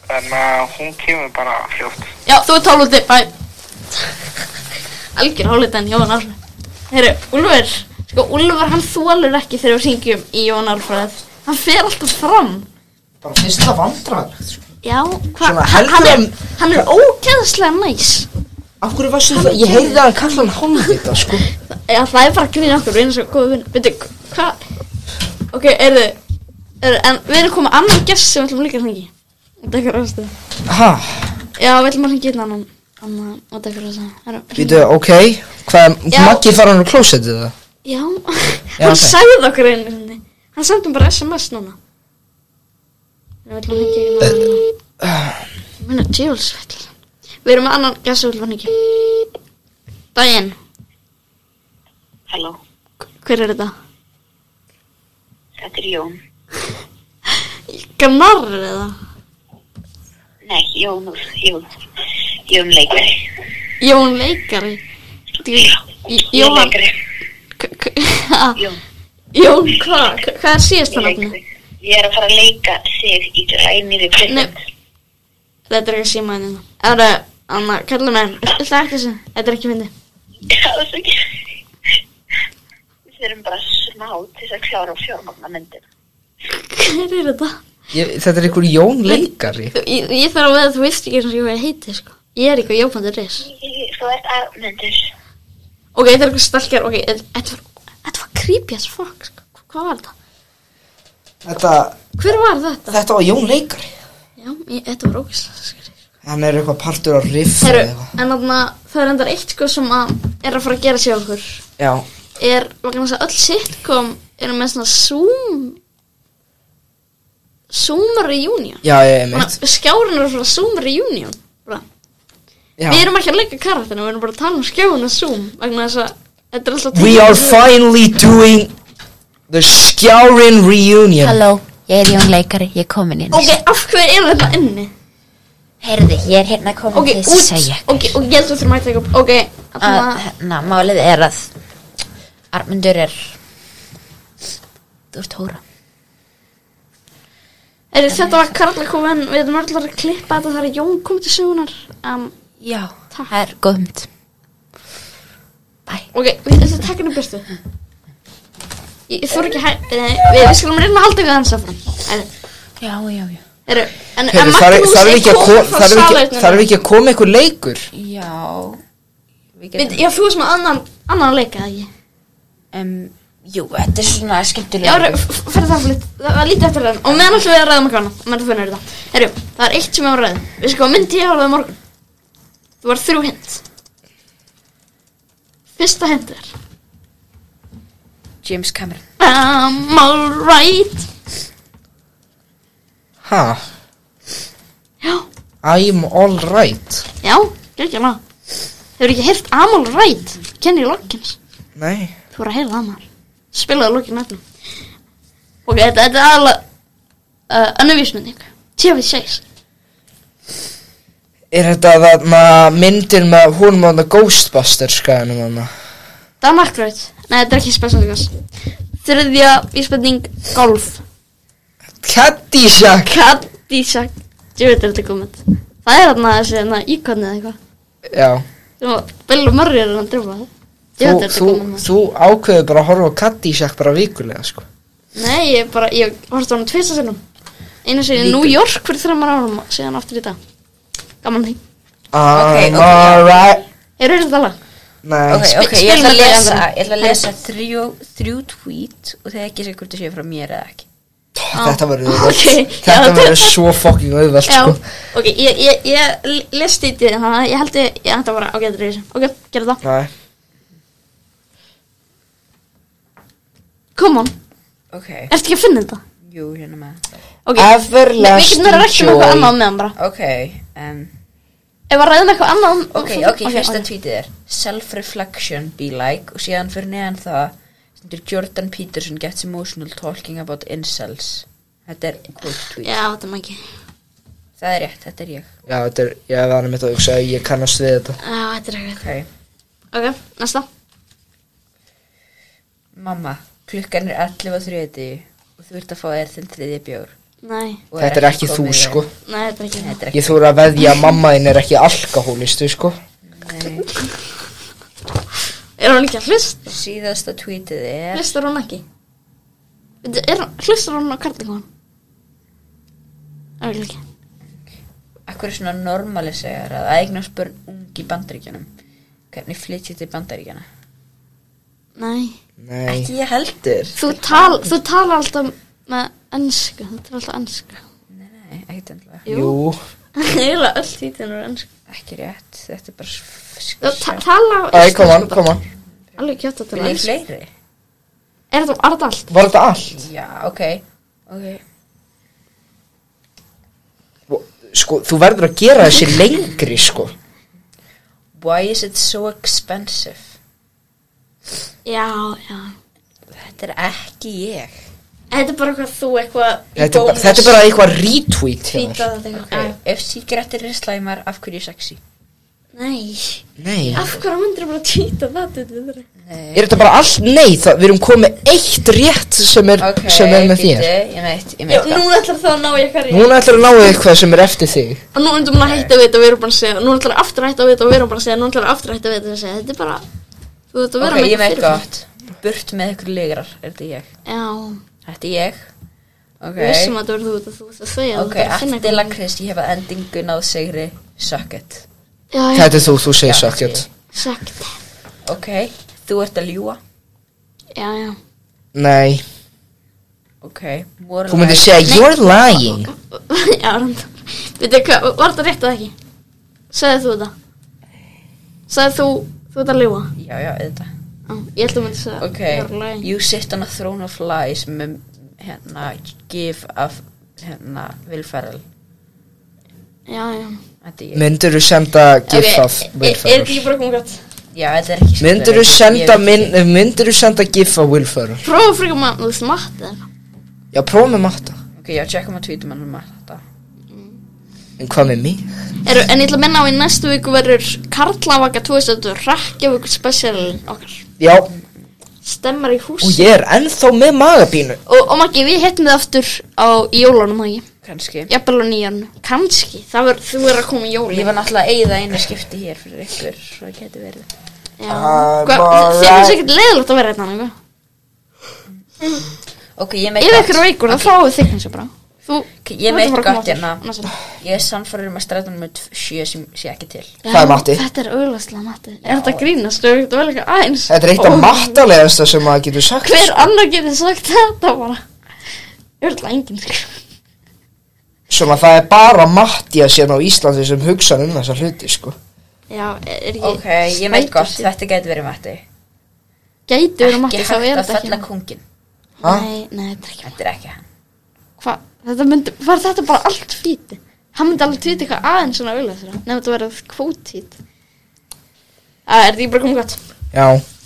[SPEAKER 6] En uh, hún kemur bara fljótt.
[SPEAKER 2] Já, þú ert hálfandi, bæ Algjör hálfandi en Jón Alfred Herru, Úlfur Sko, Úlfur hann þólur ekki þegar við syngjum í Jón Alfred Hann fer alltaf fram
[SPEAKER 1] Bara finnst það vandræðalegt sko.
[SPEAKER 2] Já, hvað?
[SPEAKER 1] Svona
[SPEAKER 2] Hann,
[SPEAKER 1] heldur
[SPEAKER 2] hann, er,
[SPEAKER 1] hann-
[SPEAKER 2] hann er ógeðslega næs
[SPEAKER 1] Af hverju varstu það? Ég heyrði að hann kalla hann hálfvita sko
[SPEAKER 2] Já, það er bara að grína okkur, við erum svo góðu vinn Veitu, hvað? Ok, eru er, En við erum komið annan gest sem við ætlum líka að hringi Út af hverju ástu
[SPEAKER 1] Ha,
[SPEAKER 2] Já, við ætlum að hringi hérna annan Annan, út af hverju ástu
[SPEAKER 1] býtu, ok Hvað,
[SPEAKER 2] Já.
[SPEAKER 1] Maggi fara hann á klósettið það?
[SPEAKER 2] Já,
[SPEAKER 1] Já,
[SPEAKER 2] hann
[SPEAKER 1] ok.
[SPEAKER 2] sagði okkur einu sinni Hann sendi mér bara sms núna Ég veit hann ekki hérna núna. Ég meina djöfulsvell Við erum með annan gæsum hann ekki Daginn,
[SPEAKER 8] Halló,
[SPEAKER 2] hver er þetta?
[SPEAKER 8] þetta er Jón.
[SPEAKER 2] Gnar eða?
[SPEAKER 8] Nei, Jón, Jón, Jón leikari.
[SPEAKER 2] Jón leikari Djú- J-
[SPEAKER 8] Jón
[SPEAKER 2] Jóhann
[SPEAKER 8] leikari.
[SPEAKER 2] k- k- ha,
[SPEAKER 8] Jón,
[SPEAKER 2] Jón hvað? Hva- Hvað er síðast
[SPEAKER 8] Jón
[SPEAKER 2] hann
[SPEAKER 8] leikari.
[SPEAKER 2] afni?
[SPEAKER 8] Ég er að fara að leika sig í grænir í
[SPEAKER 2] Nei.
[SPEAKER 8] prison.
[SPEAKER 2] Þetta er ekki símaðin Það er Anna, kallar mér, þetta er ekki þessu, þetta er ekki fyndi
[SPEAKER 8] Já, þess ekki. Við erum bara smá til þess að klára og fjármagna myndin.
[SPEAKER 2] Hver er þetta?
[SPEAKER 1] ég, Þetta er einhver Jón leikari
[SPEAKER 2] Ég, ég þarf að veða að þú veist ekki eins og ég hvað heiti sko. Ég er ekki á jópandur.is
[SPEAKER 8] Þú ert aðmyndur.
[SPEAKER 2] Ok, það er eitthvað stelkjar Ok, en- þetta var, þetta var creepy as fuck sko. Hvað var þetta?
[SPEAKER 1] Þetta,
[SPEAKER 2] Hver var þetta?
[SPEAKER 1] þetta var Jón leikari
[SPEAKER 2] Já, ég, þetta var ógislega skrítið
[SPEAKER 1] Hann er eitthvað partur á riff
[SPEAKER 2] Heru,
[SPEAKER 1] eða eitthvað.
[SPEAKER 2] en þarna, það er endar eitt sko sem að er að fara að gera sér okkur
[SPEAKER 1] Já,
[SPEAKER 2] er vegna þess að öll sitcom eru með svona zoom zoom reunion
[SPEAKER 1] já, ég er mitt
[SPEAKER 2] Þannig að skjárin eru frá zoom reunion bara.
[SPEAKER 1] já.
[SPEAKER 2] við erum ekki að leika karatinn við erum bara að tala um skjáin og zoom vegna þess að þetta er alltaf
[SPEAKER 1] We are finally doing The Skjárin Reunion
[SPEAKER 3] Halló, ég er Jón Leikari, ég er komin inn
[SPEAKER 2] ok, af hverju er þetta inni?
[SPEAKER 3] Heyrði, ég er hérna komin
[SPEAKER 2] ok,
[SPEAKER 3] til að
[SPEAKER 2] út,
[SPEAKER 3] segja
[SPEAKER 2] ok, og ég held að þú þurfum að taka upp ok,
[SPEAKER 3] að,
[SPEAKER 2] þarna-
[SPEAKER 3] hérna, málið er að Armundur er Þú ert hóra
[SPEAKER 2] er,
[SPEAKER 3] uh,
[SPEAKER 2] þetta var Karla Kóven við erum alltaf að klippa þetta þar að Jón kom til sögunar um,
[SPEAKER 3] Já, það er góðumt Bæ
[SPEAKER 2] Ok, við ætlum að taka henni byrtu Ég, ég þór ekki hæ... Nei, við, við skulum reyna að halda við hans áfram En,
[SPEAKER 3] Já, já, já
[SPEAKER 2] eru, en, en
[SPEAKER 1] Heyrðu, þarf
[SPEAKER 2] Magnús
[SPEAKER 1] þarf
[SPEAKER 2] er
[SPEAKER 1] ekki að
[SPEAKER 2] kominn
[SPEAKER 1] ko-
[SPEAKER 2] frá
[SPEAKER 1] þarf ekki-
[SPEAKER 2] salernum.
[SPEAKER 1] þarf ekki að koma einhver leikur
[SPEAKER 3] Já Við
[SPEAKER 2] Við-
[SPEAKER 3] getum
[SPEAKER 2] Já, þú varst með annan, annan leik, eða ekki?
[SPEAKER 3] um, Jú, þetta er svona
[SPEAKER 2] Já,
[SPEAKER 3] skemmtilega
[SPEAKER 2] fyrir það fyrir það var lítið eftir það Og meðan alltaf við að ræðum eitthvað annað Meðan þú finnur þetta Herru, það er eitt sem ég var ræðum Við sko mynd ég áraði morgun Þú var þrjú hint Fyrsta hint er
[SPEAKER 3] James Cameron
[SPEAKER 2] I'm alright
[SPEAKER 1] Ha,
[SPEAKER 2] Já,
[SPEAKER 1] I'm alright
[SPEAKER 2] já, geggjala Hefur ekki heyrt I'm alright Kenny Loggins
[SPEAKER 1] Nei,
[SPEAKER 2] Þú voru að heyra það maður Spilaðu lókin öllum Ok, þetta, þetta er aðalega uh, Önnu vísmynding Tjöfið sex
[SPEAKER 1] er þetta þarna myndir með húnum á þarna Ghostbusters skæðanum þarna
[SPEAKER 2] Dan Aykroyd Nei, þetta er ekki spesialikas Þriðja vísmynding Golf
[SPEAKER 1] Caddyshack
[SPEAKER 2] Kadísak Ég veit að þetta er komið Það er þarna þessi þarna íkonni eða eitthvað
[SPEAKER 1] Já,
[SPEAKER 2] Sem að Bill Murray er hann að dröfa það Ég
[SPEAKER 1] þú,
[SPEAKER 2] veit að þetta er
[SPEAKER 1] þú,
[SPEAKER 2] komið
[SPEAKER 1] þú ákveður bara að horfa á Caddyshack bara vikulega sko
[SPEAKER 2] Nei, ég bara, ég horfði á hann tvisa sinnum Einu sinni í New York fyrir þreymar árum og Síðan aftur í dag Gaman því
[SPEAKER 1] I'm
[SPEAKER 3] ok, já.
[SPEAKER 1] alright
[SPEAKER 2] Eru þetta lag?
[SPEAKER 1] Nei, sko,
[SPEAKER 3] Ok, ok,
[SPEAKER 2] Sp-
[SPEAKER 3] ég
[SPEAKER 2] spilum
[SPEAKER 3] ætla að
[SPEAKER 2] við
[SPEAKER 3] lesa,
[SPEAKER 2] lesan.
[SPEAKER 3] ég ætla að lesa þrjú, þrjú tweet og það er ekki sér hvort það sé frá mér eða ekki
[SPEAKER 1] þetta verður auðvelt.
[SPEAKER 2] Ok, já,
[SPEAKER 1] Þetta
[SPEAKER 2] þetta-
[SPEAKER 1] verður svo fucking auðvelt
[SPEAKER 2] Já,
[SPEAKER 1] sko
[SPEAKER 2] ok, ég, ég, ég lest í því þannig að ég held ég, ég ætti að bara, ok, þetta er þessi, ok, gerðu það,
[SPEAKER 1] Nei,
[SPEAKER 2] come on,
[SPEAKER 3] Ok,
[SPEAKER 2] ertu ekki að finna þetta?
[SPEAKER 3] jú, hérna með það.
[SPEAKER 2] Ok, Nei, við
[SPEAKER 1] Everlasting
[SPEAKER 2] getum verið að rækja um eitthvað annað með hann bara,
[SPEAKER 3] Ok, um,
[SPEAKER 2] ef að ræðum eitthvað annað um,
[SPEAKER 3] ok, ok, fyrsta tweetið er Self-reflection, be like og síðan fyrir neðan það stendur Jordan Peterson gets emotional talking about incels Þetta er quote tweet
[SPEAKER 2] Já, þetta er mæki,
[SPEAKER 3] Það er rétt, þetta er ég
[SPEAKER 1] Já, þetta er, ég var nefnt að hugsa Ég kannast við þetta
[SPEAKER 2] já, þetta er eitthvað,
[SPEAKER 3] Ok,
[SPEAKER 2] ok, næsta,
[SPEAKER 3] mamma, klukkan er 11.30 og þú ert að fá þér þinn þriðja bjór
[SPEAKER 2] nei,
[SPEAKER 3] og
[SPEAKER 1] Þetta er ekki þú
[SPEAKER 3] komið í-
[SPEAKER 1] sko
[SPEAKER 2] nei, þetta er ekki
[SPEAKER 3] Nei,
[SPEAKER 2] það,
[SPEAKER 3] Þetta er
[SPEAKER 1] Ég þóra að veðja að mamma þín er ekki alkohólistu sko
[SPEAKER 3] ekki
[SPEAKER 2] er hún ekki að hlust,
[SPEAKER 3] Nei. Síðasta tweetið er
[SPEAKER 2] hlustar hún ekki, Veitu, er hún, hlustar hún á karlingum hann, ekki,
[SPEAKER 3] Akkur er svona normali segar að eignast börn ung í bandaríkjanum Hvernig flytjið til bandaríkjana?
[SPEAKER 2] nei,
[SPEAKER 1] Nei,
[SPEAKER 3] Ekki ég heldur
[SPEAKER 2] þú tal, þú tala alltaf með ennsku, þetta er alltaf ennsku,
[SPEAKER 3] Nei, nei, ekkert endla
[SPEAKER 1] jú
[SPEAKER 2] eiginlega öll títin er ennsku.
[SPEAKER 3] Ekki rétt, þetta er bara
[SPEAKER 2] Já,
[SPEAKER 3] skur
[SPEAKER 2] ta- tala á
[SPEAKER 1] Æ,
[SPEAKER 2] íslensku
[SPEAKER 1] koma,
[SPEAKER 2] bara.
[SPEAKER 1] koma
[SPEAKER 2] Alveg kjátt að tala
[SPEAKER 3] Vil
[SPEAKER 2] á
[SPEAKER 3] ég
[SPEAKER 2] íslensku.
[SPEAKER 3] fleiri?
[SPEAKER 2] Er þetta er þetta allt?
[SPEAKER 1] Var þetta allt?
[SPEAKER 3] Já, ok Ok,
[SPEAKER 1] Sko, þú verður að gera þessi lengri sko
[SPEAKER 3] why is it so expensive?
[SPEAKER 2] Já, já
[SPEAKER 3] Þetta er ekki ég
[SPEAKER 2] Þetta er bara eitthvað þú eitthvað
[SPEAKER 1] Þetta er, bara- þetta er bara eitthvað retweet hjá þér.
[SPEAKER 2] Fýta þetta
[SPEAKER 3] Ok,
[SPEAKER 2] eitthvað
[SPEAKER 3] ef sígrættir eru slæmar, af hverju sexy?
[SPEAKER 2] Nei,
[SPEAKER 1] Nei
[SPEAKER 2] af hverju myndir bara týta það til þetta?
[SPEAKER 3] Nei
[SPEAKER 1] Er þetta bara allt? Nei, það, við erum komið eitt rétt sem er,
[SPEAKER 3] Ok,
[SPEAKER 1] sem er með
[SPEAKER 3] bíddu,
[SPEAKER 1] þér
[SPEAKER 3] Ég meit, ég
[SPEAKER 2] Já,
[SPEAKER 3] meit
[SPEAKER 2] nú ætlar það að ná ég hverju
[SPEAKER 1] Núna ætlar að náðu eitthvað sem er eftir þig
[SPEAKER 2] Og nú ætlar maður að hætta við þetta og við erum bara að segja Nú ætlar að aftur að hætta við þetta og við erum bara að segja Nú ætlar að aftur að hætta við þetta og segja Þetta er bara Þú ætlar að vera
[SPEAKER 3] Ok,
[SPEAKER 2] eitthvað
[SPEAKER 3] ég veit
[SPEAKER 2] fyrir-
[SPEAKER 3] gott Burt með ykkur ligrar, er þetta ég
[SPEAKER 2] Já,
[SPEAKER 3] Þetta er ég Ok,
[SPEAKER 2] Við vissum að það verður þú út að þú ert að segja þú
[SPEAKER 3] ok,
[SPEAKER 2] þarft að finna
[SPEAKER 3] eftir
[SPEAKER 2] eitthvað.
[SPEAKER 3] lakrís ég hefa endingu náð sigri Suck it
[SPEAKER 2] Já, já,
[SPEAKER 1] Þetta er þú, þú segir
[SPEAKER 3] Já,
[SPEAKER 1] sökkjöld
[SPEAKER 3] ég-
[SPEAKER 2] sagt
[SPEAKER 3] Ok, þú ert að ljúa
[SPEAKER 2] Já, já
[SPEAKER 1] Nei,
[SPEAKER 3] Ok, more
[SPEAKER 1] þú myndir
[SPEAKER 3] like-
[SPEAKER 1] segja You're lying
[SPEAKER 2] Já, random Veitu hvað, var þetta rétt eða ekki? Segðu þú þetta Segðu þú, þú ert að ljúa
[SPEAKER 3] Já, já, þetta
[SPEAKER 2] Já, ég held að myndi segja
[SPEAKER 3] Ok,
[SPEAKER 2] ég var að ljúga.
[SPEAKER 3] you sit on a throne of lies með hérna gif af hérna Will Ferrell
[SPEAKER 2] Já, já
[SPEAKER 3] Þetta er ég
[SPEAKER 1] Myndir þú senda gif
[SPEAKER 2] Ok,
[SPEAKER 1] af Will
[SPEAKER 2] er- Er
[SPEAKER 1] Ferrell
[SPEAKER 2] ekki bara komið gott?
[SPEAKER 3] Já, þetta er ekki
[SPEAKER 1] Myndir þú senda, mynd, myndir þú senda gif af Will Ferrell
[SPEAKER 2] Prófa frekar maður, þú veist, matta eða eitthvað.
[SPEAKER 1] Já, prófum með matta
[SPEAKER 3] Ok, já, tjekkum að tvítum hann um þetta
[SPEAKER 1] En hvað með mig?
[SPEAKER 2] Eru- En ég ætla að minna á í næstu viku verður Karlavaka 2000 Rekkjavík spesialin okkar
[SPEAKER 1] Já,
[SPEAKER 2] Stemmar í hús
[SPEAKER 1] og ég er ennþá með magabínu
[SPEAKER 2] Og, og Maggi, við hittum þið aftur á í jólunum, Maggi.
[SPEAKER 3] Kanski
[SPEAKER 2] Jafnvel á nýjan. Kanski. Það verður, þú verður að koma í
[SPEAKER 3] Ég
[SPEAKER 2] jólin.
[SPEAKER 3] var náttúrulega að eyða einu skipti hér fyrir ykkur Svo það geti verið
[SPEAKER 2] Já.
[SPEAKER 1] I'm
[SPEAKER 2] Hva,
[SPEAKER 1] alright.
[SPEAKER 2] þið finnst ekkert leiðilegt að vera hérna, eitthvað.
[SPEAKER 3] Ok, ég
[SPEAKER 2] Ef
[SPEAKER 3] meit
[SPEAKER 2] ykkur er veikur, þá fáið þið kannski bara. Þú,
[SPEAKER 3] Ég
[SPEAKER 2] þú ert
[SPEAKER 3] meit
[SPEAKER 2] bara að koma
[SPEAKER 3] gott hérna
[SPEAKER 2] aftur annars er-
[SPEAKER 3] Ég er sannfæður um að strætan með tv- sjö sem sé ekki til
[SPEAKER 1] Það er Matti.
[SPEAKER 2] Þetta er auðvarslega Matti. Er þetta grínast? Þú veit að vel eitthvað aðeins.
[SPEAKER 1] Þetta er eitt af mattalegasta sem maður getur sagt
[SPEAKER 2] Hver annar getur sagt þetta bara? Örugglega enginn, sko.
[SPEAKER 1] Svona það er bara Mattias hérna á Íslandi sem hugsa um þessa hluti sko
[SPEAKER 2] Já, er ekki...
[SPEAKER 3] Ok, ég meit gott, þetta geti verið Matti
[SPEAKER 2] Gæti verið Matti,
[SPEAKER 3] Ekki
[SPEAKER 2] þá er
[SPEAKER 3] hægt að
[SPEAKER 2] þetta ekki
[SPEAKER 3] fella
[SPEAKER 2] Matti.
[SPEAKER 3] kongin
[SPEAKER 1] Ha?
[SPEAKER 2] Nei, nei, þetta er ekki
[SPEAKER 3] Þetta er ekki hann
[SPEAKER 2] Hva? Þetta myndi, var þetta bara allt fíti? Hann myndi alveg tvita eitthvað aðeins svona auðvitað þeirra, nefnum þetta verið kvótít. Það er því bara komið gott.
[SPEAKER 1] Já,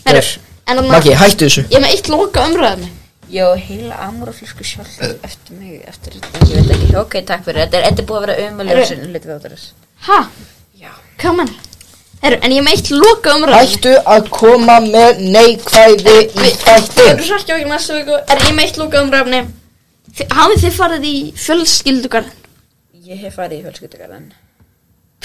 [SPEAKER 2] Herru,
[SPEAKER 1] vel.
[SPEAKER 2] en þannig
[SPEAKER 1] Maggi, hættu þessu
[SPEAKER 2] Ég er með eitt loka umröðum.
[SPEAKER 3] Ég á heila amúraflösku sjálf eftir mig eftir þetta, ég veit ekki, ok, takk fyrir, þetta er, þetta er búið að vera umöðlega
[SPEAKER 2] Eru-
[SPEAKER 3] sem litið á þess.
[SPEAKER 2] Ha?
[SPEAKER 3] Já.
[SPEAKER 2] Hvað menn? Herru, en ég er með eitt loka umröðum.
[SPEAKER 1] Hættu að koma með neikvæði í
[SPEAKER 2] Við
[SPEAKER 1] þættin
[SPEAKER 2] erum sarkja okkur næstu viku, er ég með eitt loka umröðum. Hafið þið farið í fjölskyldugarðin?
[SPEAKER 3] Ég hef farið í fjölskyldugarðan.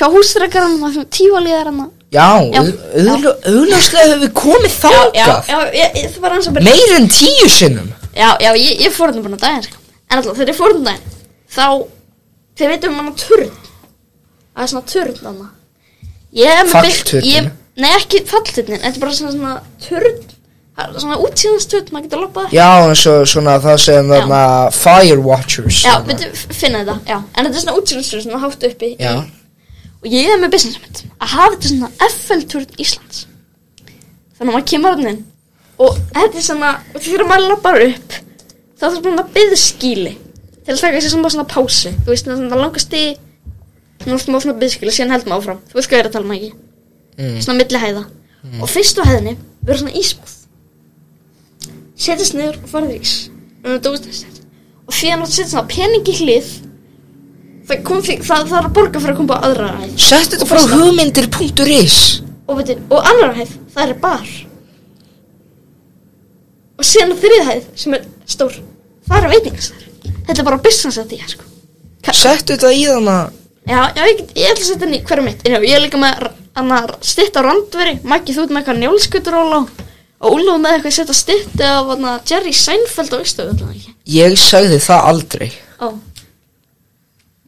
[SPEAKER 2] Hvað húsrekarinn, það sem tífaliðarinn?
[SPEAKER 1] Já,
[SPEAKER 2] Já.
[SPEAKER 1] auðljóslega höfum við komið
[SPEAKER 2] Já,
[SPEAKER 1] þákað
[SPEAKER 2] já, ég, ég, það var hans að byrja.
[SPEAKER 1] Meir en tíu sinnum
[SPEAKER 2] Já, já, ég, ég fór hérna bara á daginn, sko. En alltaf, þegar ég fór hérna á daginn, þá, þið veitum um hann að turn. Það er svona turn hann. Ég er með
[SPEAKER 1] Fallturninn?
[SPEAKER 2] byggt- ég- Nei, ekki fallturnin, þetta er bara svona, svona turn. Það er svona útsíðansturn, maður getur loppað.
[SPEAKER 1] Já, eins og svona það sem þarna Fire Watchers
[SPEAKER 2] Já,
[SPEAKER 1] þarna.
[SPEAKER 2] veitum, finna þetta, já. En þetta er svona útsíðansturn, svona hátt uppi.
[SPEAKER 1] Já,
[SPEAKER 2] Og ég er með business mitt að hafa þetta svona FL-turn Íslands. Þannig að maður kemur hann inn og þetta er svona, og þegar maður lappar upp þá þarf maður að byggja skíli til að taka sér svona, svona pási. Þú veist, það er svona langast í svona smá svona byggskíli, síðan heldur maður áfram. Þú veist hvað ég er að tala maður ekki.
[SPEAKER 1] Mm.
[SPEAKER 2] Svona milli hæða. Og fyrstu hæðinni verður svona ísbúð. Setjast niður og farið í ís. Um þetta útnæst. Og því að setja svona pening í hlið það, kom, því- það, það er að borga fyrir að koma á aðra hæð
[SPEAKER 1] Sett þetta frá hugmyndir.is
[SPEAKER 2] og, veitir, og annar hæð, það er bar og síðan þriða hæð sem er stór það er veitingastar þetta er bara business að því sko.
[SPEAKER 1] Sett þetta í þarna
[SPEAKER 2] já, já, ég, get- ég ætla að setja henni hverju mitt En já, ég er líka með r- annar stytt á randveri Maggi þú ert með eitthvað njálskuturóla og Úlfur með eitthvað setja stytti af hana, Jerry Seinfeld á Ístöðu
[SPEAKER 1] Ég sagði það aldrei
[SPEAKER 2] Ó,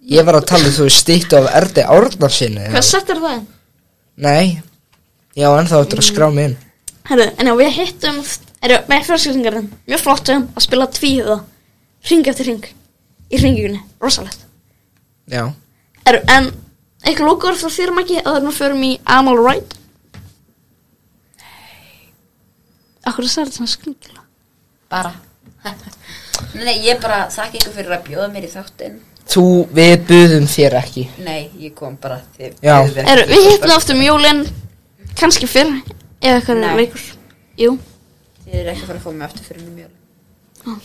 [SPEAKER 1] Ég var að tala um þú stýttu af Erdi Árnarsinni
[SPEAKER 2] hvað settir það inn?
[SPEAKER 1] Nei, ég á ennþá eftir að skrá mig inn
[SPEAKER 2] Herru, en já, við hittum Herru, með fjölskyldarinn Mjög flott um að spila tvíhuða Ring eftir ring Í ringingunni, rosalegt
[SPEAKER 1] Já,
[SPEAKER 2] Herru, en eitthvað lókur frá þér Maggi að við förum í I'm alright Nei Akkur það er þetta svona skringla
[SPEAKER 3] Bara. nei, nei, ég bara þakka ykkur fyrir að bjóða mér í þáttinn.
[SPEAKER 1] þú, við buðum þér ekki
[SPEAKER 3] Nei, ég kom bara þið.
[SPEAKER 1] Já.
[SPEAKER 3] þið verðið
[SPEAKER 2] Herru,
[SPEAKER 3] ekki
[SPEAKER 2] við
[SPEAKER 3] þið
[SPEAKER 2] hittum aftur um jólin kannski fyrr Ef eitthvað
[SPEAKER 3] Nei.
[SPEAKER 2] er veikur Jú
[SPEAKER 3] Þið er ekki að fara að fá mig aftur um fyrir mjög mjög.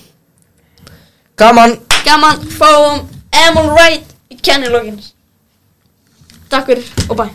[SPEAKER 1] Gaman
[SPEAKER 2] Gaman, fáum I'm alright Í kennilógin Takk fyrir og bæ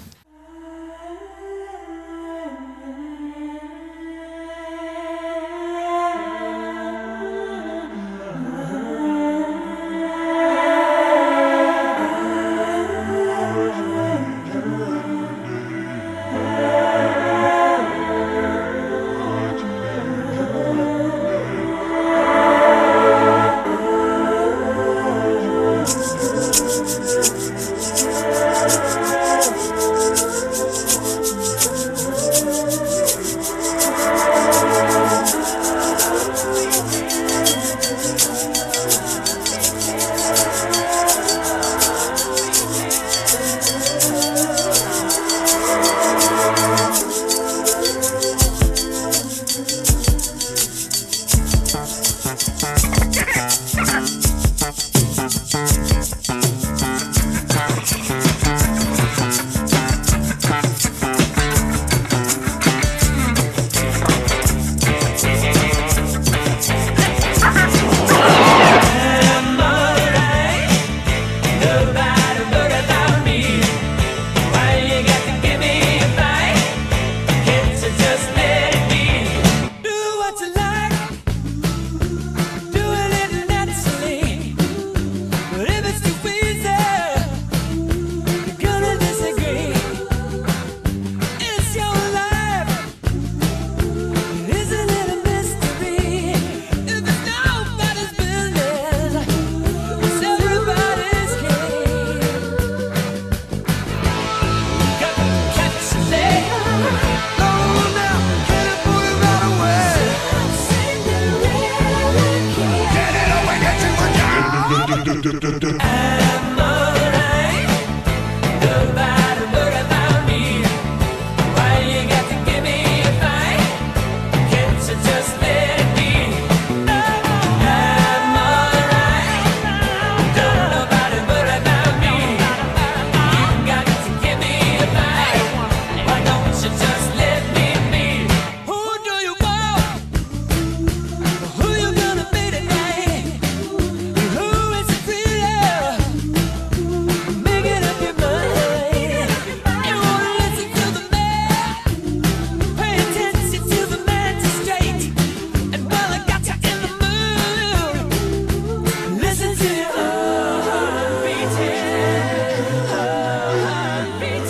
[SPEAKER 9] Listen to your heart beating, heart beating.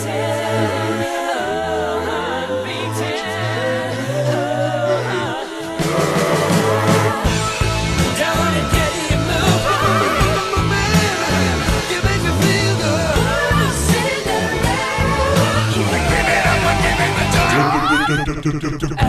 [SPEAKER 5] Dum, dum, dum, dum.